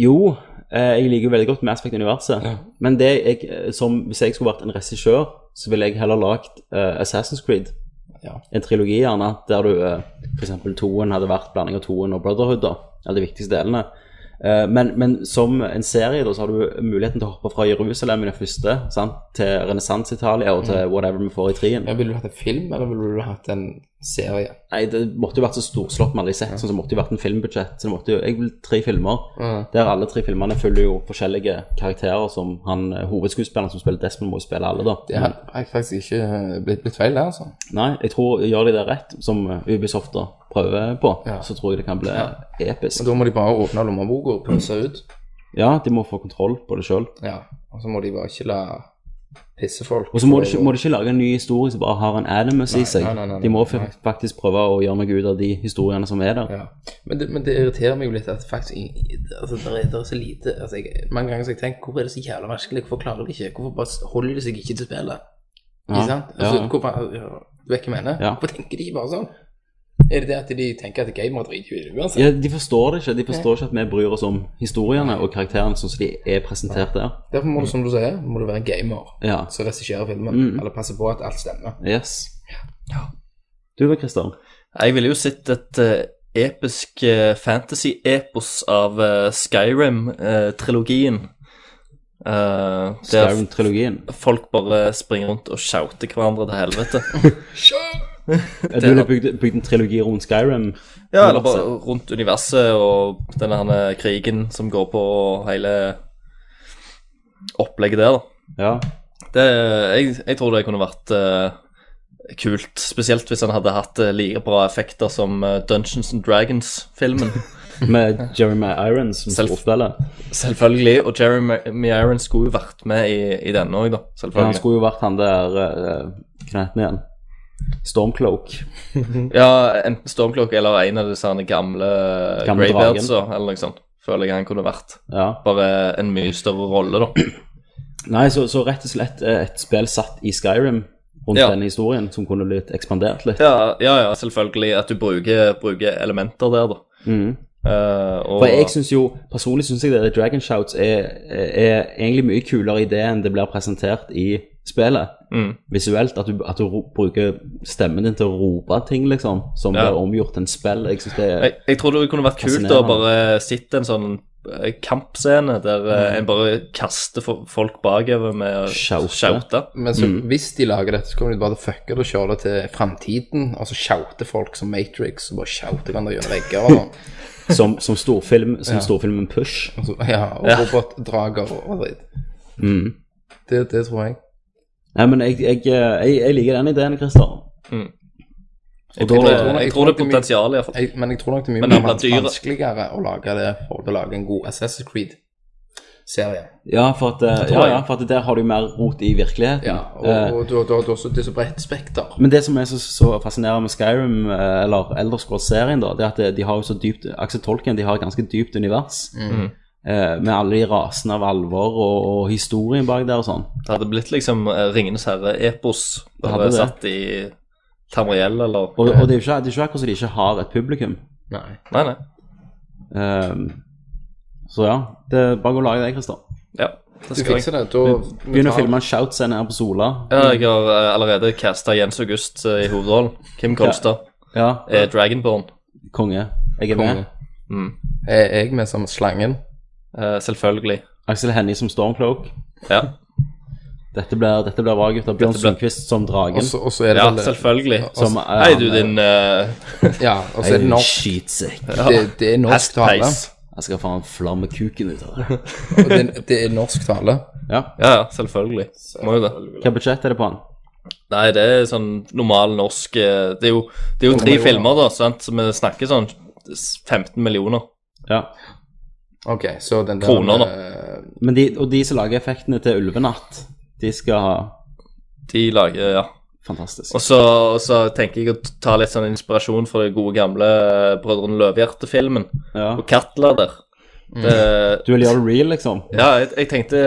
Jo, eh, jeg liker jo veldig godt Mass Effect-universet.
Ja.
Men det jeg, eh, som, hvis jeg skulle vært en regissør, så ville jeg heller lagd eh, Assassin's Creed.
Ja.
En trilogi gjerne, der du eh, f.eks. toen hadde vært blanding av toen og Brotherhood, da. Eller de viktigste delene. Eh, men, men som en serie, da, så har du muligheten til å hoppe fra Jerusalem i den første sant? til renessanse-Italia og til whatever vi får i trien.
Mm. Ja, ville du hatt en film, eller ville du hatt en serie?
Nei, det måtte jo vært så storslått med alle de sett, sånn, så det måtte jo vært en filmbudsjett. Så det måtte jo, jeg vil tre filmer, der alle tre filmene følger jo forskjellige karakterer som han eh, hovedskuespilleren som spiller Desmond må jo spille alle, da.
Det hadde jeg faktisk ikke eh, blitt, blitt feil der, altså.
Nei, jeg tror gjør de det rett, som eh, Ubisoft da prøver på,
Ja.
så tror jeg det kan bli
Men
episk.
da må de bare åpne lommeboka og pøse ut.
Ja, de må få kontroll på det sjøl.
Ja, og så må de bare ikke la pisse folk.
Og så må de, ikke, må de ikke lage en ny historie som bare har en Animus i seg.
nei, nei, nei,
de må fa-
nei.
faktisk prøve å gjøre noe ut av de historiene som er der.
Ja. Men, det, men det irriterer meg jo litt at faktisk i- i- altså, det, er, det er så lite altså, jeg, Mange ganger så har jeg tenkt hvorfor er det så jævla vanskelig? Hvorfor klarer de ikke? Hvorfor bare holder de seg ikke til spillet? Ikke sant? Altså,
ja.
Hvorfor, ja, du vet hva jeg mener?
Ja.
Hvorfor tenker de bare sånn? Er det det at de tenker at gamere driter jo i det uansett?
Ja, De forstår det ikke. De forstår ikke at vi bryr oss om historiene og karakterene sånn som de er presentert der.
Derfor må du, som du sier, må du være en gamer
Ja.
som regisserer filmen.
Mm.
Eller passer på at alt stemmer.
Yes. Du da, Christer?
Jeg ville jo sett et eh, episk eh, fantasy-epos av eh, Skyrim-trilogien. Uh, der
Skyrim-trilogien.
folk bare springer rundt og shouter hverandre til helvete.
Du ville bygd, bygd en trilogi rundt Skyrim?
Ja, eller bare rundt universet og denne herne krigen som går på og hele opplegget der, da.
Ja.
Det, jeg, jeg tror det kunne vært eh, kult, spesielt hvis han hadde hatt eh, like bra effekter som eh, Dungeons and Dragons-filmen.
Med Jeremy Irons som
Selv-
storspiller.
Selvfølgelig, og Jeremy Irons skulle jo vært med i, i denne òg, da.
Men han
Selvfølgelig.
skulle jo vært han der eh, Hva heter han igjen? Stormcloak.
Ja, enten Stormcloak eller en av disse her gamle,
Gamle
gamle Greybeardsa, eller noe sånt. Føler jeg han kunne vært.
Ja.
Bare en mye større rolle, da.
Nei, så, så rett og slett eh, et spill satt i Skyrim rundt
Ja.
denne historien, som kunne blitt ekspandert litt.
Ja, ja, ja selvfølgelig. At du bruker, bruker elementer der, da.
Mhm.
Eh, og,
For jeg synes jo, personlig syns jeg det Dragon Shouts er, er egentlig mye kulere idé enn det blir presentert i spillet.
Mm.
Visuelt, at du, at du ro- bruker stemmen din til å rope ting, liksom, som
Ja.
blir omgjort til en spill. Jeg synes det er
jeg, jeg tror det kunne vært kult å
Fascinerende.
bare sitte en sånn eh, kampscene der eh, en bare kaster fo- folk bakover med å
Mm. Shoute.
shoute.
Men
Mm.
så, hvis de lager dette, så kommer de bare til å fucke det og kjøre det til framtiden. Og så shoute folk som Matrix og bare shoute hverandre gjennom vegger. Og, sånn.
som, som, storfilm, som storfilmen Push.
og så, ja, og robotdrager og og dritt. Det, det tror jeg.
Mm. Nei, men jeg, jeg, jeg, jeg liker den ideen, Christer.
Jeg,
da-
tror det-
jeg
jeg
tror
tror det
det
er
blir-
potensial, iallfall.
jeg. Men jeg tror nok det er mye
Men det blir
mer
dyre.
vanskeligere å lage det for å lage en god Assassin's Creed-serie.
Ja, for at, eh, ja,
tror jeg.
ja, for at der har du mer rot i virkeligheten.
Ja, og,
Eh,
og du, du, du har også det er så bredt spekter.
Men det som er så, så fascinerende med Skyrim, eh, eller Elderscrolls-serien, da, det er at det- de har jo så dypt Axel Tolkien de har et ganske dypt univers.
Mm.
Eh, med alle de rasene av alvor og, og historien bak der og sånn.
Det hadde blitt liksom eh, Ringenes herre-epos,
hadde
bare
det.
satt i Tamriel eller
Og, og det er jo ikke, det er ikke akkurat så de ikke har et publikum.
Nei.
Nei, nei.
Eh, så ja, det er bare å lage det, Christer.
Ja, det
Du
skal
fikser
jeg.
det. Da
Begynn å filme en shout-scene her på Sola.
Ja, jeg har eh, allerede casta Jens August eh, i hovedrollen. Kim Kolstad
Ja,
er Dragonborn.
konge. Jeg er med.
Konge.
Mm.
Er jeg med som slangen?
Eh, selvfølgelig.
Aksel Hennie som Stormcloak.
Ja,
Dette blir, dette blir bra, gutter. Bjørn
Dette blir-
Sundquist som dragen.
Og så- og så er det
ja
vel-
selvfølgelig.
Som, eh,
Hei, du, din eh,
Ja, og så er det
en
norsk.
skitsekk.
Det, det er norsk tale.
hestpeis.
Jeg skal faen flamme kuken ut av det.
Og det, det er norsk tale.
Ja.
Ja, ja, selvfølgelig. Må jo det.
Hva budsjett er det på han?
Nei, det er sånn normal norsk eh, Det er jo, det er jo tre
millioner.
filmer, da, sant? så vi snakker sånn 15 millioner.
Ja.
Ok, så den der
Kroner, da.
eh,
Men de, og de som lager effektene til Ulvenatt, de skal ha
De lager eh, Ja.
Fantastisk.
Og så, og så tenker jeg å ta litt sånn inspirasjon fra det gode gamle eh, Brødrene Løvhjerte-filmen.
Ja.
Og Katla der.
Mm.
Det,
Du vil gjøre det real, liksom?
ja, jeg, jeg tenkte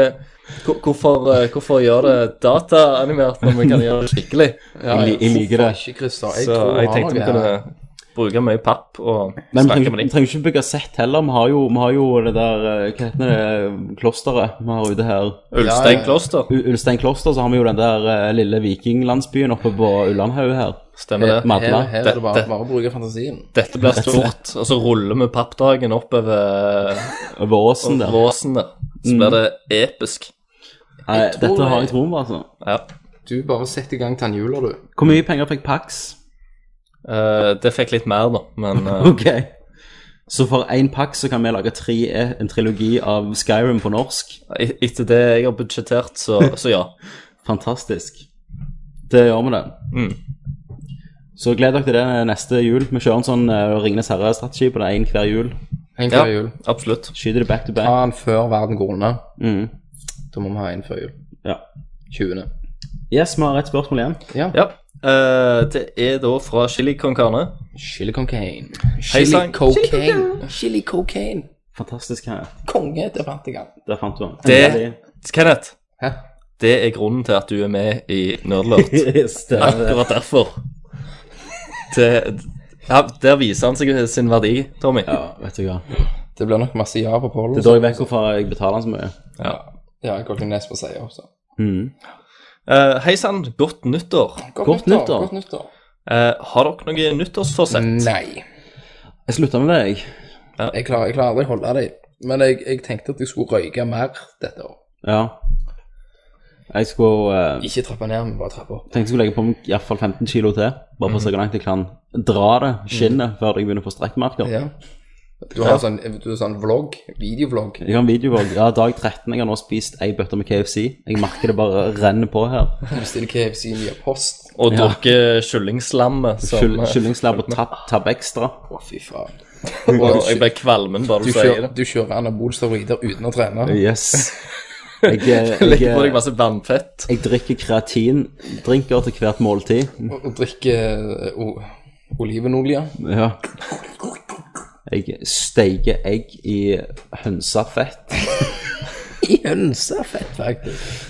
hvor- Hvorfor, eh, hvorfor gjøre det dataanimert når vi kan gjøre det skikkelig?
Jeg li- jeg liker
hvorfor
det.
Ikke, Christer. Jeg
Så
tror
jeg tenkte vi
han
kunne
er
bruke mye papp og
Men vi
snakke
trenger,
med
vi
dem.
trenger ikke bygge sett heller. Vi har jo, vi har jo det der eh, Hva heter det klosteret vi har ute her?
Ja, ja.
Ulstein kloster,
U- Ulstein kloster, så har vi jo den der eh, lille vikinglandsbyen oppe på Ullandhaug her.
stemmer det?
Madla.
her, her er det bare,
Dette-
bare å bruke fantasien.
Dette blir stort, og så ruller vi pappdagen oppover
Over åsen Sånn der.
våsen der. Så blir det episk.
Nei,
Jeg tror
dette har
jeg-
jeg troen på, altså.
Ja.
Du bare setter i gang tannhjula, du.
Hvor mye penger fikk Pax?
Eh, det fikk litt mer, da, men eh,
Ok. Så for én Pax så kan vi lage tre, en trilogi av Skyrim på norsk.
Et- Etter det jeg har budsjettert, så, så ja.
Fantastisk. Det gjør vi det.
Mm.
Så gled dere til det neste jul. Vi kjører en sånn uh, Ringenes herre-strategi på det én hver jul.
En
ja
før jul.
absolutt.
Skyter det back to
Ta
back.
den før verden går under.
Mm.
Da må vi ha en før jul.
Ja.
20.
Yes, vi har et spørsmål igjen.
Ja.
Ja. eh, det er da fra Chili Con Carne.
Chili cocaine.
Hei,
Chili
sang.
cocaine. Chili cocaine.
Fantastisk. Her.
Konge, det fant jeg an.
Der fant du den.
Det- Kenneth,
Hæ?
det er grunnen til at du er med i Nerdlurt.
Endelig. Stemmer det.
Akkurat derfor. Det, ja, der viser han seg sin verdi, Tommy.
Ja, vet du hva.
Det blir nok masse ja på
Det
pollen.
er da jeg vet hvorfor jeg betaler han så mye.
Ja.
Ja, jeg går til Nesbø sier også.
Mm.
Eh, Hei sann, godt nyttår.
Godt nyttår.
Godt nyttår.
Eh, har dere noe
Mm,
nyttårsforsett?
Nei.
Jeg slutta med det, jeg.
Jeg klarer, jeg klarer aldri å holde det. Men jeg, jeg tenkte at jeg skulle røyke mer dette år.
Ja. Jeg skulle eh,
Ikke trappe ned, men bare trappe opp.
tenkte jeg skulle legge på meg i hvert fall 15 kilo til. Bare for å se hvor langt jeg kan dra det skinnet før jeg begynner å få strekkmerker.
Ja. Du har sånn, du har sånn vlogg, videovlogg.
Jeg har en videovlogg. Ja, dag 13. Jeg har nå spist ei bøtte med KFC. Jeg merker det bare renner på her.
Du bestiller KFC via post.
Og drukke kyllingslammet som eh,
Kyll- Kyllingslær på Tab, tab Extra.
Å, fy faen.
Og Jeg ble kvalmen bare
Du
du sier
kjører,
det.
du kjører anabol steroider uten å trene.
Yes. Jeg, jeg, jeg,
Legger på deg
jeg,
masse vannfett.
drikker kreatindrinker til hvert måltid.
Og drikker o- olivenolje.
Ja. Jeg steiker egg i hønsefett.
I hønsefett, faktisk.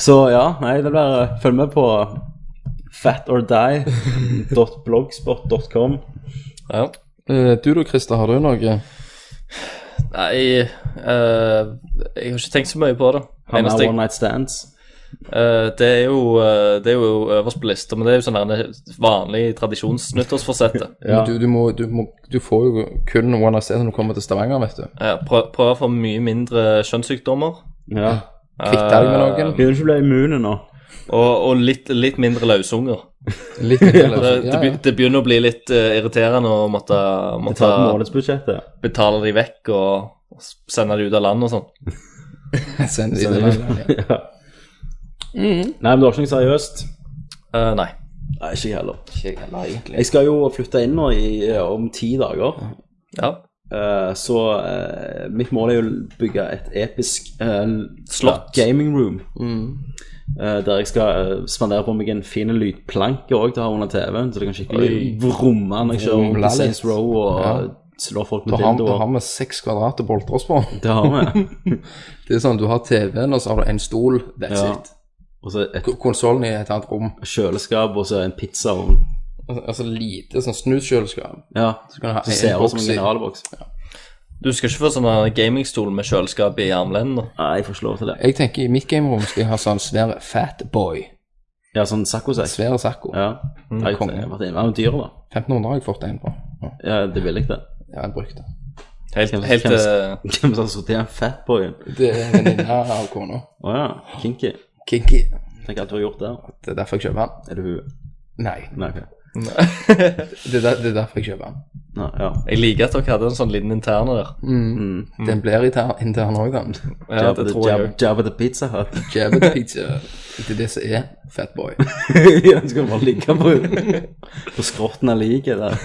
Så ja, nei, det blir eh, Følg med på fatordie.blogspot.com.
Ja.
Eh, Du da, Christer, har du noe?
Nei, eh, jeg har ikke tenkt så mye på det.
Han
Eneste
har
jeg-
one night stands.
Eh, det er jo, eh, det er jo øverst på lista, men det er jo sånn der vanlig tradisjonsnyttårsforsett.
Men Du, du, må, du, må, du får jo kun One Night Stand når du kommer til Stavanger, vet du.
Ja, prø prøve å få mye mindre kjønnssykdommer.
Ja.
Kvitt deg med noen.
Begynner ikke å bli immune nå.
Og, og litt, litt mindre løsunger.
Litt
Det,
ja,
det,
ja.
be- det begynner å bli litt eh, irriterende å måtte, måtte
Ta månedsbudsjettet.
betale de vekk og s- sende de ut av landet og sånn.
Send de til meg.
Ja.
Mm.
Nei, men det var ikke noe seriøst.
Eh, nei.
Nei, ikke jeg heller.
Ikke jeg heller, egentlig.
Jeg skal jo flytte inn nå i, eh, om ti dager.
Ja.
Eh, så eh, mitt mål er jo å bygge et episk eh,
Slott.
ja, gaming room.
Mm.
Eh, der jeg skal eh, spandere på meg en fin lydplanke òg til å ha under TV-en. Så det kan skikkelig vromme når jeg kjører
Vromle
rundt i Saints
litt.
Row og
Ja.
slår folk
Da
med
har, da
dildoer.
har vi seks kvadrat å boltre oss på.
Det har vi.
Det er sånn, Du har TV-en, og så har du en stol. That's
Ja.
it.
Og så et
Ko- Konsollen i et annet rom.
kjøleskap og så en pizzaovn.
Altså, altså lite sånn snuskjøleskap.
Ja,
kan du ha
så
en
ser det ut
boks
som en
i.
generalboks.
Du skal ikke få sånn der gamingstol med kjøleskap i armlendene.
Nei, jeg får ikke lov til det.
Jeg tenker i mitt gamerom skal jeg ha sånn svær fat boy.
Ja, sånn saccosekk.
Svær sacco.
Ja. Mm, jeg
konge.
har vært inne med dyr, da.
1500 har jeg fått en på.
Ja, det vil jeg det.
Ja, jeg brukte den.
Helt,
Hvem-
helt
hvem-
eh,
Hvem som har sittet i en fatboy?
Det er en venninne av kona.
Å ja, kinky.
Kinky.
Tenk alt du har gjort der.
Det er derfor jeg kjøper den.
Er du hun?
Nei,
Nei, ok.
det er, der, det er derfor jeg kjøper den.
Nei, ja.
Jeg liker at dere hadde en sånn liten interne der.
Den blir intern, intern også, den.
Ja, det tror jeg òg.
Jabba the Pizza Hut.
Jabba pizza. Det er det som er fatboy.
ja, den skal bare ligge på På skrotten av liket der.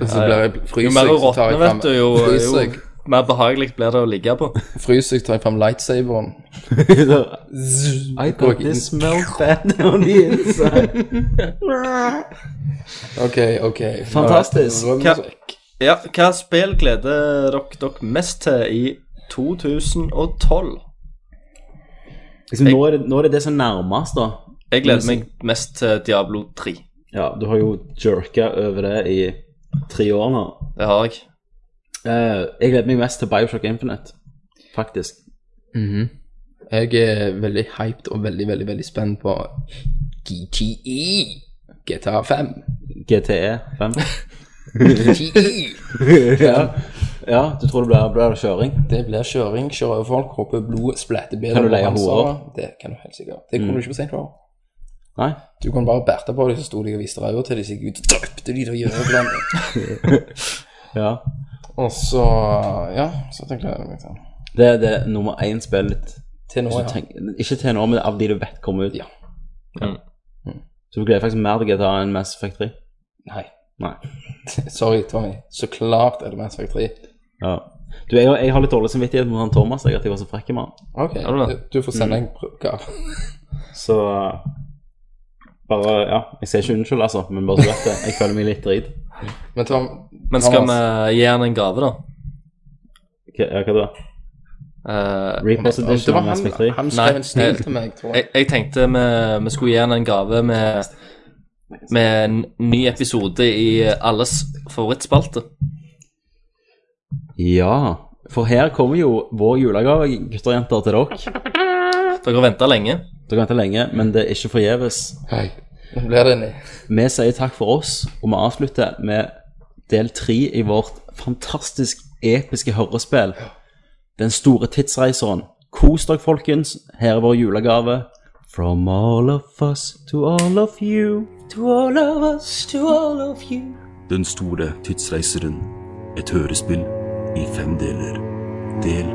Og så blir jeg
Jo
fryser
mer
jeg, så tar
råtne,
jeg fram
vet du, jo,
Fryser
jo
jeg,
mer behagelig blir det å ligge på.
fryser jeg, tar jeg fram lightsaberen.
I
Går
thought
ikke
this smelled bad on the inside.
OK, OK.
Fantastisk.
Rømmesekk.
Ja, hva spill gleder dere dere mest til i 2012?
Liksom, nå, er det, nå er det det som er nærmest, da.
Jeg gleder meg mest til Diablo 3.
Ja, du har jo jerka over det i tre år nå.
Det har jeg.
Eh, jeg gleder meg mest til Bioshock Infinite, faktisk.
Jeg er veldig hyped og veldig, veldig veldig spent på E. GTI. GTA 5.
GTE 5.
GTI.
ja. ja, du tror det blir, blir kjøring?
Det blir kjøring, kjøre over folk, hoppe blod, splette bedre.
Kan du leie horer?
Det kan du helt sikkert. Det kunne du ikke på St. Paul.
Nei?
Du kunne bare bærte på dem, så sto de og viste ræva til dem, så gikk ut og drøpte de til å gjøre blant.
Ja.
Og så, ja, så tenkte jeg meg sånn.
Det er det nummer én spillet.
Til nå,
Hvis du
ja.
tenker- Ikke til nå, men av de du vet kommer ut.
Ja.
Mm.
Så du gleder faktisk mer til GTA enn Mass Effect 3?
Nei.
Nei.
Sorry, Tommy. Så klart er det Mass Effect 3.
Ja. Du, jeg, jeg har litt dårlig samvittighet mot han Thomas, jeg, at jeg var så frekk med han.
Ok,
du det?
du, du får sende en prøvekar.
Så uh, bare Ja, jeg ser ikke unnskyld, altså, men bare så vet det. Jeg føler meg litt drit.
Men Tom,
Men skal vi
Thomas,
gi han en gave, da?
Hva, ja, hva da?
Eh,
Repost
Det
edition
var
av Mass
han,
Effect 3?
han
Nei.
skrev en stil til meg, tror jeg.
jeg, jeg tenkte vi, vi skulle gi han en gave med, med en ny episode i alles favorittspalte.
Ja. For her kommer jo vår julegave, gutter og jenter, til dere.
Dere har venta lenge.
Dere venter lenge, men det er ikke forgjeves.
Hei. Nå blir det en
Vi sier takk for oss, og vi avslutter med del tre i vårt fantastisk episke hørespill. Den store tidsreiseren. Kos dere, folkens. Her er vår julegave. From all of us to all of you. To all of us to all of you.
Den store tidsreiseren. Et hørespill i fem deler. Del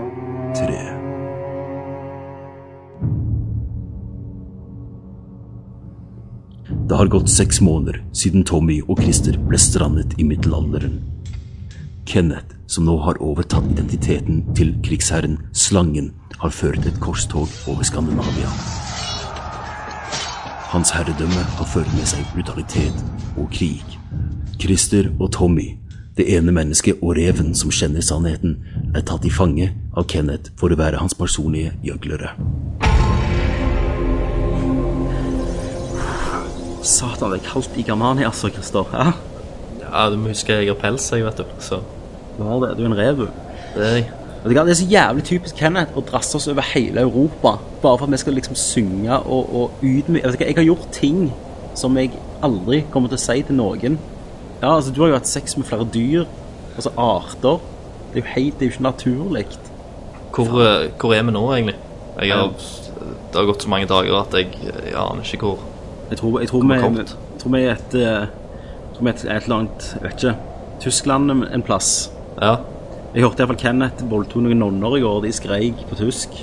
tre. Det har gått seks måneder siden Tommy og Christer ble strandet i middelalderen. Kenneth, som nå har overtatt identiteten til krigsherren Slangen, har ført et korstog over Skandinavia. Hans herredømme har ført med seg brutalitet og krig. Christer og Tommy, det ene mennesket og reven som kjenner sannheten, er tatt i fange av Kenneth for å være hans personlige gjøglere.
Satan, det er kaldt i Germania, altså, Christer. Ja,
Ja, du må huske jeg har pels, jeg, vet du. Så
du har det. Du er en rev, du.
det er jeg.
Vet du hva, Det er så jævlig typisk Kenneth å drasse oss over hele Europa. Bare for at vi skal liksom synge og, og utmyke jeg, vet ikke, jeg har gjort ting som jeg aldri kommer til å si til noen. Ja, altså Du har jo hatt sex med flere dyr. Altså arter. Det er jo helt, det er jo ikke naturlig.
Hvor, eh, hvor er vi nå, egentlig? Jeg har, det har gått så mange dager at jeg, jeg aner ikke hvor.
Jeg tror, jeg tror, vi,
Kommer kommet.
jeg tror vi er et eh, jeg tror vi er et, et eller annet Jeg vet ikke. Tyskland en plass.
Ja,
Jeg hørte iallfall Kenneth voldtok noen nonner i går. De skreik på tysk.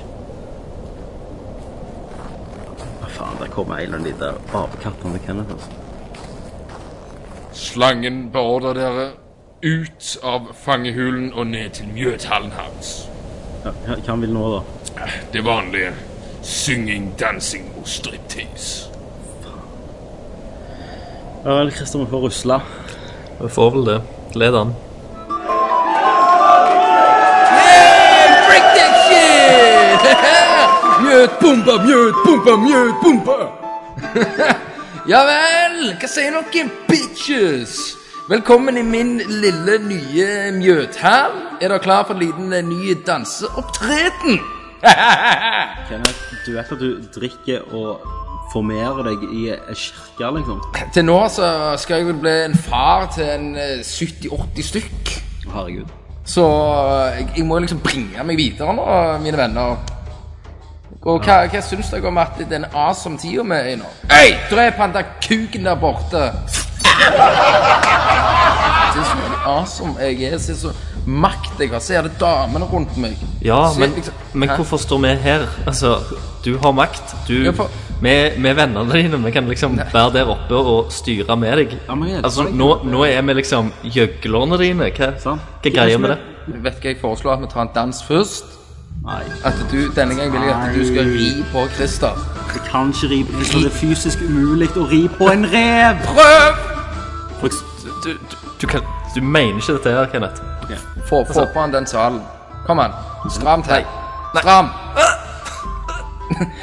Hva faen, der kommer en eller annen liten apekatt til Kenneth. altså.
Slangen beordrer dere ut av fangehulen og ned til mjødhallen hans.
Ja, hva- hva han vil nå, da?
Det vanlige. Synging, dansing og striptease.
Ja vel, Christer, vi får rusle.
vi får vel det. Led an.
Break that shit! Mjødpumpa, mjødpumpa, mjødpumpa! ja vel, hva sier dere, bitches? Velkommen i min lille nye mjødhall. Er dere klar for en liten eh, ny danseopptreden?
Kenneth, du vet at du drikker og formerer deg i ei kirke, liksom?
Til nå så skal jeg vel bli en far til en eh, 70-80 stykk.
Herregud.
Så jeg, jeg må liksom bringe meg videre nå, mine venner. Og hva, hva syns dere om at den awesome tida vi er i nå? Hei, drep han der kuken der borte! Se så awesome jeg er. Se så makt jeg har. Se alle damene rundt meg.
Ja,
Se
men,
liksom-
men
Hæ?
hvorfor står vi her? Altså, du har makt. Du,
Ja, for-
vi, vi er vennene dine. Vi kan liksom være der oppe og styre med deg.
Ja, men jeg-
Altså, nå, nå er vi liksom gjøglerne dine. Hva,
Sant.
hva greier med det?
Vet du hva jeg foreslår? At vi tar en dans først?
Nei,
At du, Denne gangen vil jeg at du skal ri på Christer.
jeg kan ikke ri på Christer. Det er fysisk umulig å ri på en rev!
Prøv!
Du, du, du, kan, du mener ikke dette her, Kenneth?
Få,
Altså-
få på han den salen. Kom an. Stram til. Stram.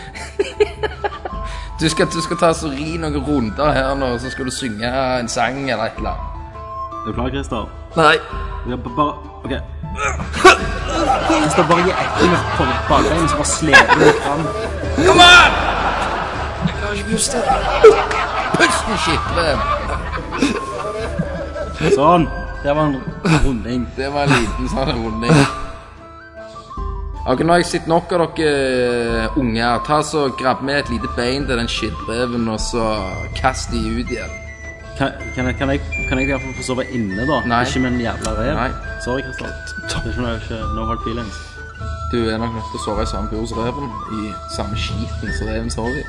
Du skal, du skal ta så ri noen runder her nå, så skal du synge en sang eller et eller annet.
Er du klar, Christer?
Nei.
Ja, ba- bare OK. Christer, bare gi etter med for- bakbein, så bare sleper du deg fram.
Kom an! Pusten skitler.
Sånn. Det var en runding.
Det var en liten sånn runding. Ok, Nå har jeg sett nok av dere unger. Ta så Grabb med et lite bein til den skittreven, og så kast de ut igjen.
Kan, kan, jeg, kan, jeg, kan jeg i hvert fall få sove inne, da?
Nei.
Ikke med en jævla rev?
Nei.
Sorry, Kristian. Det er ikke noe ikke no hard feelings.
Du er nok nødt til å sove i samme bur som reven, i samme skiten som reven sover i.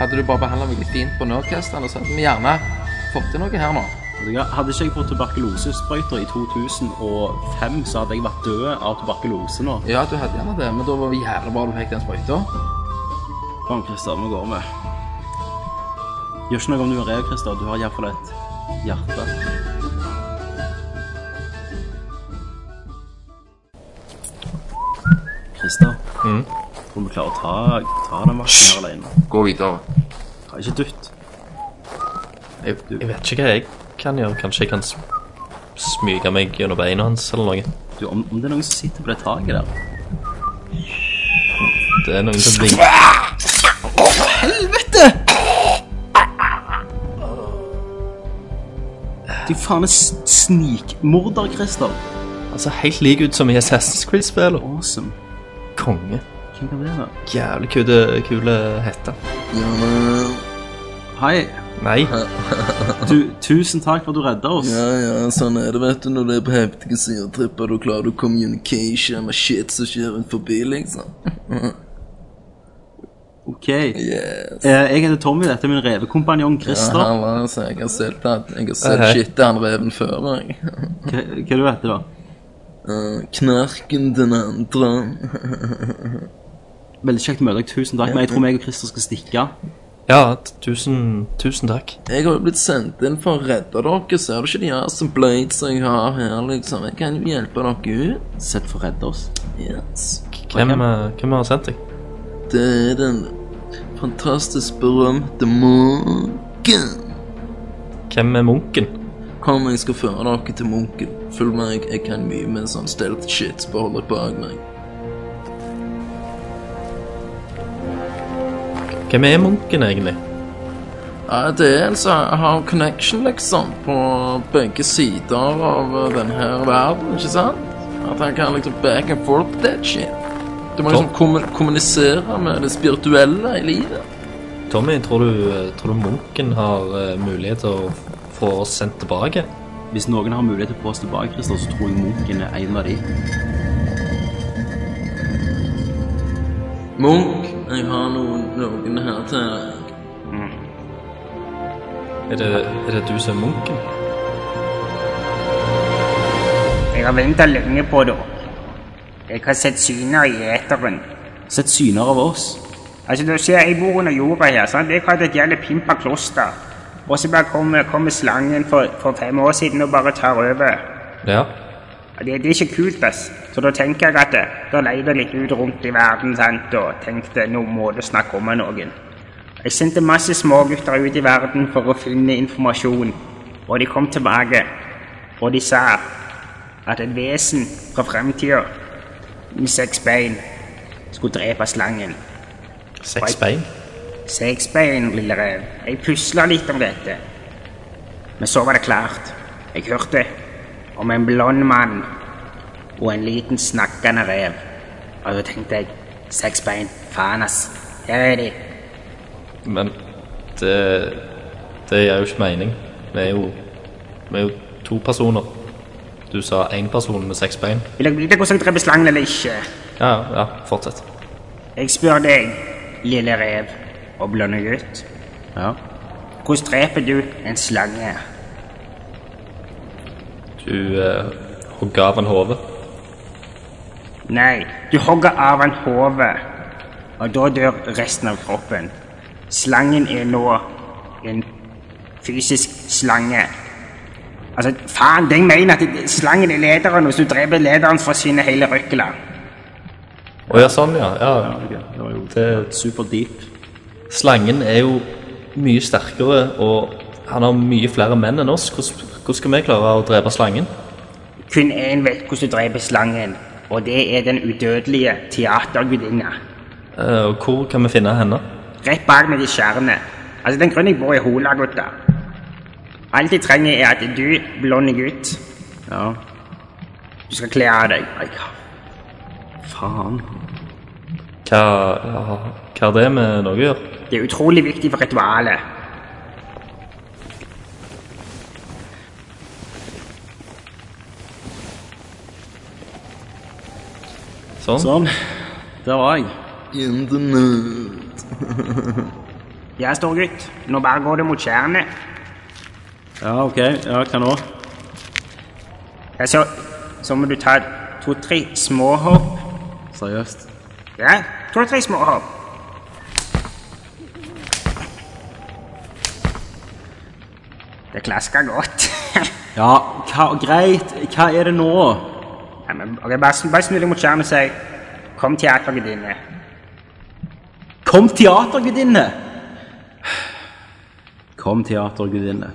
Hadde du bare behandla meg litt fint på Nerdcastene, så hadde vi gjerne fått til noe her nå.
Vet du hva? Hadde ikke jeg fått tuberkulosesprøyter i 2005, så hadde jeg vært død av tuberkulose nå.
Ja, du hadde gjerne det, men da var det jævla bra du fikk den sprøyta.
Kom, Kristian, vi går med. Gjør ikke noe om du er rev, Kristian. Du har iallfall et hjerte. Kristian, tror du vi klarer å ta, ta den vakken her alene?
Mm. Gå videre.
Ta ikke dytt.
Jeg, jeg vet ikke hva jeg kan gjøre. Kanskje jeg kan sm- smyge meg gjennom beina hans eller noe.
Du, om, om det er noen som sitter på det taket der
Det er noen som vinker.
Du faen er s- snikmorder, Christer.
Altså, helt lik ut som i Assassin's Creed-spillet.
Awesome.
Konge.
Hvem kan det være?
Jævlig kule, kule hette.
Hei.
Nei.
Du, tusen takk for at du redda oss.
Altså- ja, sånn er det, vet du. Når du er på heftige sidetripper, da klarer du communication med shit som skjer rundt forbi, liksom.
Ok. Eh, jeg heter Tommy, dette er min revekompanjong Christer. Hva
var altså, jeg har selv tatt Jeg har
Hei, hei.
shit til han reven før, jeg.
hva er det du heter du, da?
Eh, knarken den andre.
Veldig kjekt å møte deg, tusen takk. Men jeg tror meg og Christer skal stikke.
Ja, t- tusen, tusen takk.
Jeg har jo blitt sendt inn for å redde dere. Ser du ikke de her som blades jeg har her, liksom? Jeg kan jo hjelpe dere ut.
Sett for å redde oss.
Yes.
Hvem, eh, hvem har sendt deg?
Det er den fantastisk berømte munken.
Hvem er munken?
Kom, jeg skal føre dere til munken. Følg meg, jeg kan mye med sånn stealth shit. så Bare hold dere bak meg.
Hvem er munken, egentlig?
Ja, det er altså Jeg har connection, liksom, på begge sider av eh, den her verden, ikke sant? At han kan liksom back and forth that shit. Du må liksom kommu- kommunisere med det spirituelle i livet.
Tommy, tror du, eh, tror du munken har eh, mulighet til å få oss sendt tilbake?
Hvis noen har mulighet til å få oss tilbake, Christer, så tror jeg Munken er en av de.
Munch, jeg har noen, noen her til deg.
Er det, er det du som er munken?
Jeg har venta lenge på dere. Jeg har sett syner i eteren.
Sett syner av oss.
Altså, du ser, jeg bor under jorda her. sant? Jeg hadde et jævlig pimpa kloster. Og så bare kommer kommer slangen for, for fem år siden og bare tar over.
Ja.
Og Det, det er ikke kult, ass. Så da tenker jeg at eh, da leide jeg litt ut rundt i verden sant? og tenkte nå må det snakke om med noen. Jeg sendte masse smågutter ut i verden for å finne informasjon, og de kom tilbake. Og de sa at et vesen fra fremtida med seks bein skulle drepe slangen.
Seks bein?
Seks bein, lille rev. Jeg pusla litt om dette. Men så var det klart. Jeg hørte om en blond mann og en liten snakkende rev. Og da tenkte jeg Seks bein. Faen, ass. Der er de.
Men det, det gir jo ikke mening. Vi er jo, vi er jo to personer. Du sa én person med seks bein.
Vil dere vite hvordan jeg dreper slangen eller ikke?
Ja, ja, fortsett.
Jeg spør deg, lille rev og blonde gutt.
Ja.
Hvordan dreper du en slange?
Du eh, hogg av en hode.
Nei, du hogger av en hode, og da dør resten av kroppen. Slangen er nå en fysisk slange. Altså, faen, det jeg mener at det- slangen er lederen, og hvis du dreper lederen, forsvinner hele røkla.
Å ja, sånn, ja. ja. Det er
super deep.
Slangen er jo mye sterkere, og han har mye flere menn enn oss. Hvordan hvordan skal vi klare å drepe slangen?
Kun én vet hvordan du dreper slangen, og det er den udødelige teatergudinna.
Eh, og hvor kan vi finne henne?
Rett bak meg i skjernet. Altså, den grunnen jeg bor i Hola, gutta. Alt jeg trenger, er at du, blonde gutt,
Ja.
du skal kle av deg. Oi, hva
Faen.
Hva, ja, hva er det med noe å gjøre?
Det er utrolig viktig for ritualet.
Sånn.
Sånn. Der var jeg.
In the nude.
Ja, storgutt. Nå bare går det mot tjernet.
Ja, OK. Ja, hva nå?
Ja, så, så må du ta to-tre små hopp.
Seriøst.
Ja, to-tre små hopp. Det klasker godt.
Ja, hva, greit. Hva er det nå?
ja, men, ok, bare, sn- bare snu deg mot tjernet og si Kom teatergudinne.
Kom, teatergudinne! Kom, teatergudinne.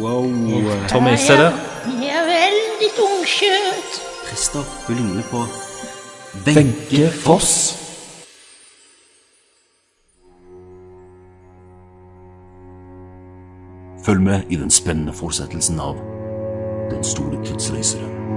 Wow.
Tommy, se det.
Jeg er veldig tungkjørt.
Christer, hun ligner på Wenche Foss.
Følg med i den spennende fortsettelsen av Den store tidsreiseren.